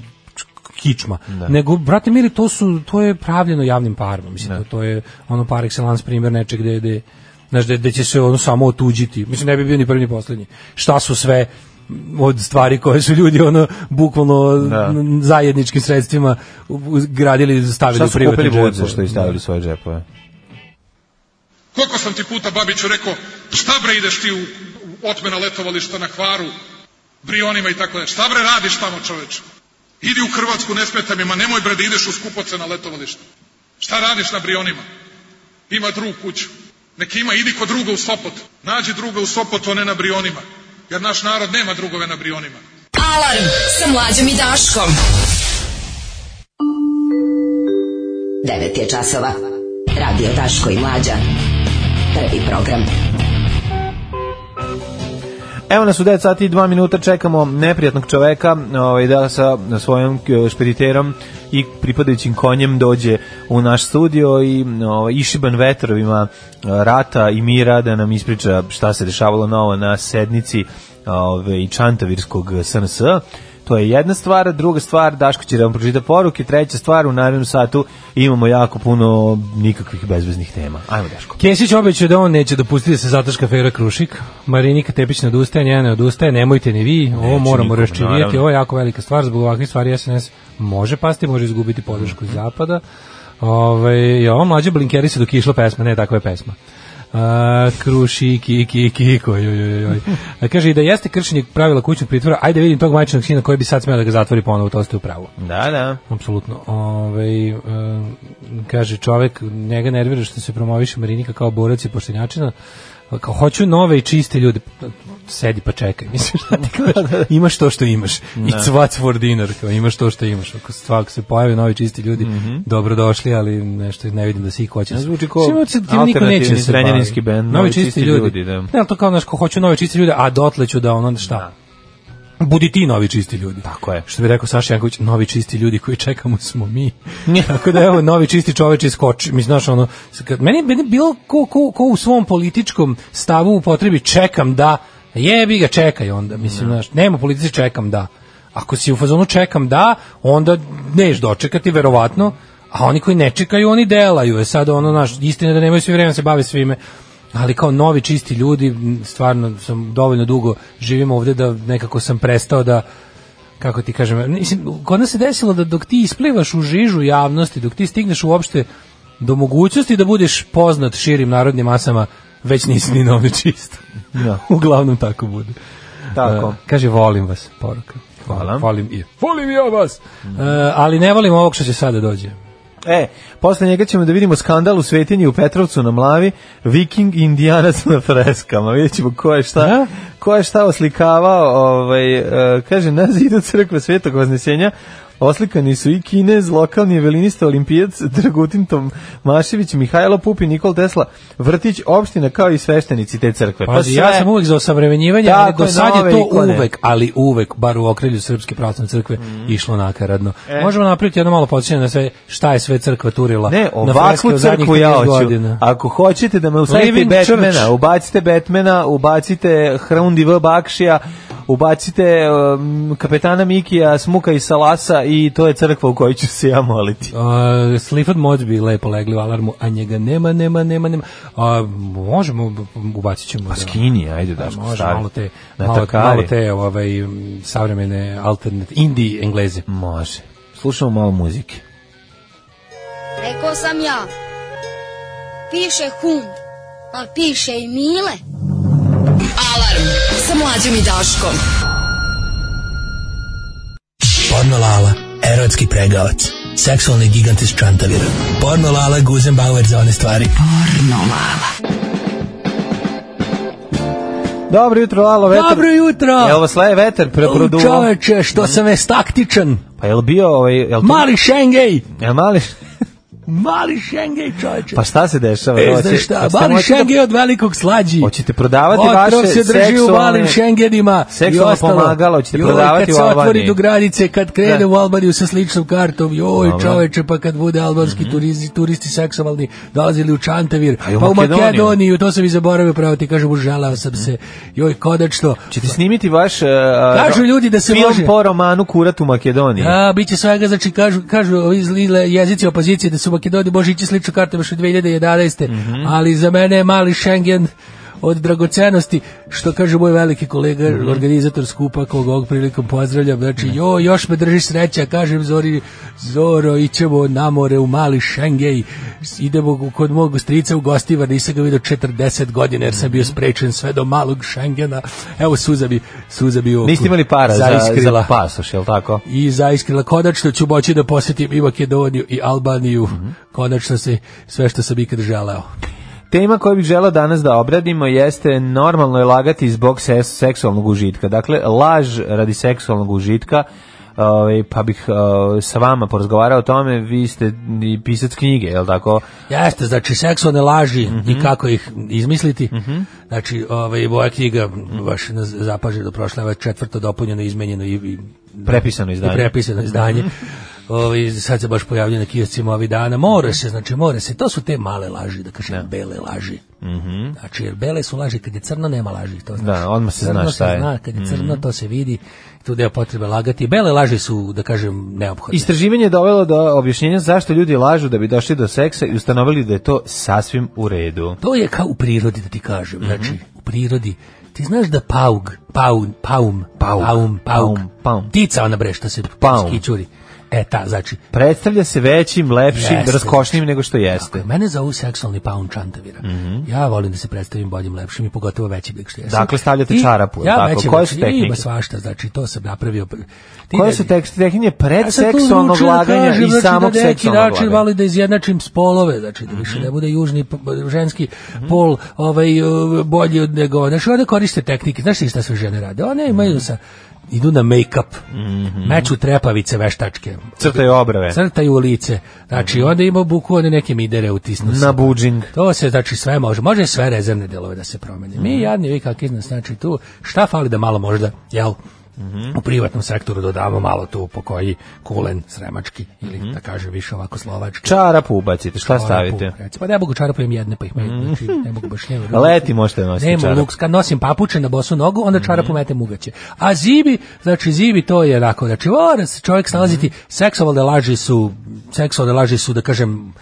kičma. Nego brate mili to su to je pravljeno javnim parama, mislim to, to je ono par excellence primjer nečeg gde gde znaš gde, gde će se ono samo otuđiti. Mislim ne bi bio ni prvi ni poslednji. Šta su sve od stvari koje su ljudi ono bukvalno n- zajedničkim sredstvima u- u- gradili stavili Šta u su privatne kupili budze džepove. što je stavili u svoje džepove? Koliko sam ti puta, Babiću, rekao, šta bre ideš ti u, u otmena letovališta na kvaru, brionima i tako dalje. Šta bre radiš tamo, čoveče? Idi u Hrvatsku, ne smeta mi, ma nemoj bre da ideš u skupoce na letovališta. Šta radiš na brionima? Ima drugu kuću. Neki ima, idi kod druga u Sopot. Nađi druga u Sopotu, a ne na brionima. Jer naš narod nema drugove na brionima. Alarm sa mlađom i Daškom. 9 je časova. Radio Daško i Mlađa. Prvi program. Evo nas u 10 sati i 2 minuta čekamo neprijatnog čoveka ovaj, da sa svojom k- špediterom i pripadajućim konjem dođe u naš studio i ovaj, išiban vetrovima eh, rata i mira da nam ispriča šta se dešavalo novo na sednici ovaj, Čantavirskog SNS. To je jedna stvar, druga stvar, Daško će da vam pročita poruke, treća stvar, u narednom satu imamo jako puno nikakvih bezveznih tema. Ajmo Daško. Kesić obećao da on neće dopustiti da se zataška Fejra Krušik. Marinika Tepić ne odustaje, njena ne odustaje, nemojte ni vi, ovo moramo nikom, raščivijeti, naravno. ovo je jako velika stvar, zbog ovakvih stvari SNS može pasti, može izgubiti podršku iz zapada. Ovaj, Ove, I ovo mlađe blinkeri se dok je išla pesma, ne, takva je pesma. A, kruši, ki, ki, ki, joj, joj, joj. A, kaže, i da jeste kršenje pravila kućnog pritvora, ajde vidim tog majčinog sina koji bi sad smeo da ga zatvori ponovo, to ste u pravu. Da, da. Apsolutno. Ove, e, kaže čovek, njega nervira što se promoviše Marinika kao borac i poštenjačina. Kao, hoću nove i čiste ljude. Sedi pa čekaj. Mislim, šta ti kažeš? Imaš to što imaš. It's what for dinner. Kao, imaš to što imaš. Ako, stvar, ako se pojave novi čisti ljudi, dobrodošli, ali nešto ne vidim da se ih hoće. Mhm. Ne zvuči kao Svima se- tim niko alternativni neće se bavi. zrenjaninski bend, Novi čisti ljudi. da. Ne, ali to kao, znaš, kao, hoću nove čiste ljude, a dotle ću da ono, šta? Budi ti novi čisti ljudi. Tako je. Što bi rekao Saša Janković, novi čisti ljudi koji čekamo smo mi. Tako da evo, novi čisti čoveč iskoči. Mi znaš, ono, s- kad- meni, meni bilo ko, ko, ko u svom političkom stavu upotrebi čekam da, jebi ga, čekaj onda. Mislim, znaš, nema politici čekam da. Ako si u fazonu čekam da, onda neš dočekati, verovatno, a oni koji ne čekaju, oni delaju. E sad, ono, naš, istina je da nemaju svi vremena da se bave svime ali kao novi čisti ljudi, m, stvarno sam dovoljno dugo živim ovde da nekako sam prestao da kako ti kažem, mislim, kod nas se desilo da dok ti isplivaš u žižu javnosti, dok ti stigneš uopšte do mogućnosti da budeš poznat širim narodnim masama, već nisi ni novi čist. Da. Uglavnom tako bude. Tako. E, kaže, volim vas, poruka. Hvala. Volim i, volim i ja vas. E, ali ne volim ovog što će sada dođe. E, posle njega ćemo da vidimo skandal u Svetinji u Petrovcu na Mlavi, viking i indijanac na freskama. Vidjet ćemo ko je šta, ko je šta oslikavao. Ovaj, e, kaže, na zidu crkve Svetog Vaznesenja oslikani su i Kinez, lokalni velinista olimpijac Dragutin Tomašević, Mihajlo Pupin, Nikol Tesla, Vrtić, opština kao i sveštenici te crkve. Pazi, Pa ja Pa sve- sam uvek za osavremenjivanje, ali Tako do je, sad je nove to ikone. uvek, ali uvek, bar u okrilju Srpske pravoslavne crkve, išlo nakaradno. Mhm. E. Možemo napraviti jedno malo podsjećanje na sve, šta je sve crkva turila. Ne, na freske ovakvu u zadnjih crkvu ja 30 hoću. godina. Ako hoćete da me usadite Living Batmana, Church. ubacite Batmana, ubacite Hrundi V. Bakšija, ubacite um, kapetana Mikija, Smuka i Salasa i to je crkva u kojoj ću se ja moliti. Uh, Slifford Mods bi lepo legli u alarmu, a njega nema, nema, nema, nema. A, možemo, ubacit ćemo. Pa da. Skini, ajde Da, da može malo te, malo, malo te ovaj, m, savremene alternate, indie engleze. Može. Slušamo malo muzike. Rekao sam ja. Piše hum, ali piše i mile. Alarm sa mlađom i Daškom. Porno Lala, erotski pregavac. Seksualni gigant iz Čantavira. Porno Lala, Guzenbauer za one stvari. Porno Lala. Dobro jutro, alo, vetar. Dobro jutro! Jel vas leje vetar preproduo? U, čoveče, što sam vestaktičan! Pa jel bio ovaj... Jel to- Mali Šengej! Jel mali... Mali Šengej, čoveče! Pa šta se dešava? E, Hoće- znaš šta, hoćete mali moći da- Šengej od velikog slađi. Hoćete prodavati Otrov vaše se drži u malim seksualne- šengenima. seksualno i ostalo. pomagalo, hoćete Joj, prodavati kad u se otvori Albaniji. do granice, kad krene Da. u Albaniju sa sličnom kartom, joj Dobro. Mhm. čoveče, pa kad bude albanski turisti, turisti seksualni dolazili u Čantavir, i u pa u Makedoniju. Makedoniju, to sam i zaboravio, pravo ti kažem, užalao sam se. Mhm. Joj, konačno, Ćete snimiti vaš uh, Kažu ljudi da se film može. po romanu Kurat u Makedoniji. A, bit će svega, znači kažu, kažu ovi zli le- jezici opozicije da su u Makedoniji može ići slično kartama još u 2011. Mhm. Ali za mene je mali Schengen od dragocenosti, što kaže moj veliki kolega, Mhm. organizator skupa, kog ovog prilikom pozdravljam, znači, jo, još me drži sreća, kažem Zori, Zoro, ićemo na more u mali Šengej, idemo kod mog strica u gostivar, nisam ga vidio 40 godina, jer sam Mhm. bio sprečen sve do malog Šengena, evo suza bi, suza bi u oku Niste imali para za, zaiskrila za pasoš, jel tako? i zaiskrila. Konačno ću moći da posjetim i Makedoniju i Albaniju. Konačno se sve što sam ikad želeo. Tema koju bih želao danas da obradimo jeste normalno je lagati zbog se- seksualnog užitka. Dakle, laž radi seksualnog užitka ovaj, pa bih eh, sa vama porazgovarao o tome, vi ste i pisac knjige, jel tako? Jeste, znači seksualne laži i Mhm. kako ih izmisliti. Znači, ovaj, moja knjiga, baš na- zapaženo prošla, je četvrto dopunjeno, izmenjeno i, i Prepisano izdanje. Mhm. I prepisano izdanje. Ovi, sad se baš pojavljaju na kioscima ovih dana. Mhm. Mora se, znači mora se. To su te male laži, da kažem, bele laži. Mhm. Znači, jer bele su laži, kad je crno nema laži, to znaš. Da, odmah se Crno zna šta je. Zna, kad je crno, Mhm. to se vidi, tu je potrebe lagati. Bele laži su, da kažem, neophodne. Istraživanje je dovelo do objašnjenja zašto ljudi lažu da bi došli do seksa i ustanovili da je to sasvim u redu. To je kao u prirodi, da ti kažem. Mhm. Znači, u prirodi, ti znaš da paug, paug, paum, paum, paum, paug, tica ona bre, što se skićuri. E, ta, znači, Predstavlja se većim, lepšim, Jeste. raskošnim nego što jeste. mene zovu seksualni paun čantavira. Mhm. Ja volim da se predstavim boljim, lepšim i pogotovo većim nego što jesam. Dakle, stavljate I čarapu, jel Ja tako? većim, Koje su znači, Ima tehnike? svašta, znači, to sam napravio. Ti Koje ne- su tekst, tehnike Ja sam tu predseksualnog odlučio da laganja kažem, i znači, samog da neki seksualnog način laganja? malo da izjednačim spolove, znači da više ne bude južni p- ženski pol ovaj uh, bolji od nego. Znači one koriste tehnike, znaš ti šta sve žene rade? One imaju sa idu na make-up, meču trepavice veštačke, Crtaju obrave. crtaju u lice, znači onda ima buku one neke midere utisnu. se. Na budžing. To se znači sve može, može sve rezervne delove da se promene. Mi jadni vi kakvi nas znači tu, šta fali da malo možda, jel, u privatnom sektoru dodamo malo tu pokoji kulen sremački ili da kaže više ovako slovački. Čarapu ubacite, šta Čarapu, stavite? recimo. Pa ne mogu čarapu imam jedne, pa ih imam, znači, ne mogu baš njemu. Leti možete nositi Nemam čarapu. luks, kad nosim papuče na bosu nogu, onda Mhm. čarapu metem ugaće. A zibi, znači zibi to je onako, znači mora se čovjek snalaziti, Mhm. seksualne laži su, seksualne laži su, da kažem,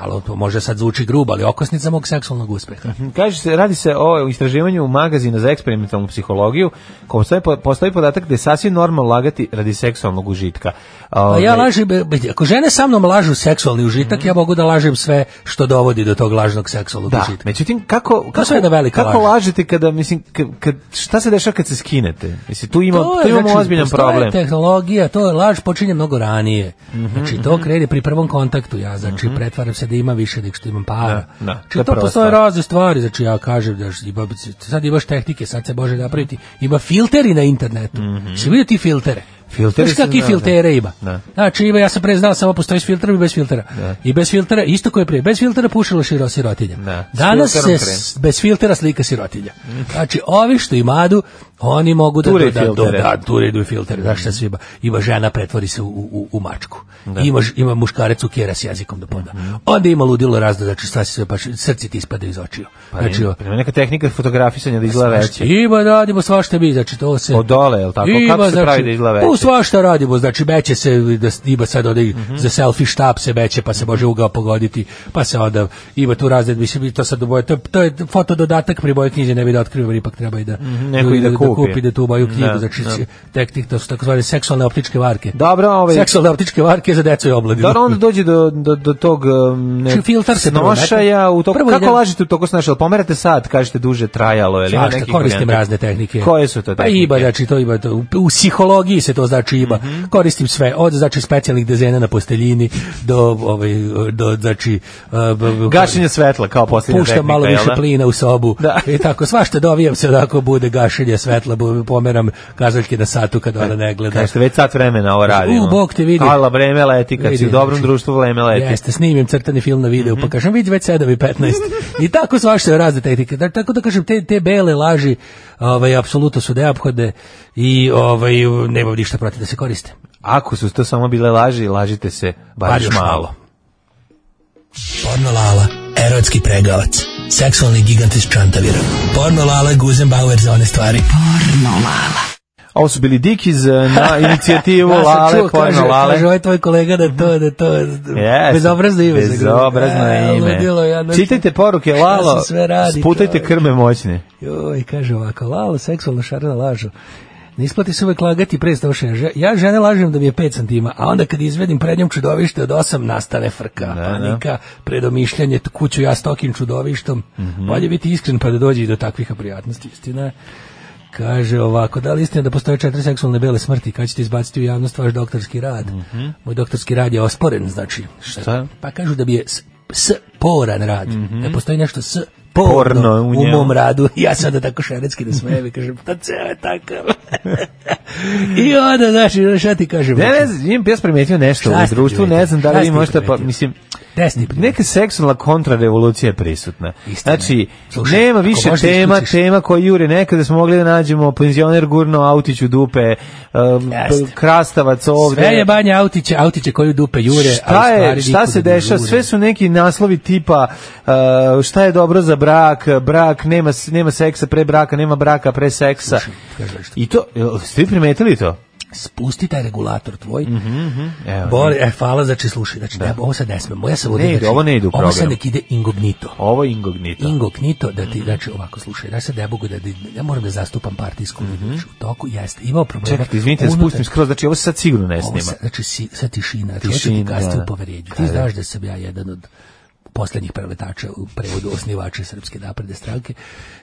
malo to može sad zvuči grubo, ali okosnica mog seksualnog uspeha. Hm, Kaže se, radi se o istraživanju magazina za eksperimentalnu psihologiju, kom postoji, po- postoji podatak da je sasvim normalno lagati radi seksualnog užitka. A Ovaj, Mhm. ja lažem, be- be- ako žene sa mnom lažu seksualni užitak, ja mogu da lažem sve što dovodi do tog lažnog seksualnog Da, užitka. međutim, kako, kako, sve jedna velika kako laž. lažete kada, mislim, kad, kad, šta se dešava kad se skinete? Mislim, tu, ima, To je, tu imamo znači, ozbiljan postoje problem. Mhm. tehnologija, to je laž, počinje mnogo ranije. Znači, to krene pri prvom kontaktu, ja znači, pretvaram se da ima više nego što imam para. Da, da, to znači, je to prva postoje stvar. razne stvari, znači, ja kažem da ima, sad imaš tehnike, sad se može napraviti, ima filteri na internetu. Si vidio ti filtere? Mhm. Filteri Znaš su- kakvi da, da. filtere ima? Da. Znači, ima, ja sam pre znao, samo postoji s filterom i bez filtera. Da. I bez filtera, isto koje prije, bez filtera pušila širo sirotinja. Da, s Danas se filterom s- bez filtera slika sirotinja. Znači, ovi što imadu, oni mogu da Ture i da, da, filtere. da, ture idu i filtere, znaš šta sve ima. Ima žena, pretvori se u, u, u mačku. Ima, ž- ima muškarec u kjera s jezikom do poda. Mhm. Onda ima ludilo razno, znači šta se sve, pa srci ti ispadaju iz očiju. Pa znači, nije- o- pa ima neka tehnika fotografisanja da izgleda veće. ima da radimo svašta mi, znači to se... znači, Od dole, jel tako? Kako se pravi da izgleda veće? U svašta radimo, znači beće se, da s- ima sad onaj za selfie štap se beće, pa se može ugao pogoditi, pa se onda ima tu razred, mislim, to sad u boje, to, to je fotododatak pri boje knjize, ne bi da otkrivam, ali ipak treba i da, Mhm, neko i da kupi. da tu moju knjigu, Da, znači da. će- tehnik, to su takozvane seksualne optičke varke. Dobro, ovaj- Seksualne optičke varke za decu i omladinu. Da onda dođe do, do, do tog um, ne, Čim filter se prvo snošaja, metne. u toku, Prvo kako ide- lažete u toku snošaja, jel pomerate sad, kažete duže trajalo, ili ima Svašta, nekih koristim varijanta? razne tehnike. Koje su to Pa tehnike? Mhm. ima, znači to ima, to, u, u psihologiji se to znači ima. Koristim sve, od znači specijalnih dezena na posteljini do, ovaj, do znači... uh, b- b- Gašenje svetla kao posljednja Puštam tehnika, malo jel više da? plina u sobu Da. i tako, svašta dovijem se onako bude gašenje svetla, bu- pomeram kazaljke na satu kad ona ne gleda. Kažete, već sat vremena ovo radimo. U, Bog te vidi. Hvala, vreme leti, kad si Vidi, u dobrom znači, društvu, vreme leti. Jeste, snimim crtani film na videu, Mhm. pa kažem, vidi već 7 i 15. I tako svašta je razne tehnike. Da- Tako da kažem, te, te bele laži ovaj, apsolutno su neophode i ovaj, nemam ništa protiv da se koriste. Ako su to samo bile laži, lažite se Bar bar Pa još još malo. Porno Lala, erotski pregavac. Seksualni gigant iz Čantavira. Porno Lala, Guzenbauer za one stvari. Porno Lala. Ovo su bili Dikiz eh, na inicijativu Ja sam Lale, čuo, porno kaže, Lale. Kaže, ovaj tvoj kolega da to, da to, Jeste. bezobrazno ime. se glumi. Bezobrazno E, ime. ludilo, ja nešto- Čitajte poruke, Šta Lalo, se sve radi, sputajte čoveče. krme moćne. Joj, kaže ovako, lalo, seksualno šarena lažu. Ne isplati se uvek lagati pre snošenja. Že- Ja žene lažem da mi je 5 cm, a onda kad izvedim prednjom čudovište od 8 nastane frka, panika, predomišljanje, t- kuću ja s tokim čudovištom. Mhm. Bolje biti iskren pa da dođe i do takvih neprijatnosti, istina. je. Kaže ovako, da li je istina da postoje četiri seksualne bele smrti, kad ćete izbaciti u javnost vaš doktorski rad? Moj doktorski rad je osporen, znači. Mhm. Šta? Mhm. Pa kažu da bi je s, sporan rad, da postoji nešto s Porno porno u u, njemu. mom radu. Ja sada tako šeretski da smijem i kažem, pa ceo je takav. I onda, znači, šta ti kažem? Ne, ne, znam, imam ja sam primetio nešto Šta u ste društvu, ne primetili? znam da Šta li vi ste možete, pa, primetili? mislim, Desni neka seksualna kontrarevolucija je prisutna. znači, nema više možeš da tema, isključiš- tema koje jure nekada smo mogli da nađemo penzioner gurno autić u dupe, um, Jeste. krastavac ovde. Sve je banja autiće, autiće koju dupe jure. a u Šta, je, stvari šta nikuda se ne dešava? jure. Sve su neki naslovi tipa uh, šta je dobro za brak, brak, nema, s- nema seksa pre braka, nema braka pre seksa. I to, jel ste vi primetili to? Spusti taj regulator tvoj. Mhm, Evo, Bore, e, hvala, znači, slušaj, znači, ne, ovo sad ne smemo, ja sam Ne ovdje, ide, znači, ovo ne ide u Ovo program. sad nek ide ingognito. Ovo je ingognito. Ingognito, da ti, znači, ovako, slušaj, ja sad ne mogu da, ja moram da zastupam partijsku liniju, znači, u toku, jeste, imao problema. Čekajte, Mhm. izvinite, da unutar- spustim skroz, znači ovo se sad sigurno ne Ovo snima. sa, znači si, sa tišina, tišina hoću ti Tišina, kasnije da. u poverenju. Ti Da, da. znaš da sam ja jedan od poslednjih preletača u prevodu osnivača Srpske napredne stranke.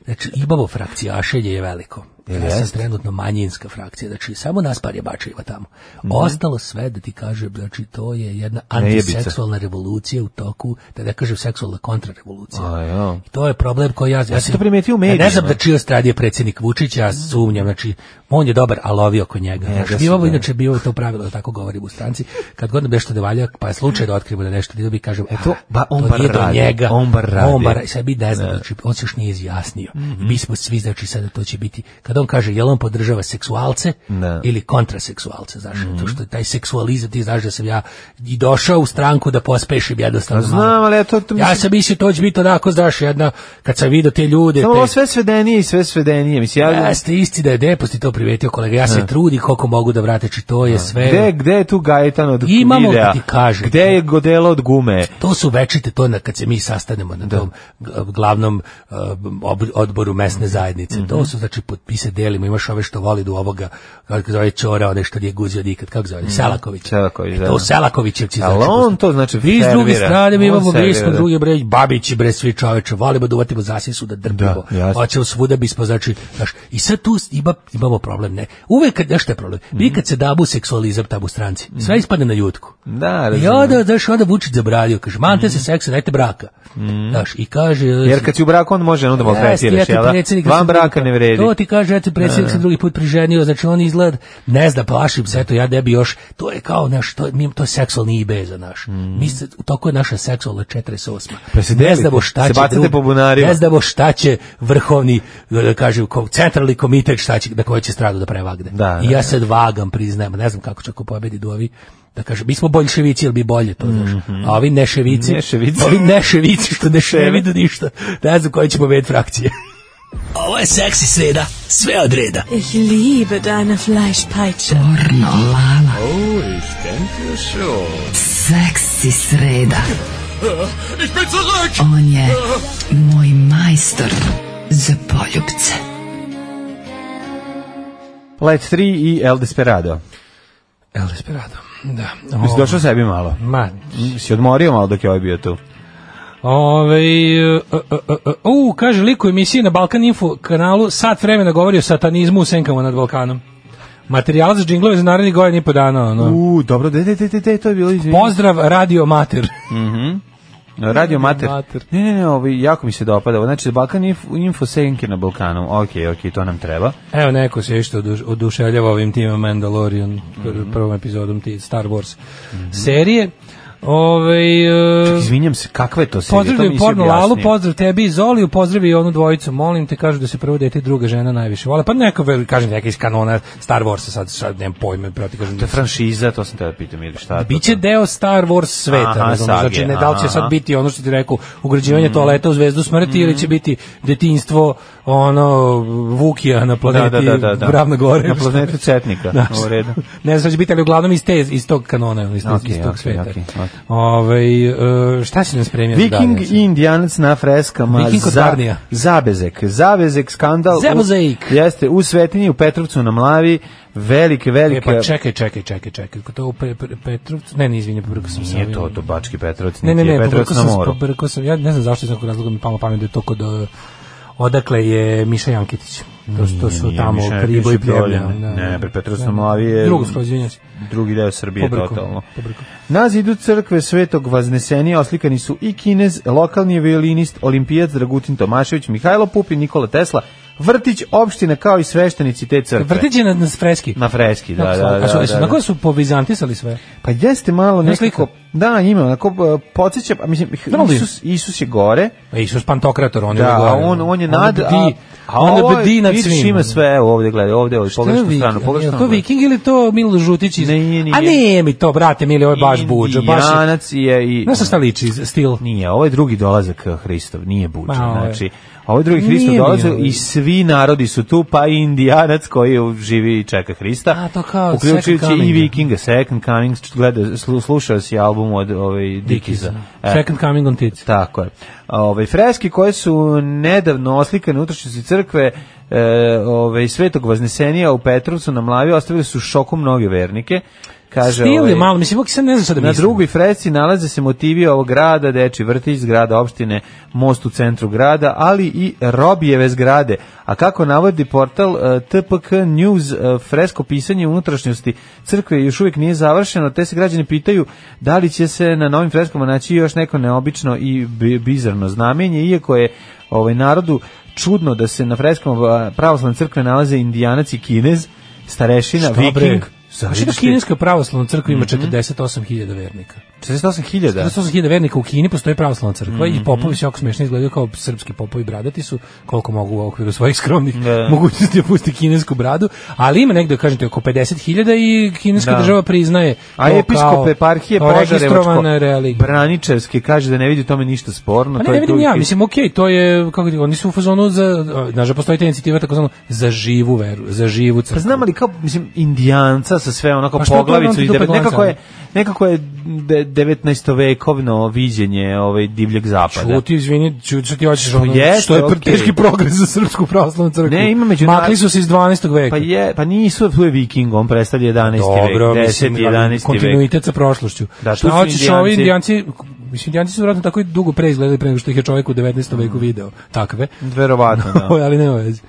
Znači, imamo frakcijašenje je veliko. Jel Ja sam jest? trenutno manjinska frakcija, znači samo nas par jebača ima tamo. Ostalo sve, da ti kažem, znači to je jedna Mhm. Nejebica. antiseksualna revolucija u toku, da ne kažem seksualna kontrarevolucija. A, ja. I to je problem koji ja... Ja, si to primetio u ja medijima. ne znam da čija strada je predsjednik Vučić, ja sumnjam, znači, on je dobar, ali ovi oko njega. Ne, Znači, da mi su, ovo da. inače bio to pravilo da tako govorimo u stranci, kad god nam nešto ne valja, pa je slučaj da otkrivamo da nešto nije, mi kažemo, E to, "Ah, ba, on to bar nije do radi, njega, on bar radi." Mhm. i sad mi ne znam, znači, on se još nije izjasnio. Mi smo svi, znači, sada to će biti, kad on kaže, jel on podržava seksualce Da. Mhm. ili kontraseksualce, znaš, to što je taj seksualizam, ti znaš da sam ja i došao u stranku da pospešim A jednostavno. Pa znam, malo. ali ja to- to ja mislim- sam mislio, to će biti onako, znaš, jedna, kad sam vidio te ljude, Samo te- ovo sve svedenije i sve svedenije. Mislim, ja, Jeste isti da je Depost i to privetio kolega. Ja se trudim koliko mogu da vrateći, to je sve. Gde, gde je tu Gajetan od Imamo, videa? ti kažem. Znači, Gde je Godelo od gume? To su večite to na kad se mi sastanemo na tom g- glavnom uh, ob- odboru mesne zajednice. Mhm. To su znači potpise delimo, imaš ove što voli do ovoga, kako se zove Ćora, one što nije guzio nikad, kako se zove, Selaković. Mhm. E, Selaković, da. To Selakovićevci Ali on to, znači, Vi s druge fervira. strane mi On imamo mi smo servira. druge bre Babići bre svi čoveče, volimo da uvatimo zasisu da drpimo. Da, jasno. Hoćemo svuda bismo znači, znaš, i sad tu ima, imamo problem, ne. Uvek kad nešto je problem. Vi kad se dabu seksualizam tabu stranci, sve ispadne na jutku. Da, I Mm. razumem. Mm. onda, znaš, onda Vučić zabranio, kaže, mante se seksa, dajte braka. Znaš, i kaže... Jer kad si u braku, on može onda maltretiraš, jel da? Van braka ne vredi. pa- To ti kaže, eto, predsjednik se drugi put priženio, znači on izgled, ne zna, plašim se, eto, ja ne bi još, to je kao, naš, to, je- mi, to je seksualni IB za naš. Mi se, toko je naša seksualna 48. Mm. Pa se ne delite, znamo šta se će, bacate po bunarima. ne znamo šta će vrhovni, da kažem, ko- centralni komitet, šta će, na koju će stradu da prevagne. Da, I da, ja sad vagam, priznajem, ne znam kako će ako pobedi Duovi, da kažem, mi smo boljševici, ili bi bolje to, znaš. Mhm. A ovi neševici, Neševici. ovi neševici što neš, ne vidu ništa, ne znam koji će pobediti frakcije. Ovo je seksi sreda, sve od reda. Ich liebe deine Fleischpeitsche. Pornolala. Oh, ich denke schon. Seksi sreda. On je moj majstor za poljubce. Light 3 i El Desperado. El Desperado, E, da. Jesi došao sebi malo? Ma, Mm, Si odmorio malo dok je ovaj bio tu? Ove, e, u, kaže lik u emisiji na Balkan Info kanalu sat vremena govori o satanizmu u senkama nad Balkanom. Materijal za džinglove za narednih godina i po dana. Ono. U, dobro, de, de, de, de, de, to je bilo izvinjeno. Pozdrav radio mater. Radio Mater. Mater. Ne, ne, ne, ovaj, jako mi se dopada. ovo. Znači, Balkan Info, info senke na Balkanu. Ok, ok, to nam treba. Evo neko se isto oduš- oduševljava ovim timom Mandalorian, Mhm. pr- prvom epizodom ti Star Wars Mhm. serije. Ove, Čak, izvinjam se, kakva je to serija? To mi Pozdrav i nisi porno Lalu, objasnio. pozdrav tebi i Zoliju, pozdrav i onu dvojicu, molim te, kažu da se prvo dete i druga žena najviše vole. Pa neka, ver- kažem, neka iz kanona Star Warsa, sad, sad nemam pojma, proti kažem. To je franšiza, to sam te pitam, ili šta? je to? Biće deo Star Wars sveta, Aha, razumeš? znači sage, ne da li će aha. Mhm. sad biti ono što ti rekao, ugrađivanje toaleta u zvezdu smrti ili će biti detinjstvo ono Vukija na planeti da, da, da, da. Ravna Gore. Na planetu Cetnika, Da. u redu. ne znam šta će biti, ali uglavnom iz, te, iz tog kanona, iz, tog- Ok, iz tog ok, sveta. ok, ok. Ovaj, e, šta si nam spremio? za Viking dalje? i indijanac na freskama. Viking kod za- Barnija. Zabezek. Zabezek skandal. u- Zabezek. Jeste, u Svetinji, u Petrovcu na Mlavi. Velike, velike... E, pa čekaj, čekaj, čekaj, čekaj. Ko To u pre, pre, Petrovcu? Ne, ne, izvinjam, pobrkao sam se. Nije ovim. to to Bački Petrovac, Ne, ne, niti je ne, Petrovac pobrkao na sam, se, moru. pobrkao sam. Ja ne znam zašto iz nekog razloga mi je palo na pamet da je to kod uh, odakle je Miša Jankitić. To, su- to su Nije, tamo Miša Jankitić Priboj je i Pljevlja. Pljevlja. Da, Ne, da. pre Petrovac Da, na da. Mlavi je- Drugo skroz, izvinjam se. Drugi deo Srbije Pobrkao, totalno. pobrkao. Na zidu crkve Svetog Vaznesenija oslikani su i Kinez, lokalni violinist, olimpijac Dragutin Tomašević, Mihajlo Pupin, Nikola Tesla, Vrtić, opština kao i sveštenici te crkve. Vrtić je na, na freski. Na freski, da, Na- Dakle. da, da. a su- da, su- da. Na koje su povizantisali sve? Pa jeste malo Ima nekako... slika? Da, ima, onako e, podsjeća, a mislim, Normalno je. Isus, Isus je gore. Pa Isus pantokrator, on je Da, gore. ono. a on, on je nad... bdi, a, a on ovo je, bdi nad vidiš, svim. ima sve, evo ovdje, gledaj, ovdje, ovdje, To je pogrešnu Viking, stranu, pogrešnu jel To viking ili to Milo Žutić iz... nije, nije. A nije mi to, brate, Milo, ovo je baš buđo. Baš je- Indijanac je i... Znaš šta liči, stil? Nije, ovo je drugi dolazak eh, Hristov, nije buča, Ma, ovo je- znači... A ovo je drugi Hristov Nije mi dolazak ovo. i svi narodi su tu, pa i indijanac koji živi i čeka Hrista. A, to kao uključujući Second i Coming. Vikinga, Second Coming, gleda, slu- slušao si album od ovaj, Dikiza. Second Coming on Tits. Tako je. A, Ovaj, freske koje su nedavno oslikane u utrošnici crkve e, ovaj, Svetog Vaznesenija u Petrovcu na Mlavi ostavili su u šoku mnoge vernike. Kaže, Stil ovaj, je malo, mislim, ovak sad ne znam šta da na mislim. drugoj fresci nalaze se motivi ovog grada, deči vrtić, zgrada opštine, most u centru grada, ali i robijeve zgrade. A kako navodi portal e, TPK News, e, fresko pisanje unutrašnjosti crkve još uvijek nije završeno, te se građani pitaju da li će se na novim freskama naći još neko neobično i bi- bizarno znamenje, iako je ovaj narodu čudno da se na freskama e, pravoslavne crkve nalaze indijanac i kinez, starešina, Šta, bre? viking. Znaš da kineska pravoslavna crkva ima 48.000 vernika? 48.000? 48.000 vernika u Kini postoji pravoslavna crkva Mhm. i popovi se jako smešno izgledaju kao srpski popovi bradati su, koliko mogu u okviru svojih skromnih Da. mogućnosti opusti kinesku bradu, ali ima negde, kažete, oko 50.000 i kineska Da. država priznaje A to episkop kao- eparhije kao registrovana Požarevačko Braničevski kaže da ne vidi u tome ništa sporno. Pa to ne, ne je vidim drugi ja, tip. mislim, okej, to je, kako ti, oni su u fazonu za, znaš da postoji ta inicijativa takozvano za živu veru, za živu crkvu. Pa znam ali kao, mislim, indijanca sa sve onako Pa što je to poglavicu ono i tu devet, pedlanca, nekako je, ono? nekako je de, 19. vekovno viđenje ovaj divljeg zapada. Čuti, izvini, čuti, što ti hoćeš ono, Pa jeste, što je okej. teški progres za srpsku pravoslavnu crkvu. Ne, ima među Makli su se iz 12. veka. Pa je, pa nisu, tu je viking, on predstavlja 11. Dobro, vek, 10. mislim, ali 11. vek. kontinuitet sa prošlošću. Da, tu Šta su hoćeš, ovi Indijanci- indijanci, mislim, indijanci su vjerojatno tako i dugo pre izgledali pre nego što ih je čovjek u 19. veku video, takve. Verovatno, da. Mhm. ali nema veze.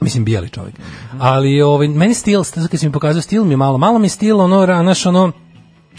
Mislim, bijeli čovjek. Ali ovaj, meni stil, sad kad si mi pokazao stil mi je malo, malo mi je stil ono, ra- naš ono,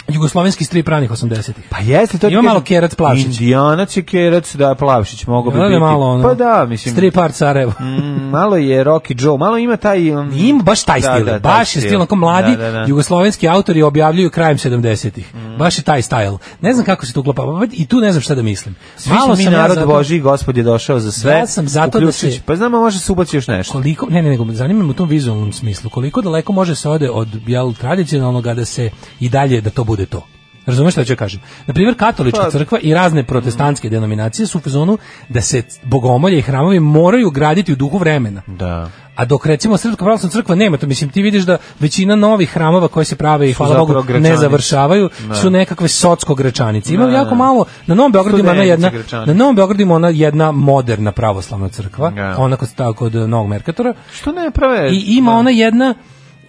jugoslovenski strip ranih 80-ih. Pa jeste, to ti Ima malo kažem, kerac Plavšić. Indijanac je kerac, da, Plavšić, mogo bi Ono je biti. malo ono, pa da, mislim. Strip art Sarajevo. Mm, malo je Rocky Joe, malo ima taj... Um, Ima baš taj da, stil, da, taj baš je stil, onako mladi Da, Mm. da, da. jugoslovenski autori objavljuju krajem 70-ih. Baš je taj stil. Ne znam kako se to uklapa, pa i tu ne znam šta da mislim. Svi smo mi ja narod zato- Boži, gospod je došao za sve. Ja sam zato da se- uključujući- Pa znamo, može se ubaci još nešto. Koliko, ne, ne, nego zanima me u tom vizualnom smislu, koliko daleko može se ode od jel, tradicionalnog, a da se i dalje, da to bude to. Razumeš šta ću ja kažem? Na primjer, katolička Pa- Mm. crkva i razne protestantske denominacije su u fazonu da se bogomolje i hramovi moraju graditi u duhu vremena. Da. A dok recimo Srpska pravoslavna crkva nema to, mislim ti vidiš da većina novih hramova koji se prave i Su hvala zapravo Bogu ne gračanice. završavaju Da. su nekakve socsko gračanice. Ima Da, da, jako da. malo, na Novom Beogradu ima ona Studenice jedna, gračanice. na Novom Beogradu ima ona jedna moderna pravoslavna crkva, Da. ona kod tako kod eh, Novog Merkatora. Što ne prave? I ima ona jedna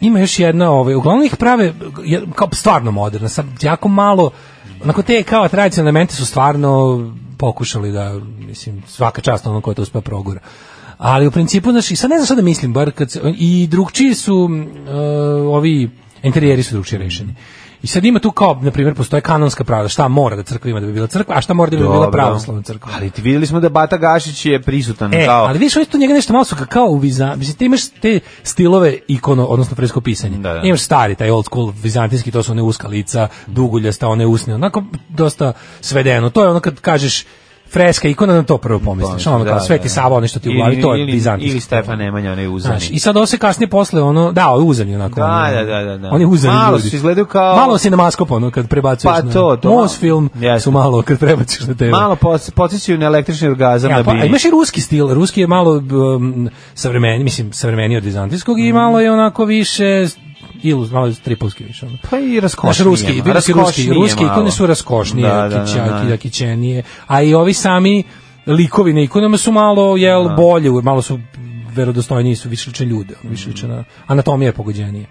ima još jedna, ovaj, uglavnom ih prave je- kao stvarno moderna, sa jako malo onako te kao tradicionalne elemente su stvarno pokušali da mislim svaka čast onom ko to uspe progura. Ali u principu znači sad ne znam šta da mislim, bar kad se, i drugčiji su mm, e, ovi interijeri su drugčije rešeni. I sad ima tu kao, na primjer, postoje kanonska pravda, šta mora da crkva ima da bi bila crkva, a šta mora da bi bila Dobro. pravoslavna crkva. Ali ti videli smo da Bata Gašić je prisutan E, kao... ali vidiš, ovdje tu njega nešto malo su ka- kao u Vizan... Mislim, ti imaš te stilove ikono, odnosno fresko pisanje. da. Imaš stari, taj old school vizantinski, to su one uska lica, duguljasta, one usne, onako dosta svedeno. To je ono kad kažeš freska ikona, na to prvo pomisliš. Ono Pa, Da, kao da, Sveti da. Sava, ono što ti u glavi, to je Ili- vizantinski. Ili Stefan Nemanja, onaj uzani. Znaš, I sad ovo se kasnije posle, ono, da, ovo je uzan je onako. Da, ono, da, da, da, da. Oni uzani Malo ljudi. su izgledaju kao- Malo si na maskop, ono, kad prebacuješ Pa na... to, to Most malo. film Jeste. su malo kad prebacuješ na tebe. Malo pos- podsjećaju na električni orgazam na Ja, pa, a bini. imaš i ruski stil, ruski je malo um, savremeni, mislim, savremeni od vizantijskog Mm. i malo je onako više ilus, malo je stripovski više. Ono. Pa i Naš raskošnije. ruski, malo. ruski, ruski, Raskošnije ruski malo. ikone su raskošnije, Da, da, da, kića- da. ki- kićenije, a i ovi sami likovi na ikonama su malo, jel, bolje, malo su verodostojniji su više liče ljude, ono, Mm. više liče na anatomija je pogođenije.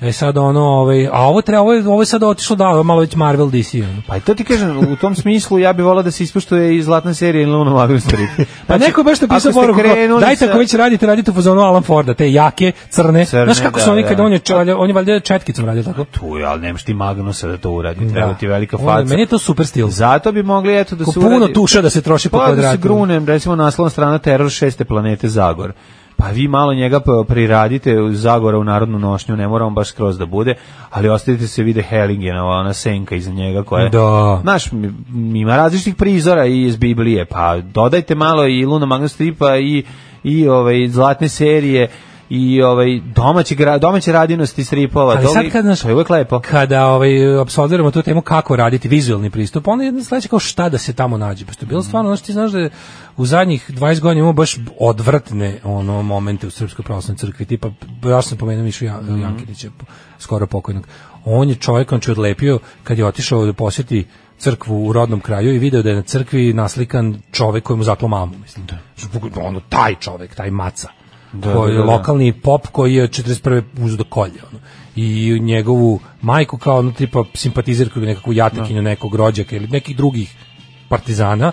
E sad ono, ovaj, a ovo treba, ovo je, ovo je sad otišlo da, ovo je malo već Marvel DC. ono. Pa i to ti kažem, u tom smislu ja bih volao da se ispuštuje i zlatna serija ili ono Magnus Strip. Pa neko je baš napisao poruku, kao, dajte ako već radite, radite u fazonu Alan Forda, te jake, crne. Crne, Znaš kako da, su oni, da. kad on je, čalja, on je valjda četkicom radio tako? Tu je, ali nemaš ti Magnusa da to uradi, treba Da. ti velika Ovo je- faca. Meni je to super stil. Zato bi mogli eto da Ko se puno uradi- tuša da se troši po Pa da se kvadratu. grunem, recimo naslovna strana teror šeste planete Zagor. pa vi malo njega p- priradite Zagora u narodnu nošnju, ne moramo baš skroz da bude, ali ostavite se vide Hellingenova, ona senka iza njega koja je, Da. znaš, mi- mi ima različitih prizora i iz Biblije, pa dodajte malo i Luna Magna Stripa i, i ovaj, zlatne serije i ovaj domaći gra, domaće radinosti stripova. Ali to sad vi- kad, znaš, to je Pa uvek lepo. Kada ovaj, apsolviramo tu temu kako raditi vizualni pristup, onda je jedna sledeća kao šta da se tamo nađe. Pošto je Mhm. bilo stvarno, znaš, ti znaš da je u zadnjih 20 godina imamo baš odvrtne ono momente u Srpskoj pravoslavnoj crkvi, tipa, ja sam pomenuo Mišu Jan, Mhm. Jankinića, skoro pokojnog. On je čovjek, on će odlepio kad je otišao da posjeti crkvu u rodnom kraju i video da je na crkvi naslikan čovek kojemu zatlo mamu, mislim. Da. Ono, taj čovek, taj maca. Da, koji, da, da. lokalni pop koji je 41. uz do kolje. Ono. I njegovu majku kao ono tipa simpatizirku ili nekakvu jatekinju nekog rođaka ili nekih drugih partizana.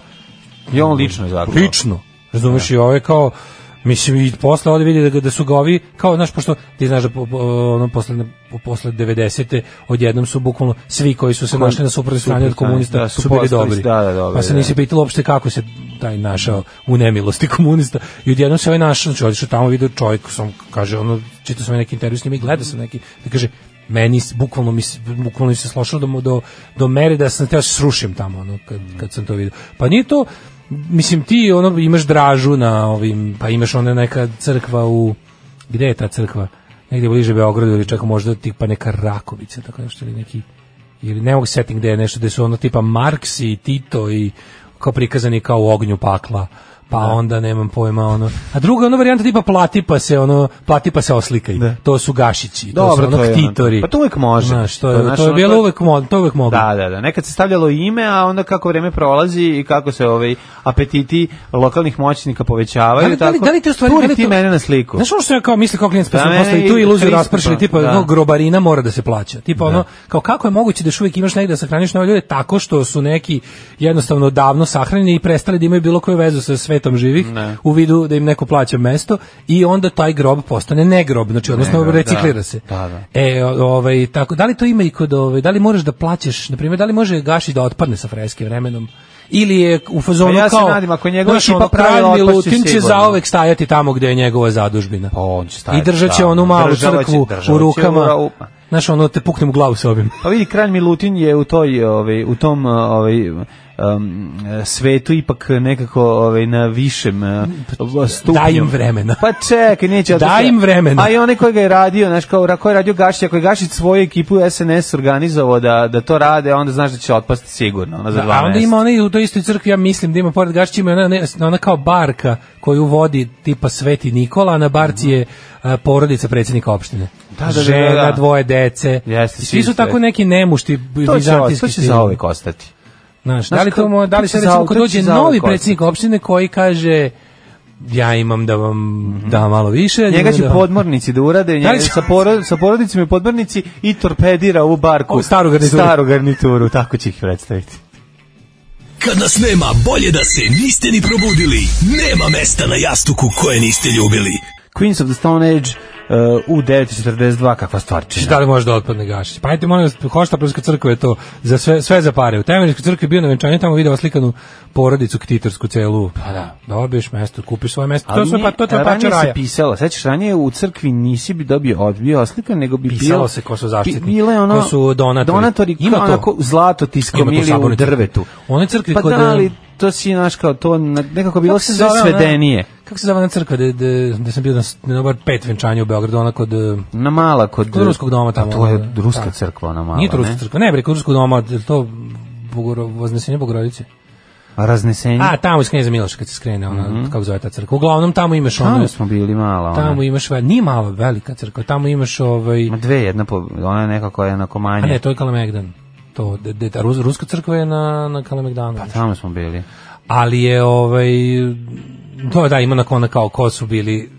I on lično je zaklao. Lično. Razumeš i ovo je kao Mislim, i posle ovde vidi da, ga- da su ga ovi, kao, znaš, pošto ti znaš da po, po, ono, posle, po- posle 90. odjednom su bukvalno svi koji su se Kon- našli na suprotnoj strani od suprotnoj, komunista da, su, su bili postali- dobri. da, da, dobri, pa se da. nisi pitalo uopšte kako se taj našao u nemilosti komunista i odjednom se ovaj našao, znači odišao tamo video čovjek, sam, kaže, ono, čitao sam neki intervju s njim i gledao sam neki, da kaže, meni, s- bukvalno mi, se- bukvalno mi se slošilo do, mo- do, do mere da sam teo da se srušim tamo, ono, kad, kad sam to vidio. Pa nije to, mislim, ti ono, imaš dražu na ovim, pa imaš ona neka crkva u, gde je ta crkva? Negde bliže Beogradu ili čak možda tipa neka Rakovica, tako nešto, ili neki ili ne mogu se setim gde je nešto, gde su ono tipa Marks i Tito i kao prikazani kao u ognju pakla pa onda nemam pojma ono a druga je ono varijanta tipa plati pa se ono plati pa se oslikaj to su gašići Dobro, to su to ono je ono. ktitori Pa to uvek može. Znaš, to, To, je, znaš, to je ono, bilo to je- uvek mo- to je uvek moglo Da, da, da. Nekad se stavljalo ime, a onda kako vreme prolazi i kako se ovaj apetiti lokalnih moćnika povećavaju, Da li- da li- tako. da li te u stvari- Turi da li ti to- mene na sliku. Znaš ono što ja kao misli kao klijent, pa Da, sam mene posle i tu i iluziju Kristo, raspršili, tipa da. ono, grobarina mora da se plaća. Tipa ono, kao kako je moguće da još uvijek imaš negde da sahraniš nove ljude tako što su neki jednostavno davno sahranjeni i prestali da imaju bilo koju vezu sa svetom živih Ne. u vidu da im neko plaća mesto i onda taj grob postane negrob, znači odnosno Negrob, da. reciklira se. Da, da. E, o- ovaj, tako, da li to ima i kod, ovaj, da li moraš da plaćaš, na primjer, da li može Gašić da otpadne sa freske vremenom? ili je u fazonu Pa ja se ono kao nadam, ako je njegova znaš, ekipa ono, pravila, kralj otpašće Milutin će sigurno. zaovek stajati tamo gde je njegova zadužbina. Pa on će stajati I držat će tamo. onu malu Država će- crkvu država će u rukama. u- Znaš, ono, te puknem u glavu s ovim. Pa vidi, kralj Milutin je u toj, ovaj, u tom ovaj, um, svetu ipak nekako ovaj, na višem uh, stupnju. Daj im vremena. Pa čekaj, neće. zato Daj što- im vremena. A i onaj koji ga je radio, znaš, kao, ra- koji je radio Gašić, ako je Gašić svoju ekipu SNS organizovao da, da to rade, onda znaš da će otpasti sigurno. Ono, za Da, dva a onda meseca. ima onaj u toj istoj crkvi, ja mislim da ima pored Gašića, ima ona, ne- ona kao barka koju vodi tipa Sveti Nikola, a na barci je a, porodica predsjednika opštine. Mhm. Da, da, da, Žena, da. dvoje dece. Jeste, I svi svi su sve. tako neki nemušti to će, bizantijski to će stil. za uvek ostati. Znaš, da Znaš, li to, kao- mo- da li to će se za- recimo kad to će dođe za novi uvek predsjednik opštine koji kaže ja imam da vam da malo više. Mhm. Njega njima će da- podmornici da urade, njega, će- sa, poro, sa porodicima i podmornici i torpedira ovu barku. Ovu staru garnituru. Staru garnituru, tako će ih predstaviti. Kad nas nema, bolje da se niste ni probudili. Nema mesta na jastuku koje niste ljubili. Queens of the Stone Age uh, u 942, kakva stvarčina. Da li može da otpadne gašić? Pa ajte, molim vas, Hoštaprovska crkva je to za sve, sve za pare. U Temerinskoj crkvi je bio na venčanju, tamo video slikanu porodicu ktitorsku celu. Pa da, dobiješ mesto, kupiš svoje mesto. To, Ali sve, nije- pa, to, to je pača ranije se raja. pisalo, sećaš, ranije u crkvi nisi bi dobio odbio oslika, nego bi Pisalo bilo- se ko su zaštitni, bi- Bilo je ono, ko su donatori. Donatori, Ima kao to. onako zlato Ima tiskom to u ili u sabornici. drvetu. U onoj crkvi pa kod, da, ali um, to si, znaš, kao to na- nekako bilo Kako se sve zove ona- svedenije. Kako se zove ona crkva da, da, da sam bio na, s- na bar pet venčanja u Beogradu, ona kod... eh, Na mala kod... Kod ruskog doma tamo. A to je ono, ruska da. crkva, ona mala, Nije to ruska ne? crkva, ne, bre, kod ruskog doma, je li to Bogoro, Voznesenje Bogorodice? A raznesenje. A, tamo iz Knjeza Miloša kad se skrene, ona, kako zove ta crkva. Uglavnom, tamo imaš ono... Mhm. Tamo smo bili mala. ona. Tamo imaš, ve- nije mala velika crkva, tamo imaš ovaj... Ma dve, jedna po, ona je nekako je onako A manje. ne, to je Kalemegdan. To, de, de, ta rus- ruska crkva je na, na Kalemegdanu. Pa Tamo smo bili. Ali je, ovaj... To da, ima onako ona kao ko su bili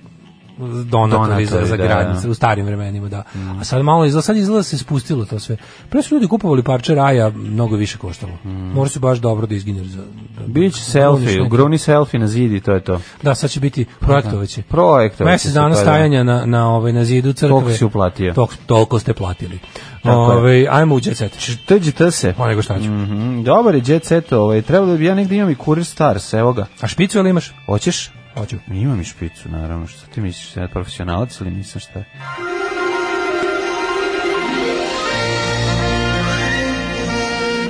donatori Donatori, za, za da, Mhm. gradnice, da. u starim vremenima, da. A sad malo izgleda, sad izgleda se spustilo to sve. Pre su ljudi kupovali parče raja, mnogo je više koštalo. Mora se baš dobro da izginješ za... Da, Biće Gruniš Mhm. selfie, neki. gruni selfie na zidi, to je to. Da, sad će biti projektovaće. Projektovaće Mesec se, dana pa da. stajanja na, na, ovaj, na zidu crkve. Koliko si uplatio? Tok- toliko ste platili. Tako je. Ovaj, ajmo u jet set. To je GT se. Pa nego šta ću. Mhm, Dobar je Jet Set, ovaj, trebalo da bi ja negdje imam i Kurir Stars, evo ga. A špicu ili imaš? Hoćeš? Hoću. Imam i špicu, naravno. Što ti misliš, ja profesionalac ili nisam šta?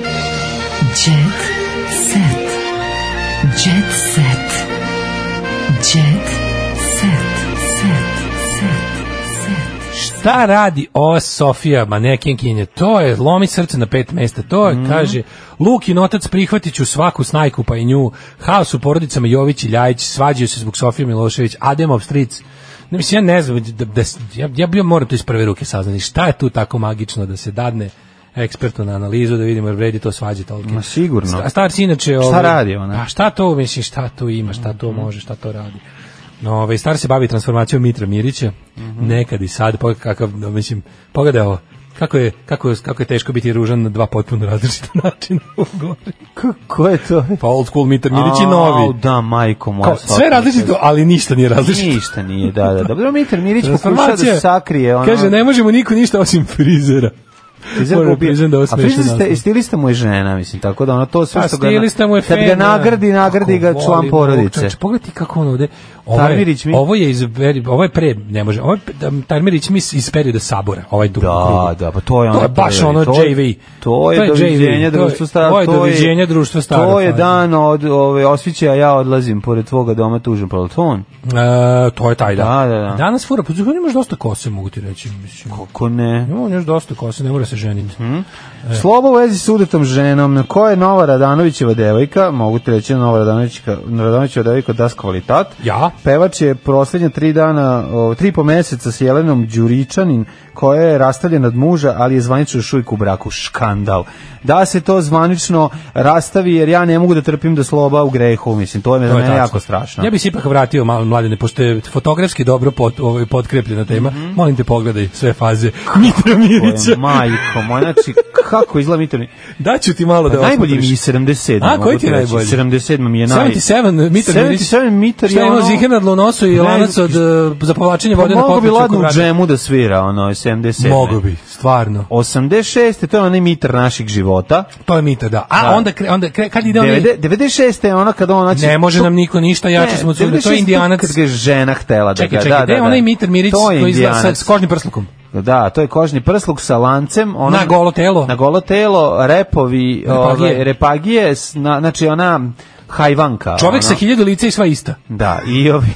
Jet set. Jet set. Jet set. Set. Set. Set. Šta radi ova Sofija manekenkinje? To je lomi srce na pet mesta. To je, kaže, Lukin otac prihvatit ću svaku snajku pa i nju. Haos u porodicama Jović i Ljajić svađaju se zbog Sofije Milošević. Ademov stric. Ne, mislim, ja ne znam, da, da, ja, ja bio moram to iz prve ruke saznati. Šta je tu tako magično da se dadne ekspertu na analizu da vidimo jer vredi to svađe toliko. Ma sigurno. A star inače... Šta ovaj, radi ona? Mhm. Pa šta to, mislim, šta tu ima, šta to može, šta to radi. No, ovaj, star se bavi transformacijom Mitra Mirića, Mhm. nekad i sad, pogledaj kakav, no, mislim, pogledaj ovo, kako je, kako, je, kako je teško biti ružan na dva potpuno različita načina u gori. Ko je to? Pa old school Mitar Mirić i novi. Au, da, majko moja. Kao, sve shvatila različito, ali ništa nije sam. različito. Ništa nije, da, da. Dobro, Mitar Mirić pokušava Transformacija, da sakrije. Ono, Kaže, ne možemo niko ništa osim frizera. Frizer Moram ga ubije. priznam da ovo A smešno frizer ste, naslov. stilista mu je žena, mislim, tako da ono to sve Pa, što ga... stilista mu je kad ga fen, da. nagradi, nagradi Kako ga član volim ovog porodice. čoveča. Pogledaj ti kako on ovde... Ovo je, Tarmirić mi- ovo je, iz, veri- ovo je pre, ne može, ovo je da, Tarmirić mi iz perioda Sabora, ovaj dugo. Da, da, pa to je ono. To je baš ono to je- JV. To je, To je doviđenja JV, to društvo je- staro. to je doviđenja pa- društvo staro, To je pazi. dan od ove osvića, ja odlazim pored tvoga doma pa tužan peloton. E, to je taj, da. Da, da, da. Danas fura, pa on imaš dosta kose, mogu ti reći. Mislim. Ko ne? Ima on još dosta kose, ne mora se ženiti. Mhm, E. Sloba u vezi s udetom ženom, na koje je Nova Radanovićeva devojka, mogu ti reći da Nova Radanovićka, Radanovićeva devojka das kvalitat. Ja? Pevač je proslednja tri dana, o, tri i po meseca s Jelenom Đuričanin, koja je rastavljena od muža, ali je zvanično još uvijek u braku. Škandal. Da se to zvanično rastavi, jer ja ne mogu da trpim da sloba u grehu, mislim, to je, za To je mene tačno. jako strašno. Ja bi se ipak vratio malo mladine, pošto je fotografski dobro pot, ovaj, potkrepljena tema. Mhm. Molim te pogledaj sve faze Mitra Tvoja Mirića. majko moja, znači, kako izgleda Mitar Daću ti malo da Pa najbolji mi je osmotriš. 77. A, mogu koji ti je reći. najbolji? 77 mi je naj... 77 Mitar Mirić. 77 Mitar Šta je ima ono... ziher na dlanosu i Ne, lanac od, e, za povlačenje Pa vode na mogo bi potlaču ladno oko u vrata? džemu da svira, ono, 77. Mogo bi, stvarno. 86. to je onaj Mitar naših života. To je Mitar, da. A Da. onda, kre, onda kre, kad ide on... 90, 96. je ono kada on... Znači, Ne može to- nam niko ništa, jači Ne, smo od svuda. To 96. je indijanac. Kad ga je žena htela da ga... Čekaj, čekaj, da, da, gde je da. onaj Mitar Mirić To je koji izgleda sa, indijanac. s kožnim prslukom? Da, to je kožni prsluk sa lancem. Ono, Na golo telo? Na golo telo, repovi, repagije, Repagije. repagije s- na, znači ona hajvanka. Čovjek ono. sa hiljadu lica i sva ista. Da, i, ovi,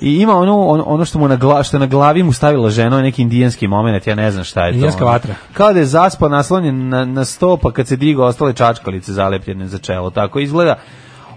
i ima ono, ono, ono što mu na, gla, što je na glavi mu stavila žena, onaj neki indijanski moment, ja ne znam šta je to. Indijanska ono. vatra. Kao da je zaspao naslonjen na, na sto, pa kad se diga ostale čačkalice zalepljene za čelo, tako izgleda.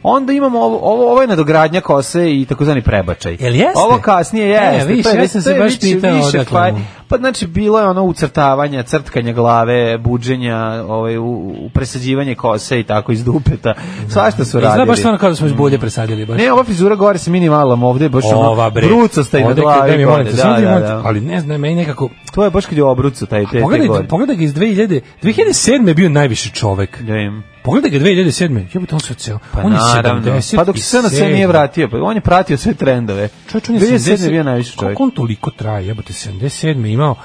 Onda imamo ovo, ovo, ovo je nadogradnja kose i takozvani prebačaj. Jel jeste? Ovo kasnije jeste. E, viš, to je, ja sam se to je baš više- pitao više odakle faj- mu. Pa znači bilo je ono ucrtavanja, crtkanje glave, buđenja, ovaj, u, u presađivanje kose i tako iz dupeta. Svašta su radili. Izgleda baš ono stvarno kao da smo iz bulje presadili. Baš. Ne, ova frizura gore se minimalom ovde, je baš Ova ono, bre. brucasta i na Ovde glavi. kad- daj mi, gore, molim te, da, samo ti da, molim te, da. Ali ne znam, meni nekako... To je baš kad je obrucu taj te, te Pogledaj, gore. pogledaj ga iz 2000... 2007. je bio najviši čovek. Da im. Pogledaj ga 2007. Jebote, on se oceo. Pa on je naravno. 77. Pa dok se sve na sve nije vratio, pa on je pratio sve trendove. Čovječ, on je 2007 70 je bio najviši čovjek. Kako on toliko traje? Jebote, 77. je imao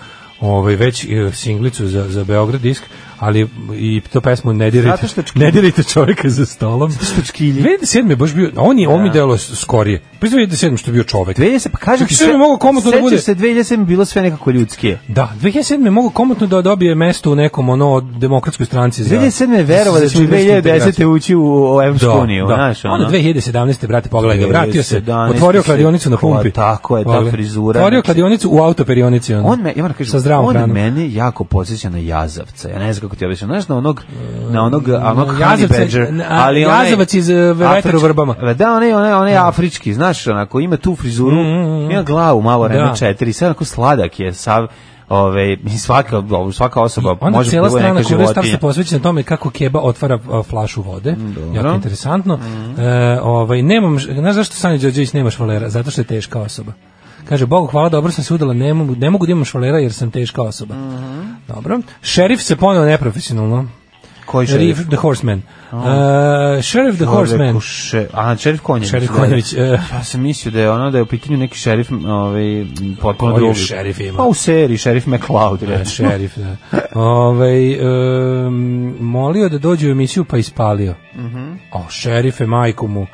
ovaj već e, singlicu za, za Beograd disk, ali i to pesmu ne dirajte, Zato što je čkilj. ne dirajte čovjeka za stolom. Zato što čkilji. 2007. je baš bio, on, je, on mi delo skorije. Pa iz 2007. što je bio čovjek. 2000, pa kažem ti Sve bi mogao komotno da sećaš bude. se 2007 je bilo sve nekako ljudskije. Da, 2007. je mogu komotno da dobije mesto u nekom ono demokratskoj stranci. za- 2007 je verovao da će za evropsku integraciju. 2010. ući u, u Evropsku uniju, da. znaš, ono. Onda 2017. brate, pogledaj ga, vratio se, 2017 otvorio kladionicu na pumpi. Ko- pa, tako je, ta Pogledaj. frizura, Otvorio znači- kladionicu u autoperionici. ono. On me, ja moram kažem, sa zdravom on hranom. mene jako podsjeća na Jazavca. Ja ne znam kako ti objašnjam. Znaš, na onog, na onog, na onog Jazavca- Honey Badger. Mm, na- Ali onaj- Jazavac iz, e, Vetra u Afrički- Vrbama. Da, onaj, onaj, onaj afrički, znaš, onako, ima tu frizuru, Mm, ima glavu malo, rema Da. četiri, sve onako sladak je, sav, ove, i svaka, svaka osoba Onda može cijela bude neka strana Kure Star životinja. se posveća na tome kako Keba otvara a, flašu vode. Mm, Jako interesantno. E, ovaj, nemam, ž- znaš zašto Sanja Đorđević nema švalera? Zato što je teška osoba. Kaže, Bogu hvala, dobro sam se udala, ne mogu, ne mogu da imam švalera jer sam teška osoba. Mm-hmm. Dobro. Šerif se poneo neprofesionalno. Koji šerif? Šerif the Horseman. E, šerif the Čoveku, Horseman. še- a, šerif Konjević. Šerif da. Konjević, e. Ja sam mislio da je ono, da je u pitanju neki šerif, ovaj, m, potpuno Koji drugi. šerif ima? Pa u seriji, šerif McCloud, Da, recimo. e, šerif, da. Ovaj, Mhm. em, molio da dođe u emisiju pa ispalio. O, šerife, majku mu.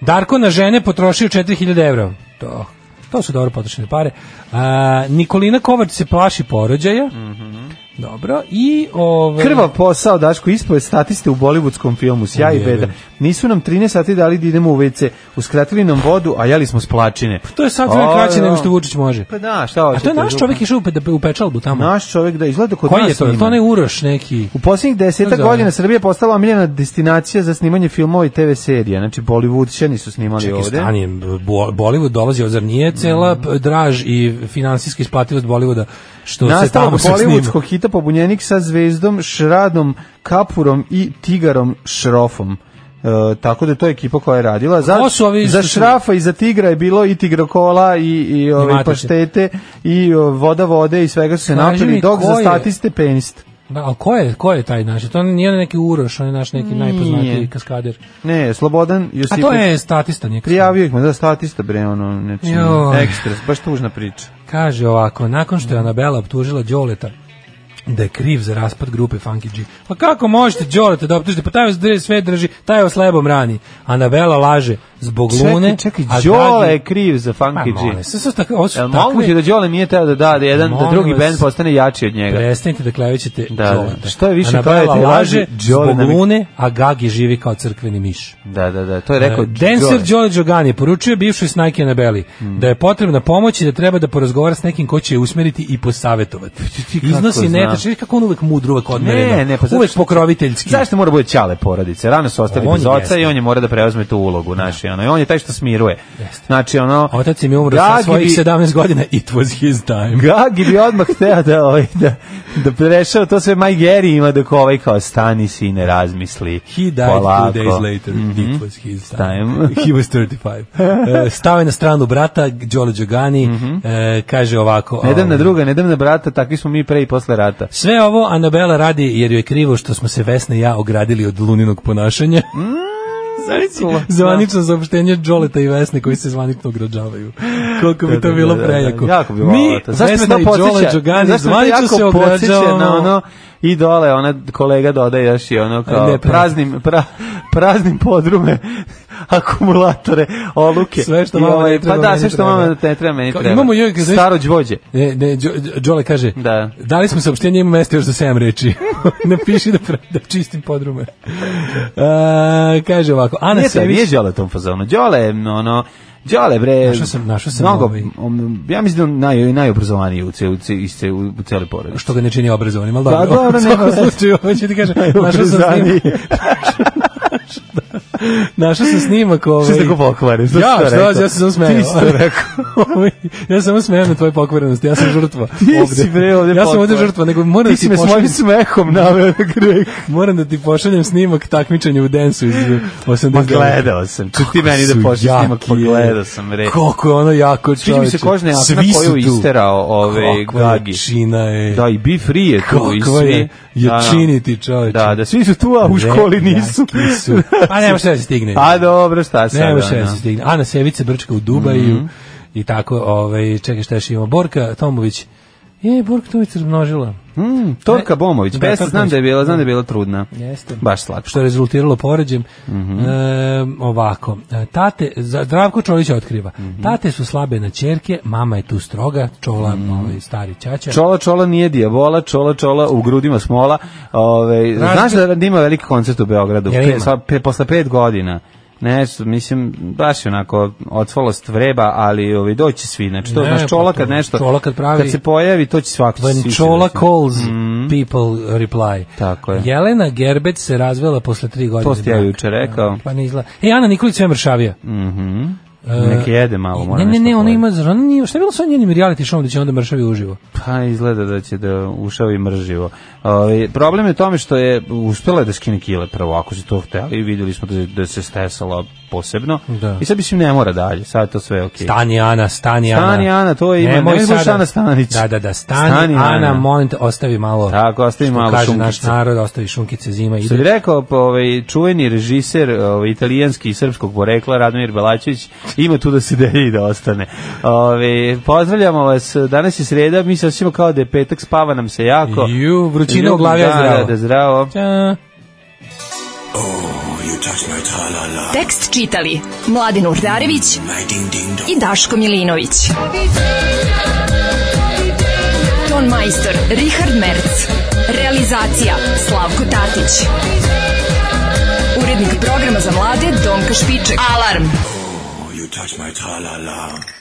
Darko na žene potrošio 4000 evra. To, to su dobro potrošene pare. A, Nikolina Kovač se plaši porođaja. Mhm. Dobro, i ovaj, ove... Krva posao, Daško, ispoje statiste u bolivudskom filmu, sjaj i Ujebe. beda. Nisu nam 13 sati dali da idemo u WC, uskratili nam vodu, a jeli smo splačine. Pa To je sad vreme kraće nego što Vučić može. Pa da, šta hoćete? A to je naš čovjek išao u pe- u pečalbu tamo. Naš čovjek, da, izgleda kod Koji nas je to? Je li To sniman. ne Uroš neki. U posljednjih deseta Kako se zove? godina Srbija je postala omiljena destinacija za snimanje filmova i TV serija. Znači, Bollywoodćani su snimali Čekaj, ovde. stani, Bo- Bollywood dolazi, zar nije cela Mhm. p- draž i finansijska isplativost Bollywooda što se Nastavak tamo sve snima? bolivudskog hita pobunjenik sa zvezdom, Šradom, Kapurom i Tigarom Šrofom. E, tako da je to ekipa koja je radila. Za, Ko su ovi za što su- šrafa i za tigra je bilo i tigrokola i, i ove, Imate se. paštete i o, voda vode i svega su se Kaži mi, napili, dok ko za je- statiste penist. Da, ali ko je, ko je taj naš? To nije onaj neki Uroš, on je naš neki najpoznatiji kaskader. Ne, Slobodan Josipović. to je statista, nije kaskader. Prijavio ih, ma da, statista bre, ono, neči, Joj. ekstra, baš tužna priča. Kaže ovako, nakon što je Anabela optužila Đoleta da je kriv za raspad grupe Funky G. Pa kako možete Đoleta da optužite? Pa taj vas drži, sve drži, taj vas lebom rani. Anabela laže zbog lune. čekaj, a čekaj, Đole dragi- je kriv za Funky Ma, G. molim, sve su tako- ovo su Jel takve- moguće da Đole nije teo da da, da, jedan, da Molim drugi vas. band postane jači od njega? Prestanite da klevećete Da, da. Đoleta. Što je više Anabela klevete i laži, laže Đole zbog nam je- lune, a Gagi živi kao crkveni miš. Da, da, da, to je rekao E, Dancer Đole Đogani poručuje bivšoj snajki Anabeli Mm. da je potrebna pomoć i da treba da porazgovara s nekim ko će je usmeriti i Pa posavetovati. Iznosi zna? netačno, vidiš kako on uvek mudro, uvek odmereno, Ne, ne, pa zato uvek što- pokroviteljski. Zašto mora bude ćale porodice? Rano su ostali On bez je oca jeste. i on je mora da preuzme tu ulogu, znači ono. I on je taj što smiruje. Znači ono Otac im je umro sa Gagi svojih bi- 17 godina, it was his time. Gagi bi odmah hteo da, ovaj, da, da prešao to sve Maj Geri ima dok ovaj kao stani sine, razmisli. He died polako. two days later, Mhm. it was his time. Time. He was 35. E, Stao je na stranu brata, Đole Đogani, e, kaže ovako... Mhm. Ne dam ovaj, na druga, ne dam na brata, takvi smo mi pre i posle rata. Sve ovo Anabela radi jer joj je krivo što smo se Vesna i ja ogradili od luninog ponašanja. Mhm. cool. Zvanično saopštenje Đoleta i Vesne koji se zvanično ograđavaju. Koliko bi Da, to da, bilo da, da, prejako. da, Jako bi Mi, volao to. Zašto me Vesna to i Đole podsjeća? Đogani Zašto me to zvanično jako se podsjeća ograđavamo. na ono i dole ona kolega dodaje još i ono kao Ne, pa- pre- praznim, pra- praznim podrume akumulatore, oluke. Sve što I mama ne ovaj, treba, Pa da, meni sve što treba. mama ne treba, meni Kao, treba. imamo joj- znaš- Staro đvođe. Ne, ne, Đo- Đo- Đole kaže, Da. dali smo saopštenje, ima mesta još za 7 reči. Napiši da, pra- da čistim podrume. A, kaže ovako, Ana Nije, to, Sević... nije Đole u tom fazonu. Đole, je, ono, Đole bre. Našao sam- našao sam mnogo, ovaj- om, ja mislim da je on naj, najobrazovaniji u, ce, u, ce, iz ce- u, u celoj porodici. što ga ne čini obrazovanim, ali Pa dobro. dobro, u nema svakom veze. slučaju, ovo ću ti kažem, našao sam Najobrazovaniji. snimak. Našao sam snimak ovaj. Što si tako pokvaren? Što si ja, to što, rekao? ja sam samo smejao. Ti si to rekao. Ovaj, ja sam smejao na tvoje pokvarenosti, ja sam žrtva. Ti ovde. si bre ovde Ja sam ovde potpuno. žrtva, nego moram Ti da si ti me svojim pošaljem, smehom naveo na greh. moram da ti pošaljem snimak takmičenja u densu iz 80. Ma gledao sam. Ču ti meni da pošli snimak, pa gledao sam. Re. Koliko je ono jako čoveče. Sviđa mi se kožna jakna Svi su koju tu. isterao ove Kakva gagi. jačina je. Da, i be free je tu. i Kakva sve. je jačiniti čoveče. Da, da, svi su tu, a u školi nisu. Neki su. A Pa nema šta da se stigne. A dobro, šta sad? Ne može ono? da se stigne. Ana Sevica brčka u Dubaju Mhm. i tako, ovaj, čekaj šta još imamo. Borka Tomović, je, Borka Tomović se razmnožila. Mm, Torka Bomović, Da, pesma Torka znam da je bila, znam da je bila trudna. Jeste. Baš slatko. Što je rezultiralo poređem. Mhm. E, ovako, e, tate, za- Zdravko Čolić otkriva, Mhm. tate su slabe na čerke, mama je tu stroga, čola, ovaj, stari ćaća. Mhm. Čola čola nije dijabola, čola čola u grudima smola. Ove, znaš da da ima veliki koncert u Beogradu, Jel Pe- ima? sva- pe- posle pet godina. Ne, s- mislim, baš je onako odsvalost vreba, ali ovi, doći svi. Znači, to, Ne, znaš, čola pa kad to- nešto, Čola kad pravi- se pojavi, to će svako When svi se Čola desiti. calls, people reply. Mhm. Tako je. Jelena Gerbec se razvela posle tri godine. To ste ja braka. juče rekao. Pa ne izgleda. E, Ana Nikolić sve mršavija. Mhm. E, Nek jede malo, mora Ne, ne, ne, nešto ona pojesti. ima, zar ona nije, šta je bilo sa njenim reality showom da će onda mršavi uživo? Pa izgleda da će da ušao i mrživo. Ovaj, problem je u tome što je uspela je da skine kile prvo, ako si to hteli, vidjeli smo da, je- da se stesala posebno. Da. I sad mislim ne mora dalje, sad je to sve ok. Stani Ana, stani Ana. Stani, Ana, to je ima- Nemoj nemoj sada. slušaj Ana Stanić. Da, da, da, stani, Stani, Ana, Ana. molim te, ostavi malo. Tako, ostavi što malo kaže naš šunkice. narod, ostavi šunkice zima Što bi ide. rekao pa, ovaj, čuveni režiser ovaj, italijanski i srpskog porekla Radomir Belačević, ima tu da se delje i da ostane. Ovaj, pozdravljamo vas, danas je sreda, mi se osjećamo kao da je petak, spava nam se jako. Ju, vrućina u glavi, a Da, zdravo. Da, da, zdravo. Ćao. Tekst čitali Mladin Urdarević i Daško Milinović. Ton majstor Richard Merc. Realizacija Slavko Tatić. Urednik programa za mlade Donka Špiček. Alarm! You touch my tra-la-la.